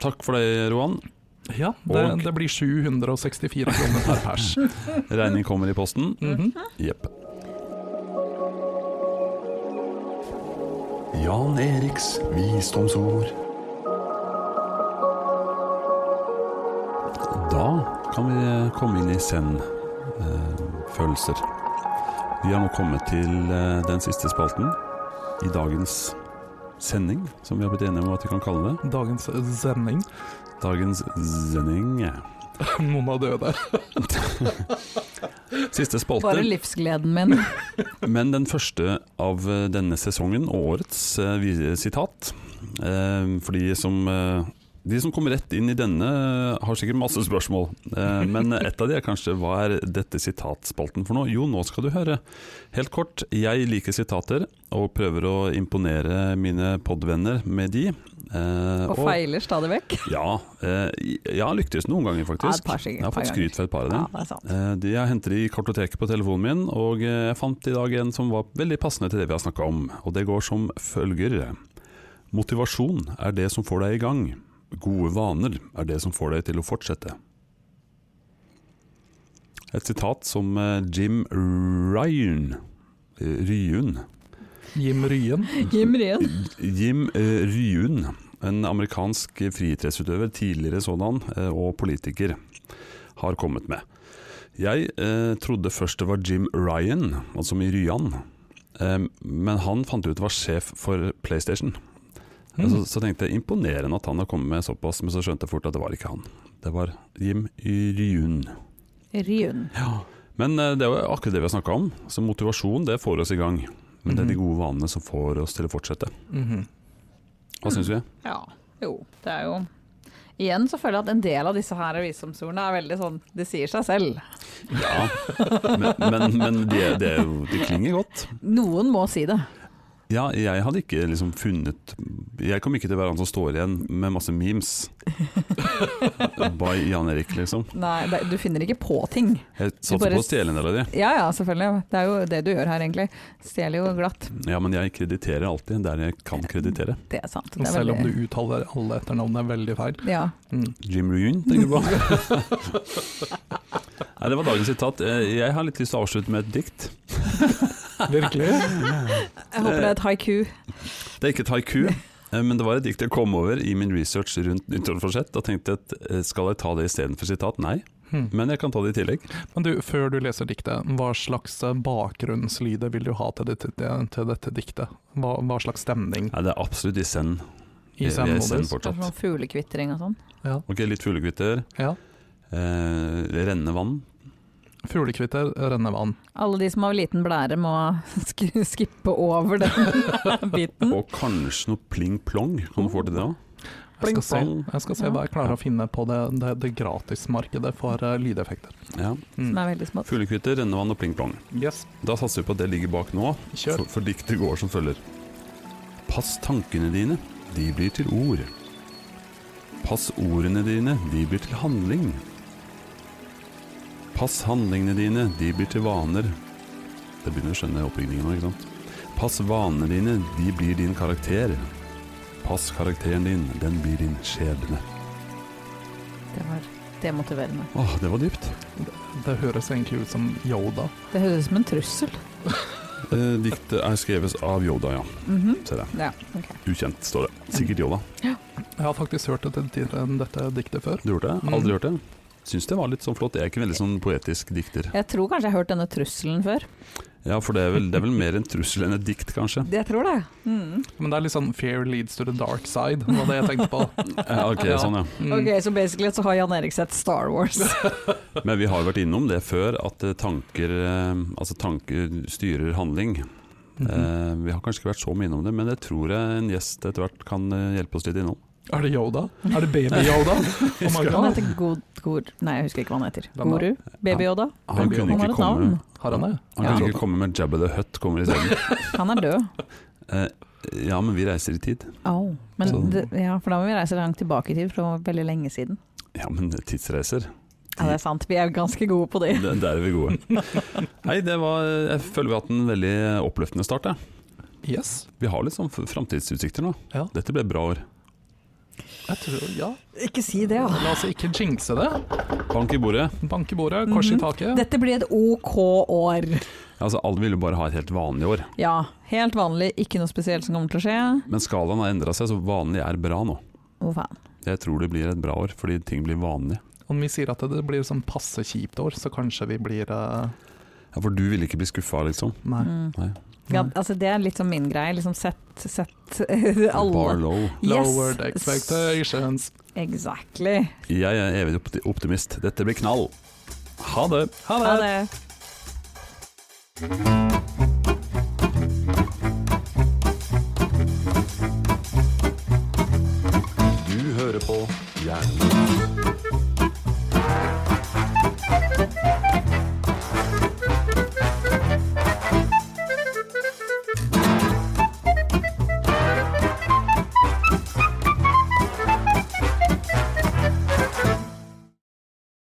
[SPEAKER 1] takk for det, Roan.
[SPEAKER 2] Ja, det,
[SPEAKER 1] Og-
[SPEAKER 2] det blir 764 kroner per
[SPEAKER 1] [laughs]
[SPEAKER 2] pers.
[SPEAKER 1] Regning kommer i posten.
[SPEAKER 2] Mhm.
[SPEAKER 1] Jepp. Jan
[SPEAKER 4] Eriks visdomsord.
[SPEAKER 1] Da kan vi komme inn i send-følelser. Vi har nå kommet til eh, den siste spalten i dagens sending, som vi har blitt enige om at vi kan kalle det.
[SPEAKER 2] Dagens eh, sending. [laughs]
[SPEAKER 1] Dagens sending.
[SPEAKER 2] Noen har døde.
[SPEAKER 1] Siste
[SPEAKER 3] Bare
[SPEAKER 1] spalte,
[SPEAKER 3] livsgleden
[SPEAKER 1] [laughs]
[SPEAKER 3] min.
[SPEAKER 1] men den første av eh, denne sesongen og årets eh, vi- sitat. Eh, For de som eh, de som kommer rett inn i denne, eh, har sikkert masse spørsmål. Eh, Men et av de er kanskje hva er dette sitatspalten for noe? Jo, nå skal du høre. Helt kort, jeg liker sitater og prøver å imponere mine podvenner med de. Eh,
[SPEAKER 3] Og feiler stadig vekk.
[SPEAKER 1] Ja, eh, jeg har lyktes noen ganger,
[SPEAKER 3] Ja, et
[SPEAKER 1] faktisk.
[SPEAKER 3] par sikkert,
[SPEAKER 1] jeg har
[SPEAKER 3] et par
[SPEAKER 1] fått
[SPEAKER 3] ganger.
[SPEAKER 1] skryt for et par av
[SPEAKER 3] Ja,
[SPEAKER 1] dem.
[SPEAKER 3] det er sant.
[SPEAKER 1] Eh, de- Jeg henter i kartoteket på telefonen min, og eh, jeg fant i dag en som var veldig passende til det vi har snakka om. Og det går som følger. Motivasjon er det som får deg i gang. Gode vaner er det som får deg til å fortsette. Et sitat som eh, Jim Ryan eh, Ryun
[SPEAKER 2] Jim Ryen.
[SPEAKER 3] Jim Ryen.
[SPEAKER 1] Jim eh, Ryun, en amerikansk friidrettsutøver, tidligere sådan, eh, og politiker, har kommet med. Jeg eh, trodde først det var Jim Ryan, altså i Ryan, eh, men han fant ut var sjef for PlayStation. Så, så tenkte jeg imponerende at han har kommet med såpass, men så skjønte jeg fort at det var ikke han. Det var Jim Ryun.
[SPEAKER 3] Ryen.
[SPEAKER 1] Men eh, det er jo akkurat det vi har snakka om, så motivasjon det får oss i gang. Men det er de gode vanene som får oss til å fortsette.
[SPEAKER 2] Mhm.
[SPEAKER 1] Hva syns vi?
[SPEAKER 3] Ja. Jo, det er jo Igjen så føler jeg at en del av disse her visdomsordene er veldig sånn Det sier seg selv.
[SPEAKER 1] Ja, men, men, men det, det, er jo, det klinger godt.
[SPEAKER 3] Noen må si det.
[SPEAKER 1] Ja, jeg hadde ikke liksom funnet Jeg kom ikke til å være han som står igjen med masse memes. By Jan Erik, liksom.
[SPEAKER 3] Nei, det, du finner ikke på ting.
[SPEAKER 1] Jeg satser
[SPEAKER 3] bare-
[SPEAKER 1] på å stjele en del av de.
[SPEAKER 3] Ja ja, selvfølgelig. Det er jo det du gjør her, egentlig. Stjeler jo glatt.
[SPEAKER 1] Ja, men jeg krediterer alltid der jeg kan kreditere.
[SPEAKER 3] Det er sant. Det er
[SPEAKER 2] Selv om
[SPEAKER 3] veldig-
[SPEAKER 2] du uttaler alle etternavnene veldig feil.
[SPEAKER 3] Ja.
[SPEAKER 2] Mm.
[SPEAKER 1] [laughs] Jim Rune, tenker du på? Nei, det var dagens sitat. Eh, Jeg har litt lyst til å avslutte med et dikt.
[SPEAKER 2] Virkelig?
[SPEAKER 1] [laughs]
[SPEAKER 3] Jeg håper det er et haiku.
[SPEAKER 1] Det er ikke et haiku, eh, men det var et dikt jeg kom over i min research rundt nyttårsforsett. Da tenkte jeg at eh, skal jeg ta det istedenfor sitat? Nei,
[SPEAKER 2] Hmm.
[SPEAKER 1] men jeg kan ta det i tillegg.
[SPEAKER 2] Men du, før du leser diktet, hva slags eh, bakgrunnslyder vil du ha til dette, til dette diktet? Hva, hva slags stemning
[SPEAKER 1] Nei, det er absolutt i send. Vi
[SPEAKER 2] i
[SPEAKER 1] er i send
[SPEAKER 2] sendmodus?
[SPEAKER 3] Kanskje
[SPEAKER 1] fortsatt.
[SPEAKER 3] noen fuglekvittering og sånn.
[SPEAKER 1] Ok, litt fuglekvitter.
[SPEAKER 2] Ja.
[SPEAKER 1] Eh, rennende vann.
[SPEAKER 2] Fuglekvitter, rennevann.
[SPEAKER 3] Alle de som har liten blære må [laughs] sk skippe over den [laughs]
[SPEAKER 2] Mm.
[SPEAKER 3] biten.
[SPEAKER 1] Og kanskje noe pling-plong. Kan du få til det òg?
[SPEAKER 2] Jeg skal, se,
[SPEAKER 1] Pling-plong.
[SPEAKER 2] jeg skal se hva jeg klarer å finne på det, det, det gratismarkedet for eh, lydeffekter. Mm.
[SPEAKER 1] Ja.
[SPEAKER 3] Som er veldig smått.
[SPEAKER 1] Fuglekvitter, rennende vann og pling-plong.
[SPEAKER 2] Yes,
[SPEAKER 1] Da satser vi på at det ligger bak nå,
[SPEAKER 2] kjør.
[SPEAKER 1] for, for diktet går som følger. Pass tankene dine, de blir til ord. Pass ordene dine, de blir til handling. Pass handlingene dine, de blir til vaner. Det begynner å skjønne oppbyggingen nå, ikke sant? Pass vanene dine, de blir din karakter. Pass karakteren din, den blir din skjebne.
[SPEAKER 3] Det var demotiverende.
[SPEAKER 1] Åh, det var dypt.
[SPEAKER 2] Det høres egentlig ut som Yoda.
[SPEAKER 3] Det høres ut som en trussel.
[SPEAKER 1] Eh, diktet er skrevet av Yoda, ja.
[SPEAKER 3] Mhm.
[SPEAKER 1] Se det.
[SPEAKER 3] Ja, ok.
[SPEAKER 1] Ukjent, står det. Sikkert Yoda.
[SPEAKER 2] Jeg har faktisk hørt dette, eh, dette diktet før.
[SPEAKER 1] Du hørte det? Aldri hørt det? Syns det var litt sånn flott. Jeg er ikke veldig sånn poetisk dikter.
[SPEAKER 3] Jeg tror kanskje jeg har hørt denne trusselen før.
[SPEAKER 1] Ja, for det er vel, det er vel mer en trussel enn et dikt, kanskje.
[SPEAKER 3] Jeg tror det. Mm.
[SPEAKER 2] Men det er litt sånn 'Fear leads to the dark side', var det jeg tenkte på.
[SPEAKER 1] [laughs] Ja, ok,
[SPEAKER 2] Ja.
[SPEAKER 1] sånn ja.
[SPEAKER 2] Mm.
[SPEAKER 3] Ok, Så basically så har Jan Erik sett Star
[SPEAKER 1] [laughs]
[SPEAKER 3] Wars.
[SPEAKER 1] Men vi har vært innom det før, at eh, tanker, eh, altså tanker styrer handling.
[SPEAKER 2] Mhm.
[SPEAKER 1] Eh, vi har kanskje ikke vært så mye innom det, men det tror jeg en gjest etter hvert kan eh, hjelpe oss litt innom.
[SPEAKER 2] Er det Yoda? Er det baby-Yoda? Oh my
[SPEAKER 3] Han
[SPEAKER 2] god.
[SPEAKER 3] heter God... God nei, jeg husker ikke hva han heter.
[SPEAKER 2] Hvem da?
[SPEAKER 3] Guru? Baby Yoda?
[SPEAKER 1] Han
[SPEAKER 2] Baby
[SPEAKER 1] kunne
[SPEAKER 3] Han
[SPEAKER 1] ikke
[SPEAKER 3] har et
[SPEAKER 1] komme,
[SPEAKER 3] navn.
[SPEAKER 2] Har han det?
[SPEAKER 1] han
[SPEAKER 3] Ja.
[SPEAKER 1] kunne ikke komme med Jabba the Hutt kommer isteden.
[SPEAKER 3] Han er død.
[SPEAKER 1] Eh, Ja, men vi reiser i tid.
[SPEAKER 3] Au. Men
[SPEAKER 1] Så-
[SPEAKER 3] det, ja, for da må vi reise langt tilbake i tid, for det var veldig lenge siden.
[SPEAKER 1] Ja, men tidsreiser.
[SPEAKER 3] Ja, det er sant. Vi er ganske gode på det.
[SPEAKER 1] Det- Der er vi gode. Nei, det var eh, Jeg føler vi har hatt en veldig oppløftende start, jeg.
[SPEAKER 2] Yes.
[SPEAKER 1] Vi har litt sånn framtidsutsikter nå.
[SPEAKER 2] Ja.
[SPEAKER 1] Dette ble bra år.
[SPEAKER 2] Jeg tror, ja.
[SPEAKER 3] [laughs] Ikke si det, altså. da.
[SPEAKER 2] La oss ikke jinxe det.
[SPEAKER 1] Bank i bordet.
[SPEAKER 2] Bank i bordet, kors i
[SPEAKER 3] Mhm.
[SPEAKER 2] taket.
[SPEAKER 3] Dette blir et ok år.
[SPEAKER 1] Altså, alle ville bare ha et helt vanlig år.
[SPEAKER 3] Ja, helt vanlig, ikke noe spesielt som kommer til å skje.
[SPEAKER 1] Men skalaen har endra seg, så vanlig er bra nå.
[SPEAKER 3] Å faen.
[SPEAKER 1] Jeg tror det blir et bra år, fordi ting blir vanlig.
[SPEAKER 2] Om vi sier at det blir sånn passe kjipt år, så kanskje vi blir eh,
[SPEAKER 1] Ja, For du ville ikke bli skuffa, liksom.
[SPEAKER 2] Nei.
[SPEAKER 3] Mm.
[SPEAKER 1] Nei.
[SPEAKER 3] Ja, altså, det er litt sånn min greie. Liksom sett, sett alle
[SPEAKER 1] Bar low.
[SPEAKER 2] Lowered expectations.
[SPEAKER 3] Exactly.
[SPEAKER 1] Jeg er evig opti- optimist. Dette blir knall. Ha det.
[SPEAKER 2] Ha det!
[SPEAKER 3] Ha det.